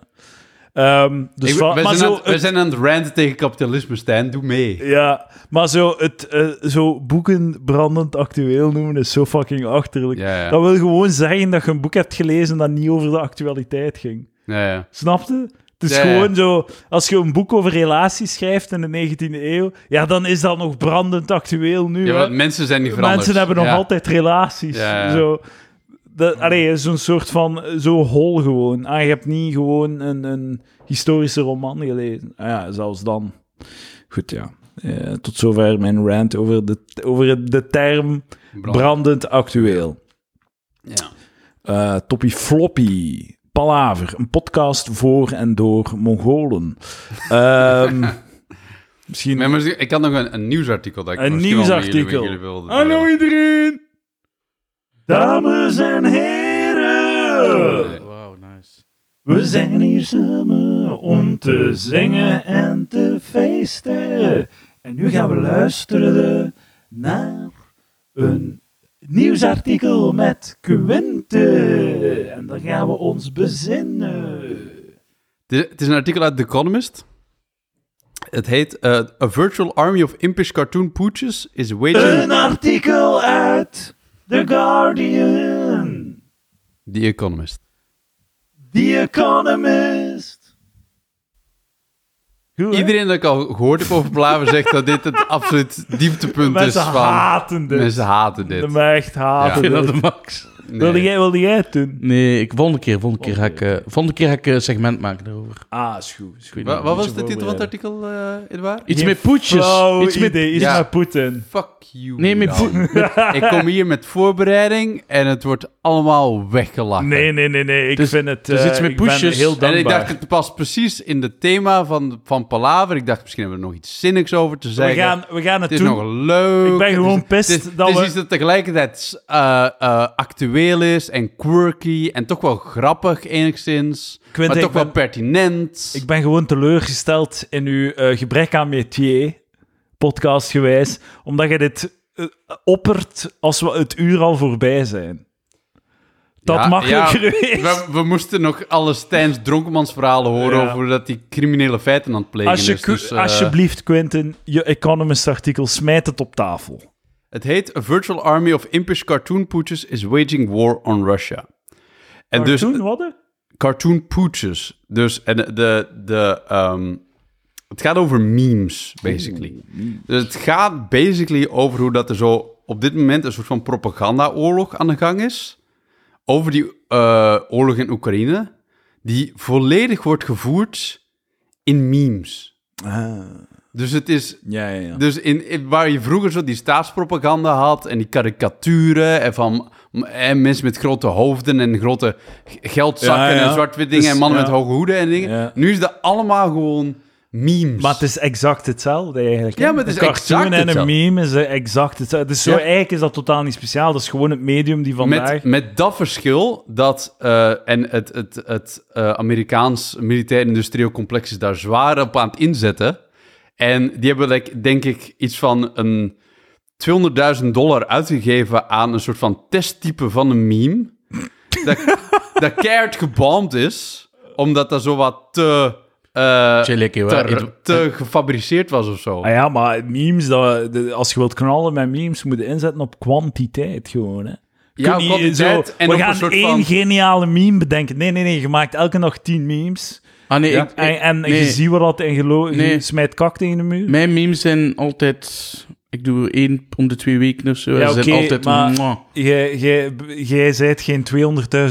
Speaker 1: Ehm, dus
Speaker 3: Ik-
Speaker 1: van-
Speaker 3: we,
Speaker 1: maar
Speaker 3: zijn
Speaker 1: zo,
Speaker 3: aan, het- we zijn aan het ranten tegen kapitalisme, Stijn. Doe mee.
Speaker 1: Ja, maar zo, het, eh, zo boeken brandend actueel noemen is zo fucking achterlijk.
Speaker 3: Ja, ja.
Speaker 1: Dat wil gewoon zeggen dat je een boek hebt gelezen dat niet over de actualiteit ging.
Speaker 3: Ja, ja.
Speaker 1: Snapte? Het is
Speaker 3: Ja, ja.
Speaker 1: gewoon zo, als je een boek over relaties schrijft in de 19e eeuw, ja, dan is dat nog brandend actueel nu.
Speaker 3: Ja,
Speaker 1: hè.
Speaker 3: want mensen zijn niet veranderd.
Speaker 1: Mensen hebben nog
Speaker 3: Ja.
Speaker 1: altijd relaties.
Speaker 3: Ja, ja.
Speaker 1: Zo. Dat, allee, is zo'n soort van, eh, zo hol gewoon. Ah, je hebt niet gewoon een, een historische roman gelezen. Ah, ja, zelfs dan. Goed, ja. Eh, tot zover mijn rant over de, over de term
Speaker 3: Brand.
Speaker 1: brandend actueel.
Speaker 3: Ja.
Speaker 1: Eh, toppie floppy. Palaver, een podcast voor en door Mongolen. Ehm, misschien
Speaker 3: Maar misschien- ik had nog een, een nieuwsartikel dat ik
Speaker 1: Een
Speaker 3: misschien wel met
Speaker 1: nieuwsartikel.
Speaker 3: jullie- met jullie wilde
Speaker 2: Hallo
Speaker 3: delen.
Speaker 2: iedereen!
Speaker 1: Dames en heren,
Speaker 2: Wauw, nice.
Speaker 1: we zijn hier samen om te zingen en te feesten. En nu gaan we luisteren naar een nieuwsartikel met Quinte. En dan gaan we ons bezinnen.
Speaker 3: Het is- Het is een artikel uit The Economist. Het heet eh, A Virtual Army of Impish Cartoon Pooches is Waging
Speaker 1: Een artikel uit The Guardian,
Speaker 3: The Economist.
Speaker 1: The Economist.
Speaker 3: Iedereen dat ik al gehoord heb over Blaven zegt dat dit het absoluut dieptepunt
Speaker 1: Mensen
Speaker 3: is van...
Speaker 1: haten dit.
Speaker 3: Mensen haten dit.
Speaker 1: De mij echt haten
Speaker 3: Ja.
Speaker 2: Ik vind
Speaker 1: dit.
Speaker 2: dat de max.
Speaker 3: Nee.
Speaker 1: Wilde, jij, wilde jij het doen?
Speaker 2: Nee, ik, volgende keer, volgende keer ga ik, eh, volgende keer ga ik eh, segment maken daarover.
Speaker 1: Ah, is goed. Is goed.
Speaker 3: Wa- Wat was de
Speaker 1: Beetje
Speaker 3: titel van het
Speaker 1: voorbereiden.
Speaker 3: artikel, eh Edouard?
Speaker 2: Iets
Speaker 1: Geen
Speaker 2: met poetjes.
Speaker 1: flauw
Speaker 2: Iets met...
Speaker 1: idee. Iets
Speaker 3: Ja.
Speaker 1: met Poetin.
Speaker 3: Fuck you.
Speaker 2: Nee, met
Speaker 3: Nou. ik kom hier met voorbereiding en het wordt allemaal weggelachen.
Speaker 1: Nee, nee, nee, nee. Ik
Speaker 2: Dus-
Speaker 1: vind het...
Speaker 2: dus
Speaker 1: eh,
Speaker 2: iets met
Speaker 1: ik ben
Speaker 2: poesjes.
Speaker 1: heel dankbaar.
Speaker 3: En ik dacht, het past precies in het thema van, van Palaver. Ik dacht, misschien hebben we er nog iets zinnigs over te
Speaker 1: we,
Speaker 3: zeggen.
Speaker 1: gaan, we gaan het,
Speaker 3: het is
Speaker 1: doen.
Speaker 3: nog leuk.
Speaker 1: Ik ben
Speaker 3: Het
Speaker 1: gewoon
Speaker 3: is-
Speaker 1: pissed
Speaker 3: Het is,
Speaker 1: dat
Speaker 3: het is
Speaker 1: we-
Speaker 3: iets dat tegelijkertijd eh, eh, actueel is en quirky en toch wel grappig enigszins.
Speaker 1: Quint,
Speaker 3: maar
Speaker 1: ik
Speaker 3: toch wel
Speaker 1: ben-
Speaker 3: pertinent.
Speaker 1: Ik ben gewoon teleurgesteld in uw eh, gebrek aan métier, podcast gewijs, omdat je dit eh, oppert als we het uur al voorbij zijn. Dat
Speaker 3: Ja,
Speaker 1: makkelijker
Speaker 3: ja,
Speaker 1: is.
Speaker 3: We, we moesten nog alle Stijns Dronkemans verhalen horen
Speaker 1: Ja.
Speaker 3: over dat die criminele feiten aan het plegen
Speaker 1: Als je,
Speaker 3: is. Dus, eh,
Speaker 1: Alsjeblieft, Quentin, je Economist-artikel, smijt het op tafel.
Speaker 3: Het heet A Virtual Army of Impish Cartoon Pooches is Waging War on Russia. En
Speaker 1: Maar
Speaker 3: dus
Speaker 1: toen, wat? hè?
Speaker 3: cartoon pooches. Dus en de, de, ehm, het gaat over memes, basically. Dus het gaat basically over hoe dat er zo op dit moment een soort van propagandaoorlog aan de gang is. Over die eh, oorlog in Oekraïne. Die volledig wordt gevoerd in memes. Dus het is
Speaker 1: Ja, ja, ja.
Speaker 3: dus in, in- waar je vroeger zo die staatspropaganda had en die karikaturen en van en mensen met grote hoofden en grote g- geldzakken
Speaker 1: Ja, ja.
Speaker 3: en zwart-wit dingen
Speaker 1: Dus,
Speaker 3: en mannen
Speaker 1: ja.
Speaker 3: met hoge hoeden en dingen.
Speaker 1: Ja.
Speaker 3: Nu is dat allemaal gewoon memes.
Speaker 1: Maar het is exact hetzelfde eigenlijk. hè?
Speaker 3: Ja, maar het is
Speaker 1: een cartoon
Speaker 3: exact
Speaker 1: en een
Speaker 3: hetzelfde.
Speaker 1: meme is eh, exact hetzelfde. Dus zo
Speaker 3: Ja.
Speaker 1: eigenlijk is dat totaal niet speciaal. Dat is gewoon het medium die vandaag...
Speaker 3: met, met dat verschil dat eh, en het, het, het eh, Amerikaans militair-industrieel complex is daar zwaar op aan het inzetten. En die hebben like, denk ik iets van een 200.000 dollar uitgegeven aan een soort van testtype van een meme. dat, dat keihard gebomd is, omdat dat zo wat te, eh,
Speaker 2: Chill, ik, joh.
Speaker 3: te, te gefabriceerd was of zo.
Speaker 1: Ah ja, maar memes, dat, de- als je wilt knallen met memes, moet je inzetten op kwantiteit gewoon. Hè. Je
Speaker 3: Ja,
Speaker 1: kunt niet
Speaker 3: kwantiteit en
Speaker 1: we
Speaker 3: ook een
Speaker 1: gaan
Speaker 3: soort
Speaker 1: één
Speaker 3: van-
Speaker 1: geniale meme bedenken. Nee, nee, nee, je maakt elke dag tien memes.
Speaker 2: Ah nee,
Speaker 3: Ja.
Speaker 2: ik,
Speaker 1: En, en
Speaker 2: nee.
Speaker 1: je ziet wat dat en gelo- je
Speaker 2: Nee.
Speaker 1: smijt kak tegen de muur.
Speaker 2: mijn memes zijn altijd... Ik doe er één om de twee weken of zo.
Speaker 1: Ja,
Speaker 2: Ja, ze
Speaker 1: oké,
Speaker 2: zijn altijd...
Speaker 1: maar-
Speaker 2: mwah.
Speaker 1: Jij- jij- Jij zijt geen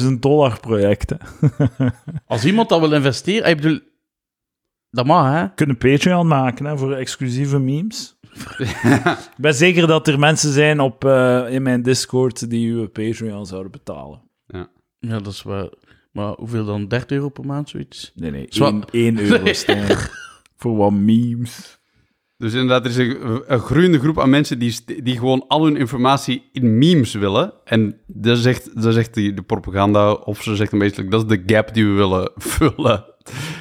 Speaker 1: 200.000 dollar projecten.
Speaker 2: Als iemand dat wil investeren... Ik bedoel... Dat mag, hè?
Speaker 1: kunnen Patreon maken hè, voor exclusieve memes. Ik ben zeker dat er mensen zijn op, eh, in mijn Discord die uw Patreon zouden betalen.
Speaker 2: Ja, dat is waar. Maar hoeveel dan? 30 euro per maand, zoiets?
Speaker 1: Nee, nee.
Speaker 2: Zwa-
Speaker 1: 1 euro
Speaker 2: Nee.
Speaker 1: Stijn. Voor wat memes.
Speaker 3: Dus inderdaad, er is een, een groeiende groep aan mensen die, st- die gewoon al hun informatie in memes willen. En dat zegt, dat zegt die, de propaganda, of ze zegt meestal, dat is de gap die we willen vullen.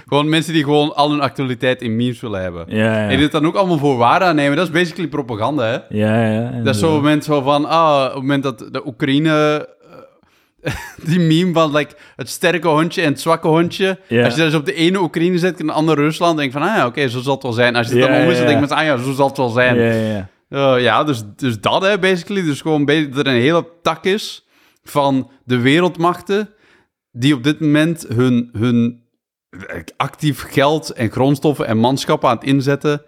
Speaker 3: gewoon mensen die gewoon al hun actualiteit in memes willen hebben.
Speaker 1: Ja,
Speaker 3: En
Speaker 1: ja.
Speaker 3: dit dan ook allemaal voor waar aannemen, dat is basically propaganda, hè?
Speaker 1: ja, ja
Speaker 3: Dat is zo'n
Speaker 1: inderdaad.
Speaker 3: moment zo van, ah, op het moment dat de Oekraïne... eh, Die meme van like, het sterke hondje en het zwakke hondje.
Speaker 1: Ja.
Speaker 3: Als je dat eens op de ene Oekraïne zet en de andere Rusland, denk je van, ah ja, oké, zo zal het wel zijn. Als je het
Speaker 1: Ja,
Speaker 3: dan om
Speaker 1: ja,
Speaker 3: is, dan denk
Speaker 1: ja.
Speaker 3: je van, ah ja, zo zal het wel zijn.
Speaker 1: Ja, ja, ja.
Speaker 3: Eh, ja, dus, dus dat, hè, basically. Dus gewoon be- dat er een hele tak is van de wereldmachten die op dit moment hun, hun eh, actief geld en grondstoffen en manschappen aan het inzetten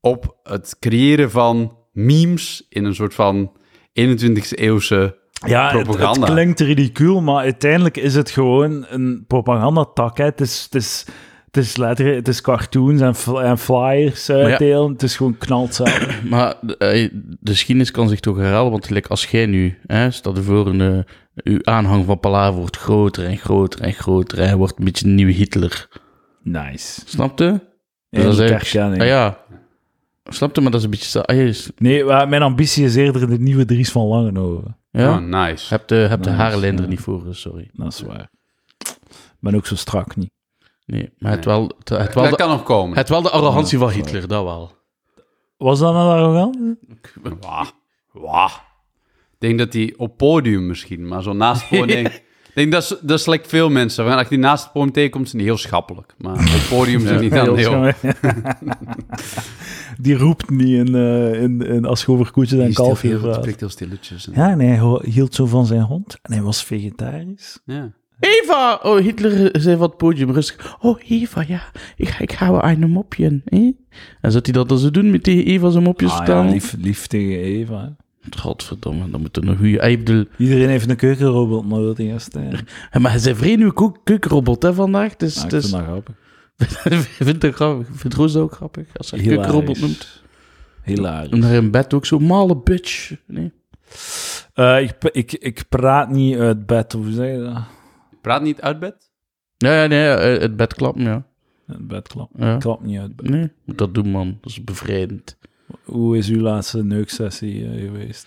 Speaker 3: op het creëren van memes in een soort van 21e eeuwse...
Speaker 1: ja het, het
Speaker 3: Propaganda.
Speaker 1: klinkt ridicuul, maar uiteindelijk is het gewoon een propagandatak. Hè. Het is... Het is het is letterlijk, het is cartoons en, fl- en flyers
Speaker 2: ja.
Speaker 1: uitdelen. Het is gewoon knalzaal.
Speaker 2: Maar eh, de geschiedenis kan zich toch herhalen, want gelijk als jij nu, hè, stel je voor een, eh, Uw aanhang van Palaver wordt groter en groter en groter. En hij wordt een beetje een nieuwe Hitler.
Speaker 1: Nice.
Speaker 2: Snapte?
Speaker 1: Ja,
Speaker 2: dat is
Speaker 1: die
Speaker 2: eigenlijk-
Speaker 1: herkenning.
Speaker 2: Ah, ja. Snapte, maar dat is een beetje... sta- Ah, jezus.
Speaker 1: Nee, maar mijn ambitie is eerder de nieuwe Dries van Langenhoven.
Speaker 2: Ja.
Speaker 3: Oh, nice.
Speaker 2: Heb de, heb de
Speaker 1: Nice,
Speaker 2: haarlijn er
Speaker 1: ja.
Speaker 2: niet voor, eh, sorry.
Speaker 1: Dat is waar. Ik ben ook zo strak niet.
Speaker 2: Nee, maar het wel, het, het wel,
Speaker 3: dat
Speaker 2: de,
Speaker 3: kan nog komen.
Speaker 2: het wel de arrogantie van Hitler, dat wel.
Speaker 1: Was dat nou arrogant?
Speaker 3: Wah. Wah. Ik denk dat die op podium misschien, maar zo naast het podium... Ik denk dat, is- dat is like veel mensen. Want als die naast het podium tegenkomt, zijn die heel schappelijk. Maar op podium zijn die dan heel...
Speaker 1: Die roept niet in, eh in, in als je over koetjes en
Speaker 3: die stil-
Speaker 1: kalfjes
Speaker 3: heel-
Speaker 1: praat.
Speaker 3: spreekt heel stilletjes. en-
Speaker 1: Ja, nee, hij ho- hield zo van zijn hond en hij was vegetarisch.
Speaker 3: Ja.
Speaker 2: Eva! Oh, Hitler zei wat podium, rustig. Oh, Eva, ja. Ik, ik hou aan een mopje. Hè? En zat hij dat dan zo doen met tegen Eva zijn mopjes
Speaker 1: Ah, ja,
Speaker 2: vertalen?
Speaker 1: lief, lief tegen Eva. hè.
Speaker 2: Godverdomme, dan moet er nog goede. Ik bedoel,
Speaker 1: Iedereen heeft een keukenrobot nodig, hè, Stijn.
Speaker 2: hè, maar hij zei vreemd nu ook keukenrobot hè, vandaag. Dus,
Speaker 1: Ah, ik
Speaker 2: dus,
Speaker 1: Ah, vind dat grappig.
Speaker 2: vindt het grappig. Vindt Roos dat ook grappig als hij
Speaker 1: Hilarisch.
Speaker 2: keukenrobot noemt? En
Speaker 1: Hilarisch.
Speaker 2: daar in bed ook zo male bitch. Nee.
Speaker 1: Eh, ik, p- ik, ik praat niet uit bed, hoe zeg je dat?
Speaker 3: Praat niet uit bed?
Speaker 2: Ja, ja, nee, eh, het bed klappen, ja.
Speaker 1: Uit bed klap.
Speaker 2: ja.
Speaker 1: Ik klap niet uit bed.
Speaker 2: Nee, moet dat doen, man. Dat is bevrijdend.
Speaker 1: Hoe is uw laatste neuksessie eh, geweest?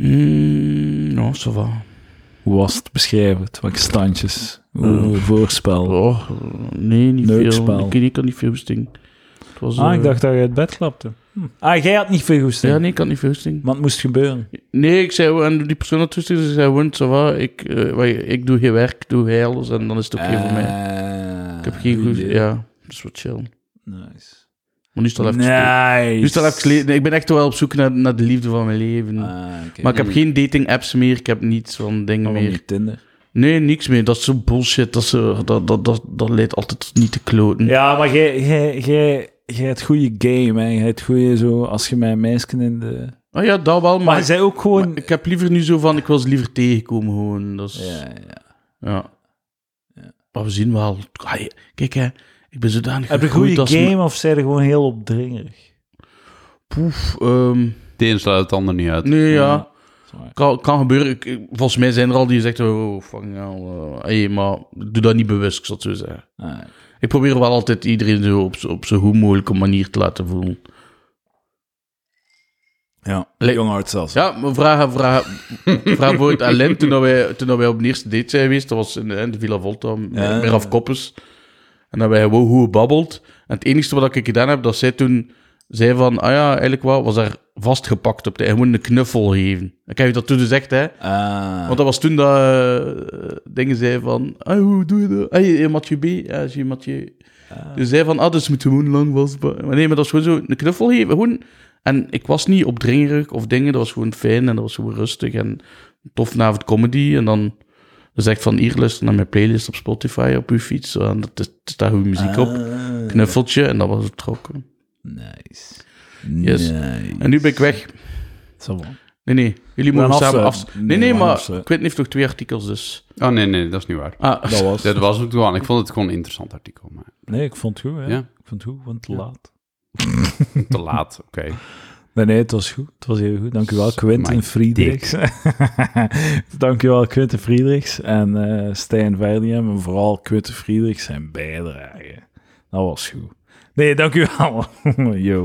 Speaker 2: Mm, nou, ça va.
Speaker 1: Hoe was het? Beschrijf het. Welke standjes? Hoe, hoe voorspel?
Speaker 2: Hmm. Oh, nee, niet
Speaker 1: Leuk
Speaker 2: veel.
Speaker 1: spel.
Speaker 2: Ik, ik kan niet veel sting. Het was,
Speaker 1: Ah,
Speaker 2: eh,
Speaker 1: ik dacht dat je uit bed klapte. Hm. Ah, jij had niet veel goesting.
Speaker 2: Ja, nee, ik kan niet veel sting.
Speaker 1: Maar het moest gebeuren.
Speaker 2: Nee, ik zei, en die persoon had toestemming, ze zei, Wint, ça va, ik, eh, wij- ik doe geen werk, doe jij alles, en dan is het oké voor mij. Ik heb
Speaker 1: Ah,
Speaker 2: geen goed, ja, dus wat chill.
Speaker 1: Eh, Nice.
Speaker 2: Maar nu is het al even stil.
Speaker 1: Nice. Ah,
Speaker 2: Nu is het al even geleden. Nee, ik ben echt wel op zoek naar, naar de liefde van mijn leven. maar ik heb geen dating apps meer, ik heb niets van dingen meer.
Speaker 1: Tinder.
Speaker 2: Nee, niks meer. Dat is zo bullshit. Dat, is zo, dat, dat, dat, dat leidt altijd niet te kloten.
Speaker 1: Ja, maar jij, jij, jij, jij hebt goede game, hè. Jij hebt goede zo, als je mijn meisje in de...
Speaker 2: Oh ja, dat wel, maar,
Speaker 1: Maar zij ook gewoon...
Speaker 2: maar ik heb liever nu zo van, ik wil ze liever tegenkomen gewoon. Dat is, ja.
Speaker 1: Ja, ja.
Speaker 2: Maar we zien wel. Ah, je- Kijk hè, ik ben zodanig
Speaker 1: Heb je een
Speaker 2: gegroeid
Speaker 1: goede
Speaker 2: als-
Speaker 1: game of zijn er gewoon heel opdringerig?
Speaker 2: Poef, ehm,
Speaker 3: De een sluit het ander niet uit.
Speaker 2: nee ja,
Speaker 1: Dat is waar.
Speaker 2: kan, kan gebeuren. Ik- ik- volgens mij zijn er al die zeggen, oh fucking hell. eh, hey, maar doe dat niet bewust, ik zal het zo zeggen.
Speaker 1: Ah,
Speaker 2: Ik probeer wel altijd iedereen zo op, z'n- op zo goed mogelijke manier te laten voelen.
Speaker 1: ja. Jongarts zelfs.
Speaker 2: Ja, maar vraag, vraag, vraag bijvoorbeeld aan Len, toen, dat wij, toen dat wij op een eerste date zijn geweest, dat was in, in de Villa Volta, met
Speaker 1: Ja.
Speaker 2: meer af koppes. En dat wij gewoon goed babbeld. En het enige wat ik gedaan heb, dat zij toen zei van, ah ja, eigenlijk wat, was daar vastgepakt op de, en gewoon een knuffel geven. Ik heb je dat toen gezegd, hè.
Speaker 1: Ah.
Speaker 2: Want dat was toen dat eh, dingen zei van, ah, hoe doe je dat? Ah, je, je Mathieu B, ja, je Mathieu. Dus zei van, ah, dus moet gewoon lang was. Maar nee, maar dat was gewoon zo een knuffel geven. Gewoon. En ik was niet opdringerig of dingen. Dat was gewoon fijn en dat was gewoon rustig en tof na het comedy. En dan zegt van, hier luister naar mijn playlist op Spotify op uw fiets. En dat is, er staat goede muziek op.
Speaker 1: Ah.
Speaker 2: Knuffeltje en dat was het trokken.
Speaker 1: Nice.
Speaker 2: Yes.
Speaker 1: Nice.
Speaker 2: En nu ben ik weg.
Speaker 1: Zo man.
Speaker 2: Nee, nee. Jullie
Speaker 1: We
Speaker 2: mogen
Speaker 1: gaan
Speaker 2: samen af.
Speaker 1: afsluiten.
Speaker 2: Nee, nee,
Speaker 1: We gaan
Speaker 2: maar
Speaker 1: afsluiten.
Speaker 2: ik weet heeft nog twee artikels dus.
Speaker 3: Oh, nee, nee, dat is niet waar.
Speaker 2: Ah,
Speaker 1: Dat was
Speaker 3: Dat was het gewoon. Ik vond het gewoon een interessant artikel, maar
Speaker 1: Nee, ik vond het goed, hè.
Speaker 3: Ja.
Speaker 1: Ik vond het goed, want te laat.
Speaker 3: te laat. Oké.
Speaker 1: Nee, nee, het was goed. Het was heel goed. Dank u wel,
Speaker 3: Suck
Speaker 1: Quinten
Speaker 3: my
Speaker 1: Friedrichs. Dank u wel, Quinten Friedrichs en eh Stijn Verdiem. En vooral Quinten Friedrichs zijn bijdrage. Dat was goed. Nee, dank u wel. Yo.